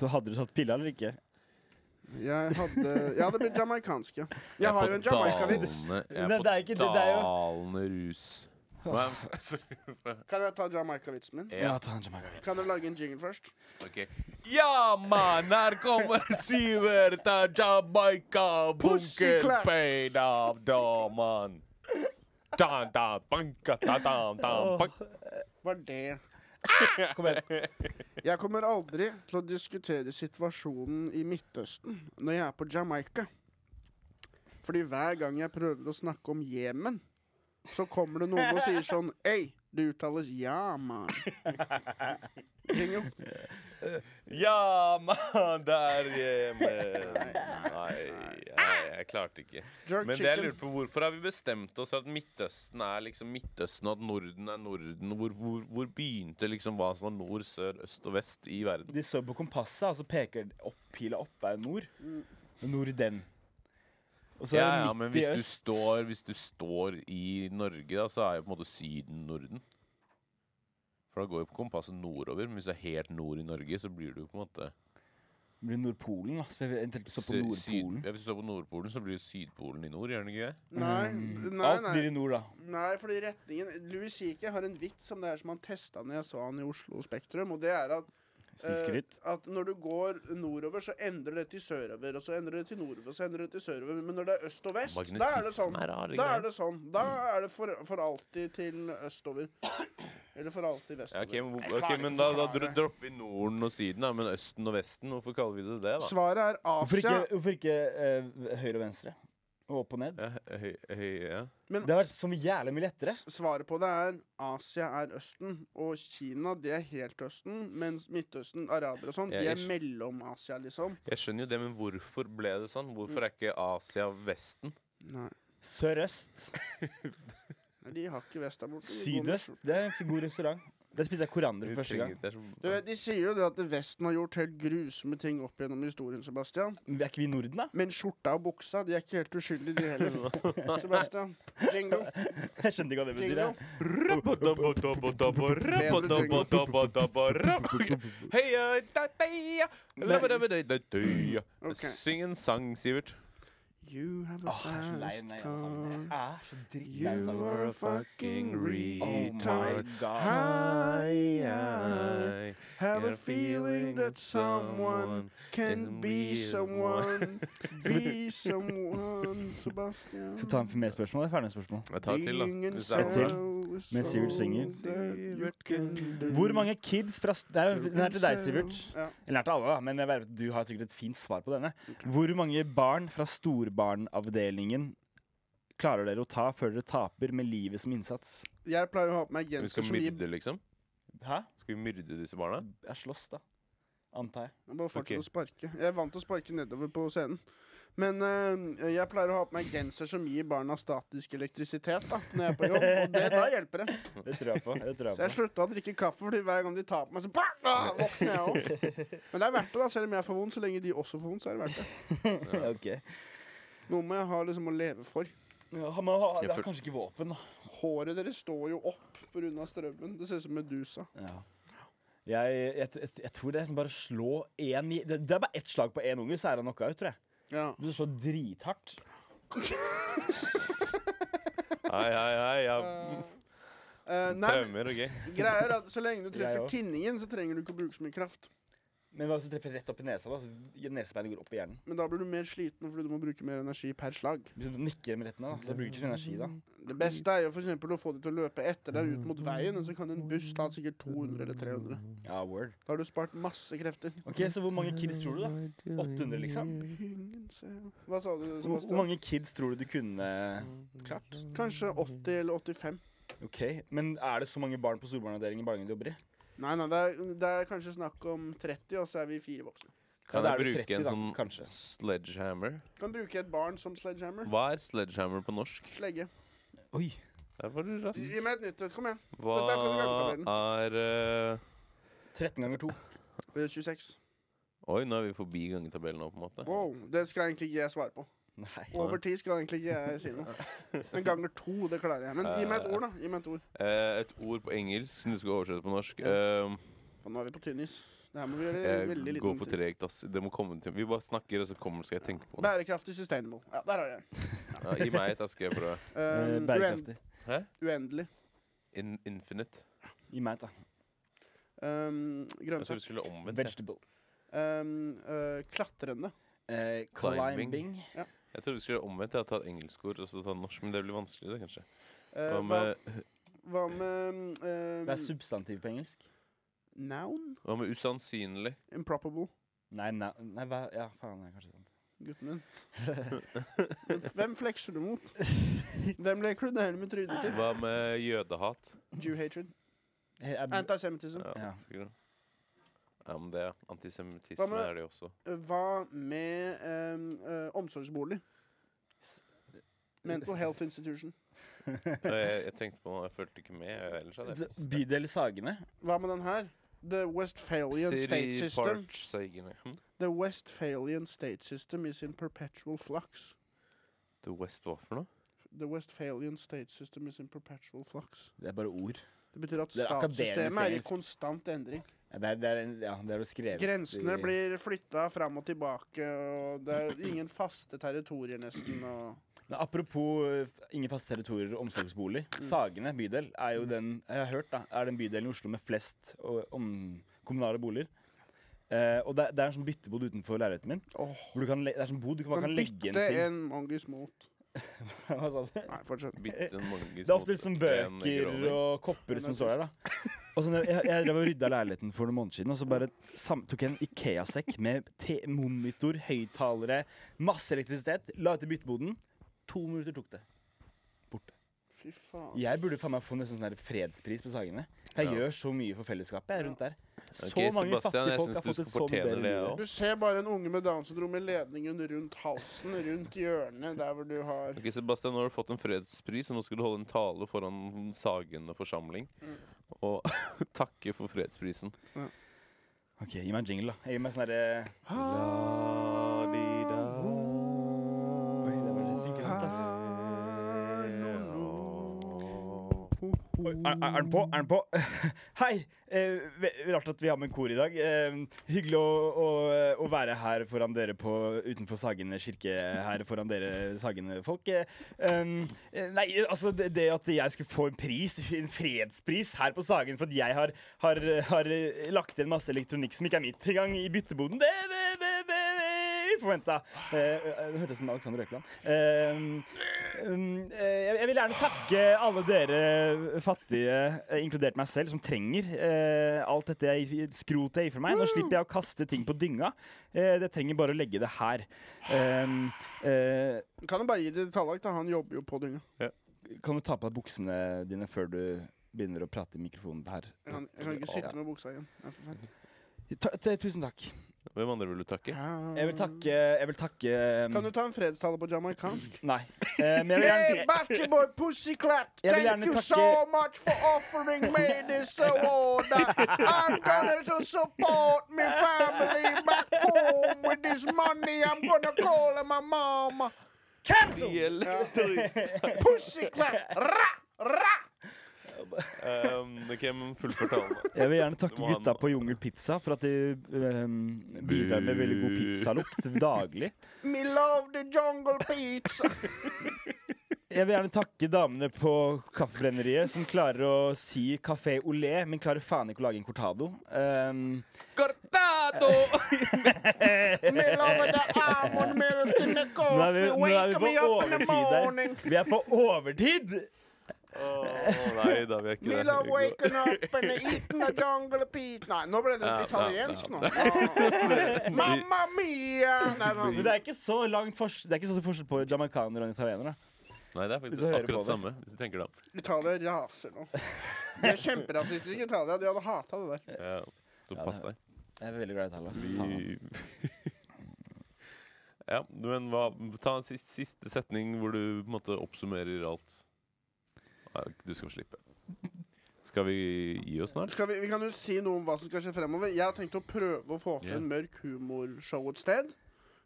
Speaker 4: Så hadde du tatt pilla eller ikke?
Speaker 3: Jeg hadde, jeg hadde blitt jamaicansk, ja. Jeg har jo en jamaica-vits.
Speaker 1: Jeg
Speaker 4: Nei,
Speaker 1: er
Speaker 4: det er ikke
Speaker 1: på
Speaker 4: det, det er jo-
Speaker 1: dalende rus. Hva-
Speaker 3: Kan jeg ta jamaica-vitsen min?
Speaker 1: Ja.
Speaker 4: ta en jamaicanvits.
Speaker 3: Kan dere lage en jingle først?
Speaker 1: Ok. Ja, mann, her kommer Sivert av Jamaica.
Speaker 3: Pussyclaps.
Speaker 1: Bunkerpeid av damen. Da, da, banka, da, da, da, bank.
Speaker 3: Var det
Speaker 4: Kom igjen.
Speaker 3: Jeg kommer aldri til å diskutere situasjonen i Midtøsten når jeg er på Jamaica. Fordi hver gang jeg prøver å snakke om Jemen, så kommer det noen og sier sånn Ei, det uttales ja, man. Jingle.
Speaker 1: Ja, mann, der hjemme. Nei, nei, jeg klarte ikke.
Speaker 3: Jerk
Speaker 1: Men det jeg
Speaker 3: chicken.
Speaker 1: lurer på, hvorfor har vi bestemt oss for at Midtøsten er liksom Midtøsten, og at Norden er Norden? Hvor, hvor, hvor begynte liksom hva som var nord, sør, øst og vest i verden?
Speaker 4: De står på kompasset, og så peker den opp, pila opp er nord. Nord den. Og så
Speaker 1: Ja,
Speaker 4: er det
Speaker 1: ja,
Speaker 4: midt
Speaker 1: men
Speaker 4: i
Speaker 1: hvis du,
Speaker 4: øst.
Speaker 1: står, hvis du står i Norge, da, så er jo på en måte Syden Norden. For da går jo på kompasset nordover, men hvis du er helt nord i Norge, så blir du jo på en måte
Speaker 4: Det blir Nordpolen, da. Så vi eventuelt står på
Speaker 1: sy-
Speaker 4: Nordpolen.
Speaker 1: syd- Ja, hvis du står på Nordpolen, så blir det Sydpolen i nord, gjør den ikke det?
Speaker 3: Nei, nei,
Speaker 4: Alt
Speaker 3: nei.
Speaker 4: blir i nord, da.
Speaker 3: Nei, fordi retningen Louis Hieke har en vits om det her som han testa når jeg så han i Oslo Spektrum, og det er at
Speaker 4: Snikskryt.
Speaker 3: eh, at når du går nordover, så endrer det til sørover, og så endrer det til nordover, så endrer det til sørover. Men når det er øst og vest, da er det sånn.
Speaker 1: Magnetisme er rare
Speaker 3: Da er
Speaker 1: greier.
Speaker 3: det sånn. Da er det for, for alltid til østover. Eller for alltid
Speaker 1: Ja,
Speaker 3: vestover.
Speaker 1: ok, men, hvor-
Speaker 2: Jeg klarer
Speaker 1: ok, men
Speaker 2: ikke
Speaker 1: da,
Speaker 2: å
Speaker 1: da dro-
Speaker 2: forklare.
Speaker 1: dropper vi Norden og Syden, da, men Østen og Vesten, hvorfor kaller vi det det, da?
Speaker 3: Svaret er
Speaker 4: Hvorfor ikke,
Speaker 3: Asia.
Speaker 4: hvorfor ikke eh, høyre og venstre? Og opp og ned?
Speaker 1: Ja, høy, høy, ja.
Speaker 3: Men
Speaker 4: Det har vært så jævlig mye lettere.
Speaker 3: svaret på det er Asia er Østen, og Kina det er helt Østen, mens Midtøsten, arabere og sånn, de
Speaker 1: Ja,
Speaker 3: er
Speaker 1: ish.
Speaker 3: mellom-Asia, liksom.
Speaker 1: Jeg skjønner jo det, men hvorfor ble det sånn? Hvorfor er ikke Asia Vesten?
Speaker 3: Nei.
Speaker 4: Sørøst.
Speaker 3: Nei, De har ikke vest der borte. de går med
Speaker 4: Sydøst. Det er en god restaurant. Der spiste jeg koriander for første gang.
Speaker 1: Det er som-
Speaker 3: Du vet, De sier jo det at Vesten har gjort helt grusomme ting opp gjennom historien, Sebastian.
Speaker 4: Men Er ikke vi i Norden, da?
Speaker 3: Men skjorta og buksa, de er ikke helt uskyldige, de heller. Sebastian. Jingle.
Speaker 4: Jeg skjønner ikke hva det betyr.
Speaker 3: Jingle.
Speaker 4: jeg.
Speaker 1: Heia, da, deia, labadabadadadøya.
Speaker 3: Ok.
Speaker 1: Syng en sang, Sivert.
Speaker 3: You have a
Speaker 4: Åh, jeg er så lei den
Speaker 3: fast car.
Speaker 4: sangen. Jeg er så sånn. drittlei den
Speaker 3: You
Speaker 4: sangen.
Speaker 3: are a fucking
Speaker 4: Oh
Speaker 3: retard.
Speaker 4: my god.
Speaker 3: Hi, I
Speaker 1: I
Speaker 3: have a feeling that someone can
Speaker 1: can
Speaker 3: be
Speaker 1: be
Speaker 3: someone. Be someone, Sebastian.
Speaker 4: Skal vi ta en mer spørsmål? eller Ferdig med spørsmål.
Speaker 1: Jeg tar et til, da. Hvis det er
Speaker 4: En til.
Speaker 1: noe.
Speaker 4: Mens Sivert synger. Hvor mange kids fra st- det er, Den er til deg, Sivert.
Speaker 3: Ja.
Speaker 4: Eller den er til alle, da, men jeg vet at du har sikkert et fint svar på denne. Hvor mange barn fra storbarnavdelingen klarer dere å ta før dere taper med livet som innsats?
Speaker 3: Jeg pleier å ha på meg
Speaker 1: Vi
Speaker 3: genser
Speaker 1: skal
Speaker 3: som gir
Speaker 1: myrde, liksom?
Speaker 4: Hæ?
Speaker 1: Skal vi myrde disse barna?
Speaker 4: Jeg slåss, da. Antar jeg.
Speaker 3: Jeg bare fortsette
Speaker 1: Ok.
Speaker 3: å sparke. Jeg er vant til å sparke nedover på scenen. Men eh, jeg pleier å ha på meg genser som gir barna statisk elektrisitet da, når jeg er på jobb. Og det, da hjelper det.
Speaker 4: Det tror jeg på. Det tror
Speaker 3: Så jeg
Speaker 4: jeg på.
Speaker 3: slutta å drikke kaffe, fordi hver gang de tar på meg, så bang, ah, våkner jeg opp. Men det er verdt det, da. Selv om jeg får vondt, så lenge de også får vondt, så er det verdt det.
Speaker 4: Ok.
Speaker 3: Noe må jeg ha liksom å leve for.
Speaker 4: Ja, men ha,
Speaker 1: Jeg
Speaker 4: det er
Speaker 1: føl-
Speaker 4: kanskje ikke våpen, da.
Speaker 3: Håret deres står jo opp pga. strømmen. Det ser ut som Medusa.
Speaker 4: Jeg, jeg, jeg, jeg tror det er liksom bare å slå én i det, det er bare ett slag på én unge, så er han knockout, tror jeg.
Speaker 3: Ja.
Speaker 4: Du slår drithardt.
Speaker 1: Hei, hei, hei. Ja.
Speaker 3: Eh, nei, men
Speaker 1: Traumer og gøy.
Speaker 3: greia er at så lenge du treffer
Speaker 4: Jeg også.
Speaker 3: tinningen, så trenger du ikke å bruke så mye kraft.
Speaker 4: Men hva hvis du treffer rett opp i nesa? da? Så Nesebeinet går opp i hjernen.
Speaker 3: Men da blir du mer sliten fordi du må bruke mer energi per slag.
Speaker 4: Hvis du nikker med rettene, da, så bruker du ikke så mye energi da.
Speaker 3: Det beste er jo for eksempel å få de til å løpe etter deg ut mot veien, og så kan en buss ta sikkert 200 eller 300.
Speaker 4: Ja, word.
Speaker 3: Da har du spart masse krefter.
Speaker 4: Ok, Så hvor mange kids tror du, da? 800, liksom?
Speaker 3: Ingen ser. Hva sa du,
Speaker 4: Hvor, hvor
Speaker 3: Sebastian?
Speaker 4: mange kids tror du du kunne klart?
Speaker 3: Kanskje 80 eller 85.
Speaker 4: Ok, Men er det så mange barn på storbarnavdelingen i barnehagen du jobber i?
Speaker 3: Nei, nei, det er, det er kanskje snakk om 30, og så er vi fire voksne.
Speaker 1: Kan
Speaker 4: Ja,
Speaker 1: jeg
Speaker 4: da er det
Speaker 1: bruke
Speaker 4: 30
Speaker 1: en
Speaker 4: da,
Speaker 1: sånn
Speaker 4: kanskje.
Speaker 1: sledgehammer?
Speaker 3: Kan bruke et barn som sledgehammer.
Speaker 1: Hva er sledgehammer på norsk?
Speaker 3: Slegge.
Speaker 4: Oi.
Speaker 1: Der var du rask.
Speaker 3: Gi meg et nytt et. Kom igjen. Dette er
Speaker 1: Hva
Speaker 3: konsekvenstabellen.
Speaker 1: er eh,
Speaker 4: 13 ganger 2.
Speaker 3: Eh, 26.
Speaker 1: Oi, nå er vi forbi gangetabellen nå, på en måte.
Speaker 3: Wow. Det skal egentlig ikke jeg svare på.
Speaker 4: Nei.
Speaker 3: Over ti skal egentlig ikke jeg si noe. Men ganger to, det klarer jeg. Men gi meg et ord, da. Gi meg et ord.
Speaker 1: Eh, et ord på engelsk som du skal oversette på norsk. Eh,
Speaker 3: Og nå er vi på tynn is. Det her må vi gjøre i veldig
Speaker 1: jeg går
Speaker 3: liten
Speaker 1: for tregt, ass. Det må komme til Vi bare snakker, og så kommer skal jeg tenke på det.
Speaker 3: Bærekraftig sustainable. Ja, der har jeg den.
Speaker 1: Ja, gi meg et, da skal jeg prøve.
Speaker 4: Eh,
Speaker 3: Um,
Speaker 4: Bærekraftig.
Speaker 1: Hæ?
Speaker 3: uen- uendelig.
Speaker 1: In infinite.
Speaker 4: Gi meg et, da.
Speaker 3: Um,
Speaker 1: Jeg tror
Speaker 3: grønnsak.
Speaker 1: det skulle omvendt. jeg.
Speaker 4: Vegetable.
Speaker 3: Um, øh, klatrende.
Speaker 4: Eh,
Speaker 1: Climbing.
Speaker 4: climbing.
Speaker 1: Jeg tror det skulle omvendt. Jeg har tatt engelskord og så tatt norsk, men det blir vanskelig, det, kanskje.
Speaker 3: Eh,
Speaker 1: Hva med,
Speaker 3: hva, hva med um,
Speaker 4: Det er substantiv på engelsk.
Speaker 3: Noun?
Speaker 1: hva med usannsynlig?
Speaker 3: Improbable.
Speaker 4: Nei, nei, nei hva, ja, faen, det er kanskje sant. Eh,
Speaker 3: Gutten min. Hvem flekser du mot? Hvem leker du det hele med trynet til?
Speaker 1: Hva med jødehat?
Speaker 3: Jew hatred.
Speaker 4: Eh, er-
Speaker 3: Antisemittism.
Speaker 1: Ja,
Speaker 4: Ja.
Speaker 1: fikk du. ja men det er
Speaker 3: Hva
Speaker 1: Antisemittisme
Speaker 3: med-
Speaker 1: er det jo også.
Speaker 3: Hva med um, øh, omsorgsbolig?
Speaker 4: S-
Speaker 3: Mental health institution.
Speaker 1: Og Jeg, jeg tenkte på noe, jeg følte ikke med. jeg Ellers hadde jeg
Speaker 4: Bydel Sagene.
Speaker 3: Hva med den her? The Westphalian state
Speaker 1: Siri
Speaker 3: system.
Speaker 1: Parch Sagene. Hm?
Speaker 3: The Westphalian state system is in perpetual flux.
Speaker 1: The West hva for noe?
Speaker 3: The Westphalian state system is in perpetual flux.
Speaker 4: Det er bare ord.
Speaker 3: Det betyr at
Speaker 4: Det er akademisk
Speaker 3: statssystemet er i
Speaker 4: engelsk.
Speaker 3: konstant endring.
Speaker 4: Ja, det er, det er, en- ja, det er jo skrevet
Speaker 3: Grensene
Speaker 4: i-
Speaker 3: blir flytta fram og tilbake, og det er ingen faste territorier, nesten. Og
Speaker 4: Men apropos eh, f- ingen faste territorier og omsorgsbolig. Sagene bydel er jo den jeg har hørt da, er den bydelen i Oslo med flest o- om kommunale boliger. Eh, og det, er- det er en sånn byttebod utenfor leiligheten min.
Speaker 3: Åh,
Speaker 4: Hvor du kan, le- det er en sånn bod du kan, man
Speaker 3: kan
Speaker 4: kan legge inn
Speaker 3: bytte
Speaker 4: ting.
Speaker 3: en mangis mot
Speaker 4: Hva sa du?
Speaker 3: Nei, fortsett.
Speaker 1: Bitte mange
Speaker 4: Eh, Det er ofte
Speaker 1: små-
Speaker 4: liksom
Speaker 1: en
Speaker 4: bøker
Speaker 1: gråning.
Speaker 4: og kopper som står der, da. Og så når jeg, jeg drev og rydda leiligheten for noen måneder siden, og så bare sam tok jeg en Ikea-sekk med te monitor, høyttalere, masse elektrisitet, la ut i bytteboden. To minutter tok det.
Speaker 3: Fy faen.
Speaker 4: Jeg burde faen meg få nesten sånn her fredspris på Sagene. Jeg
Speaker 1: Ja.
Speaker 4: gjør så mye for fellesskapet jeg, rundt der. Så
Speaker 1: Ok,
Speaker 4: mange
Speaker 1: Sebastian, jeg
Speaker 4: fattige
Speaker 1: synes
Speaker 4: folk har
Speaker 1: du
Speaker 4: fått
Speaker 1: skal
Speaker 4: et så mye
Speaker 1: fortjene
Speaker 4: bedre
Speaker 1: det
Speaker 4: liv.
Speaker 1: også.
Speaker 3: Du ser bare en unge med Downs syndrom med ledningen rundt halsen, rundt hjørnet der hvor du har
Speaker 1: Ok, Sebastian, nå har du fått en fredspris, og nå skal du holde en tale foran Sagene forsamling.
Speaker 4: Mm.
Speaker 1: Og takke for fredsprisen.
Speaker 4: Ok, gi meg en jingle, da. Jeg gir meg sånn herre Oi, det var litt synkende, ass. Oi, Er, er er den på? Er den på? Hei! Eh, ve- rart at vi har med kor i dag. Eh, hyggelig å, å, å være her foran dere på, utenfor Sagene kirke her foran dere Sagene-folk. Eh, um, eh, nei, altså det, det at jeg skulle få en pris, en fredspris, her på Sagen for at jeg har, har, har eh, lagt igjen masse elektronikk som ikke er mitt engang, i bytteboden, det, det, det, det, det uforventa. Eh, eh, det hørtes ut som Alexander Røkland. Eh, Um, eh, jeg jeg vil gjerne takke alle dere fattige, eh, inkludert meg selv, som trenger eh, alt dette jeg skrotet jeg gir fra meg. Nå
Speaker 1: Mm.
Speaker 4: slipper jeg å kaste ting på dynga. Eh, jeg trenger bare å legge det her. Um, eh,
Speaker 3: Kan du bare gi det til Tallak, da? Han jobber jo på dynga.
Speaker 4: kan du ta på deg buksene dine før du begynner å prate i mikrofonen her?
Speaker 3: Jeg kan, jeg kan ikke sitte med buksa igjen. Det er for fælt.
Speaker 4: Ta, ta, tusen takk.
Speaker 1: Hvem andre vil du takke?
Speaker 4: Jeg vil takke, jeg vil takke um,
Speaker 3: Kan du ta en fredstale på jamaicansk?
Speaker 4: Nei. Eh, men jeg vil
Speaker 3: Hey,
Speaker 4: gjerne
Speaker 3: Batchboy Pussyclat,
Speaker 4: Jeg vil
Speaker 3: thank
Speaker 4: gjerne
Speaker 3: you
Speaker 4: takke-
Speaker 3: so much for offering me this award. I'm gonna to support my family back home with this money. I'm gonna call my mama.
Speaker 4: Cancel!
Speaker 3: Pussyclat! Ra, ra!
Speaker 1: um, ok, men fullfør talen. da.
Speaker 4: Jeg vil gjerne takke
Speaker 1: Du må ha
Speaker 4: gutta
Speaker 1: noe.
Speaker 4: på Jungel Pizza for at de eh, bidrar med veldig god
Speaker 1: Bu.
Speaker 4: pizzalukt daglig.
Speaker 3: Me love the jungle pizza.
Speaker 4: Jeg vil gjerne takke damene på Kaffebrenneriet som klarer å si Café Olé, men klarer faen ikke å lage en cortado. Um,
Speaker 1: Cortado!
Speaker 3: Me love the almond milk in the
Speaker 4: nå er vi,
Speaker 3: coffee.
Speaker 4: nå er vi
Speaker 3: Wake me
Speaker 4: på
Speaker 3: up in the
Speaker 4: overtid her.
Speaker 3: morning.
Speaker 4: Vi er på overtid!
Speaker 1: Å, nei da, vi er ikke
Speaker 3: Me
Speaker 1: der.
Speaker 3: love waking up and eating a jungle pizza. Nei, nå ble det
Speaker 1: Ja,
Speaker 3: italiensk
Speaker 1: ja,
Speaker 3: nå. Ja. Mamma mia! Nei, nå-
Speaker 4: Men det er ikke så langt fors- Det er ikke så stor forskjell på jamaicanere og italienere.
Speaker 1: Nei, det er
Speaker 4: Hvis jeg
Speaker 1: faktisk
Speaker 4: hører på
Speaker 1: akkurat
Speaker 4: det.
Speaker 1: samme, hvis du tenker deg om.
Speaker 3: Italia raser nå. De er kjemperasistiske, Italia. De hadde hata det der.
Speaker 1: Ja, så
Speaker 4: Ja,
Speaker 1: pass
Speaker 4: det-
Speaker 1: deg.
Speaker 4: Jeg er veldig glad i Italia. ass. Faen.
Speaker 1: Ja, men hva, ta en siste, siste setning hvor du på en måte oppsummerer alt. Nei, Du skal få slippe. Skal vi gi oss snart?
Speaker 3: Skal vi, vi kan jo si noe om hva som skal skje fremover. Jeg har tenkt å prøve å få til
Speaker 1: Ja.
Speaker 3: en mørk humorshow et sted.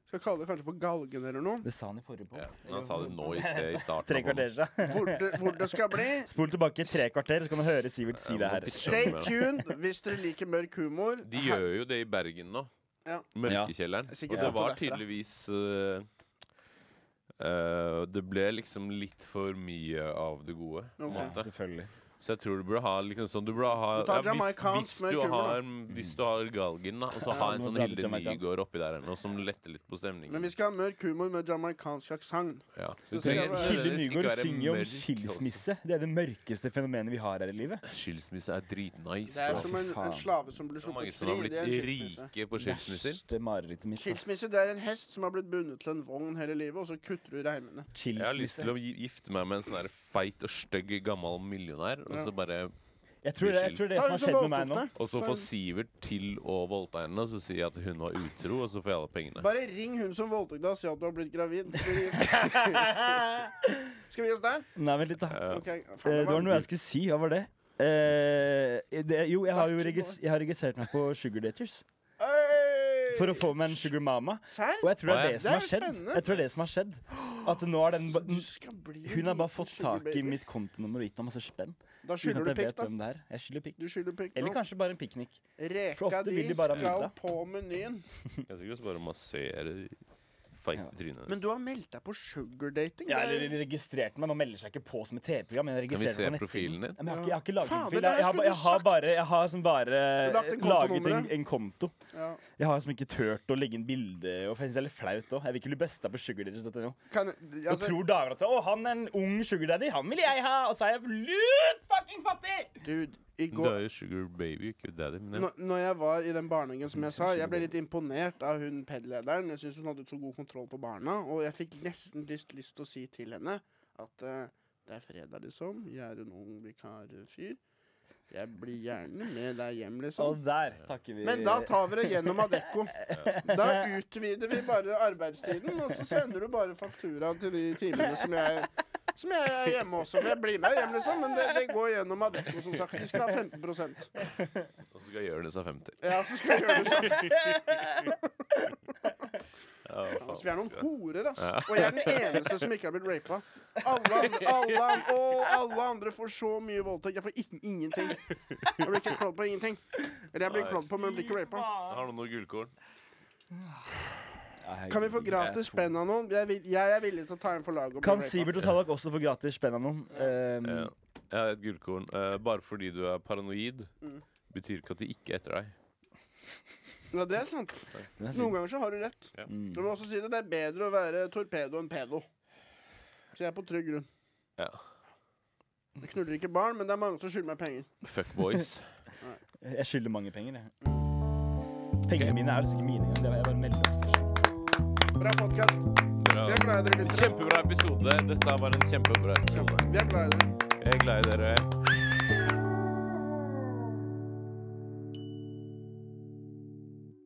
Speaker 3: Skal kalle det kanskje for Galgen eller noe.
Speaker 4: Det sa han i forrige på.
Speaker 1: Ja, men han sa det nå i sted, i starten.
Speaker 4: Tre kvarter siden.
Speaker 3: Hvor det, hvor det skal bli.
Speaker 4: Spol tilbake tre kvarter, så kan du høre Sivert si det her.
Speaker 3: Stay tuned hvis dere liker mørk humor.
Speaker 1: De gjør jo det i Bergen nå.
Speaker 3: Ja.
Speaker 1: Mørkekjelleren.
Speaker 3: Ja.
Speaker 1: Og det var tydeligvis eh, eh, Det ble liksom litt for mye av det gode. på en
Speaker 3: Ok.
Speaker 1: måte.
Speaker 4: Selvfølgelig.
Speaker 1: Så jeg tror du burde ha liksom sånn Du burde ha
Speaker 3: Du tar
Speaker 1: ja, hvis, hvis,
Speaker 3: jamaicansk med
Speaker 1: du
Speaker 3: kuler, da.
Speaker 1: har, hvis du har galgen, da, og så
Speaker 4: Ja,
Speaker 1: ha en
Speaker 4: må
Speaker 1: sånn
Speaker 4: du ha litt
Speaker 1: Hilde
Speaker 4: jamaicansk.
Speaker 1: Nygård oppi der eller noe som letter litt på
Speaker 3: Men
Speaker 1: stemningen.
Speaker 3: vi skal ha mørk humor med jamaicansk aksent.
Speaker 1: Ja.
Speaker 3: Så skal jeg være-
Speaker 4: Hilde
Speaker 1: nødvendigvis ikke
Speaker 4: Nygård
Speaker 1: være
Speaker 4: synger jo om
Speaker 1: mørk også.
Speaker 4: skilsmisse. Det er det mørkeste fenomenet vi har her i livet.
Speaker 1: Skilsmisse er dritnice.
Speaker 3: Det er
Speaker 1: bro.
Speaker 3: som en, en
Speaker 4: faen.
Speaker 3: slave som blir
Speaker 1: Det er mange
Speaker 3: sluppet
Speaker 1: som har
Speaker 3: fri. Det
Speaker 1: blitt
Speaker 3: er en skilsmisse.
Speaker 1: rike på skilsmisser.
Speaker 4: Verste marerittet mitt. ass.
Speaker 3: Skilsmisse det er en hest som har blitt bundet til en vogn hele livet, og så kutter du reimene.
Speaker 1: Jeg har lyst
Speaker 4: Skilsmisse.
Speaker 1: til å gi- gifte meg med en sånn der feit og stygg gammel millionær, og så bare
Speaker 4: Jeg tror, det, jeg tror det som har skjedd med meg nå
Speaker 1: Og så får Sivert til å voldta henne, og så sier jeg at hun var utro, og så får jeg alle pengene.
Speaker 3: Bare ring hun som voldtok deg og si at du har blitt gravid. Skal vi, skal vi gi oss der?
Speaker 4: Nei, vent litt, da.
Speaker 1: Ja.
Speaker 3: Ok,
Speaker 4: Eh,
Speaker 3: faen,
Speaker 4: det var noe jeg skulle si. Hva var det? Eh, det jo, jeg har jo regis jeg har registrert meg på Sugar Daters
Speaker 3: Øy!
Speaker 4: for å få meg en Sugar Mama.
Speaker 3: Serr?
Speaker 4: Og jeg tror det
Speaker 1: Å, ja.
Speaker 4: er det som
Speaker 3: Det
Speaker 4: har
Speaker 3: er
Speaker 4: skjedd.
Speaker 3: spennende.
Speaker 4: Jeg tror det er det som har skjedd At nå er den ba
Speaker 3: Du skal bli en
Speaker 4: Hun har bare
Speaker 3: liten
Speaker 4: fått
Speaker 3: sugar
Speaker 4: tak i
Speaker 3: baby.
Speaker 4: mitt kontonummer og gitt meg masse spenn.
Speaker 3: Da
Speaker 4: Uten
Speaker 3: skylder
Speaker 4: at
Speaker 3: du
Speaker 4: jeg
Speaker 3: pikk,
Speaker 4: vet
Speaker 3: da.
Speaker 4: hvem det er. Jeg skylder pikk.
Speaker 3: Du skylder pikk
Speaker 4: Eller
Speaker 3: nå.
Speaker 4: kanskje bare en piknik. for
Speaker 3: Reka
Speaker 4: ofte
Speaker 3: di
Speaker 4: vil de bare ha
Speaker 3: skal
Speaker 4: middag.
Speaker 3: på menyen.
Speaker 1: Jeg skal ikke bare massere feit
Speaker 4: Ja.
Speaker 1: i trynet.
Speaker 3: Men du har meldt deg på sugardating.
Speaker 4: Jeg
Speaker 3: det er-
Speaker 4: eller registrerte meg. Man melder seg ikke på som et TV-program. men Jeg
Speaker 1: Kan vi
Speaker 4: registrerer
Speaker 1: se
Speaker 4: meg på nettsiden.
Speaker 1: profilen din?
Speaker 4: Nei, men Jeg har ikke, jeg har ikke laget
Speaker 3: Faen,
Speaker 4: en
Speaker 3: det
Speaker 4: profil.
Speaker 3: der
Speaker 4: Jeg, jeg, har-
Speaker 3: skulle du
Speaker 4: jeg har
Speaker 3: sagt.
Speaker 4: bare, jeg har sånn bare
Speaker 3: lagt inn
Speaker 4: laget en,
Speaker 3: kontonummeret.
Speaker 4: en konto.
Speaker 3: Ja.
Speaker 4: Jeg har som ikke turt å legge inn bilde. Og for jeg synes det er litt flaut òg. Jeg vil ikke bli busta på sugardates.no.
Speaker 3: Kan,
Speaker 4: Og
Speaker 3: altså,
Speaker 4: tror damer at 'Å, han er en ung sugardaddy. Han vil jeg ha!' Og så er jeg lut fuckings fattig!
Speaker 3: dude, i
Speaker 1: Du
Speaker 3: går
Speaker 1: er jo sugar baby, ikke daddy. Men jeg,
Speaker 3: Når, når jeg var i den barnehagen som jeg sa, jeg ble litt imponert av hun PED-lederen. Jeg synes hun hadde så god kontroll på barna, og jeg fikk nesten lyst, lyst til å si til henne at eh, det er fredag, liksom. Jeg er en ung vikarfyr. Jeg blir gjerne med deg hjem, liksom.
Speaker 4: Og der takker vi.
Speaker 3: Men da tar vi det gjennom Adecco. Da utvider vi bare arbeidstiden, og så sender du bare faktura til de timene som jeg som jeg er hjemme også. Men jeg blir med hjem, liksom. Men det, det går gjennom Adecco, som sagt. De skal ha 15
Speaker 1: og så skal Jonis ha 50.
Speaker 3: Ja, så skal jeg gjøre det sånn.
Speaker 1: Ja, faen.
Speaker 3: Altså, vi er noen horer, ass. Og jeg er den eneste som ikke har blitt rapa. Alle andre, alle, an- å, alle andre får så mye voldtekt. Jeg får ikke, ingenting. Jeg blir ikke klådd på ingenting. Eller jeg blir klådd på, men blir ikke rapa.
Speaker 1: Har du noe gullkorn?
Speaker 3: Kan vi få gratis spenn av noen? Jeg, vil, jeg er villig til å ta en for laget og
Speaker 4: Kan
Speaker 3: bli
Speaker 4: Sivert og Tallak også få gratis spenn av noen?
Speaker 3: Mm.
Speaker 4: Um,
Speaker 1: Ja. Eh, Jeg har et gullkorn. Eh, bare fordi du er paranoid,
Speaker 3: Mm.
Speaker 1: betyr ikke at de ikke er etter deg.
Speaker 3: rapa. Ja, det er sant.
Speaker 4: den er fin.
Speaker 3: Noen ganger så har du rett. Du
Speaker 4: Mm.
Speaker 3: må også si det. Det er bedre å være torpedo enn pedo. Så jeg er på trygg grunn.
Speaker 1: Ja.
Speaker 3: Jeg knuller ikke barn, men det er mange som skylder meg penger.
Speaker 1: Fuck boys.
Speaker 4: Jeg skylder mange penger, jeg.
Speaker 3: Mm.
Speaker 4: Pengene mine er altså ikke mine engang. Det er jeg bare melder oss.
Speaker 3: Bra podkast.
Speaker 1: Bra.
Speaker 3: Vi er glad i dere. lyttere.
Speaker 1: Kjempebra episode. Dette var en kjempebra episode.
Speaker 3: Vi er glad i dere.
Speaker 1: Jeg er glad i dere.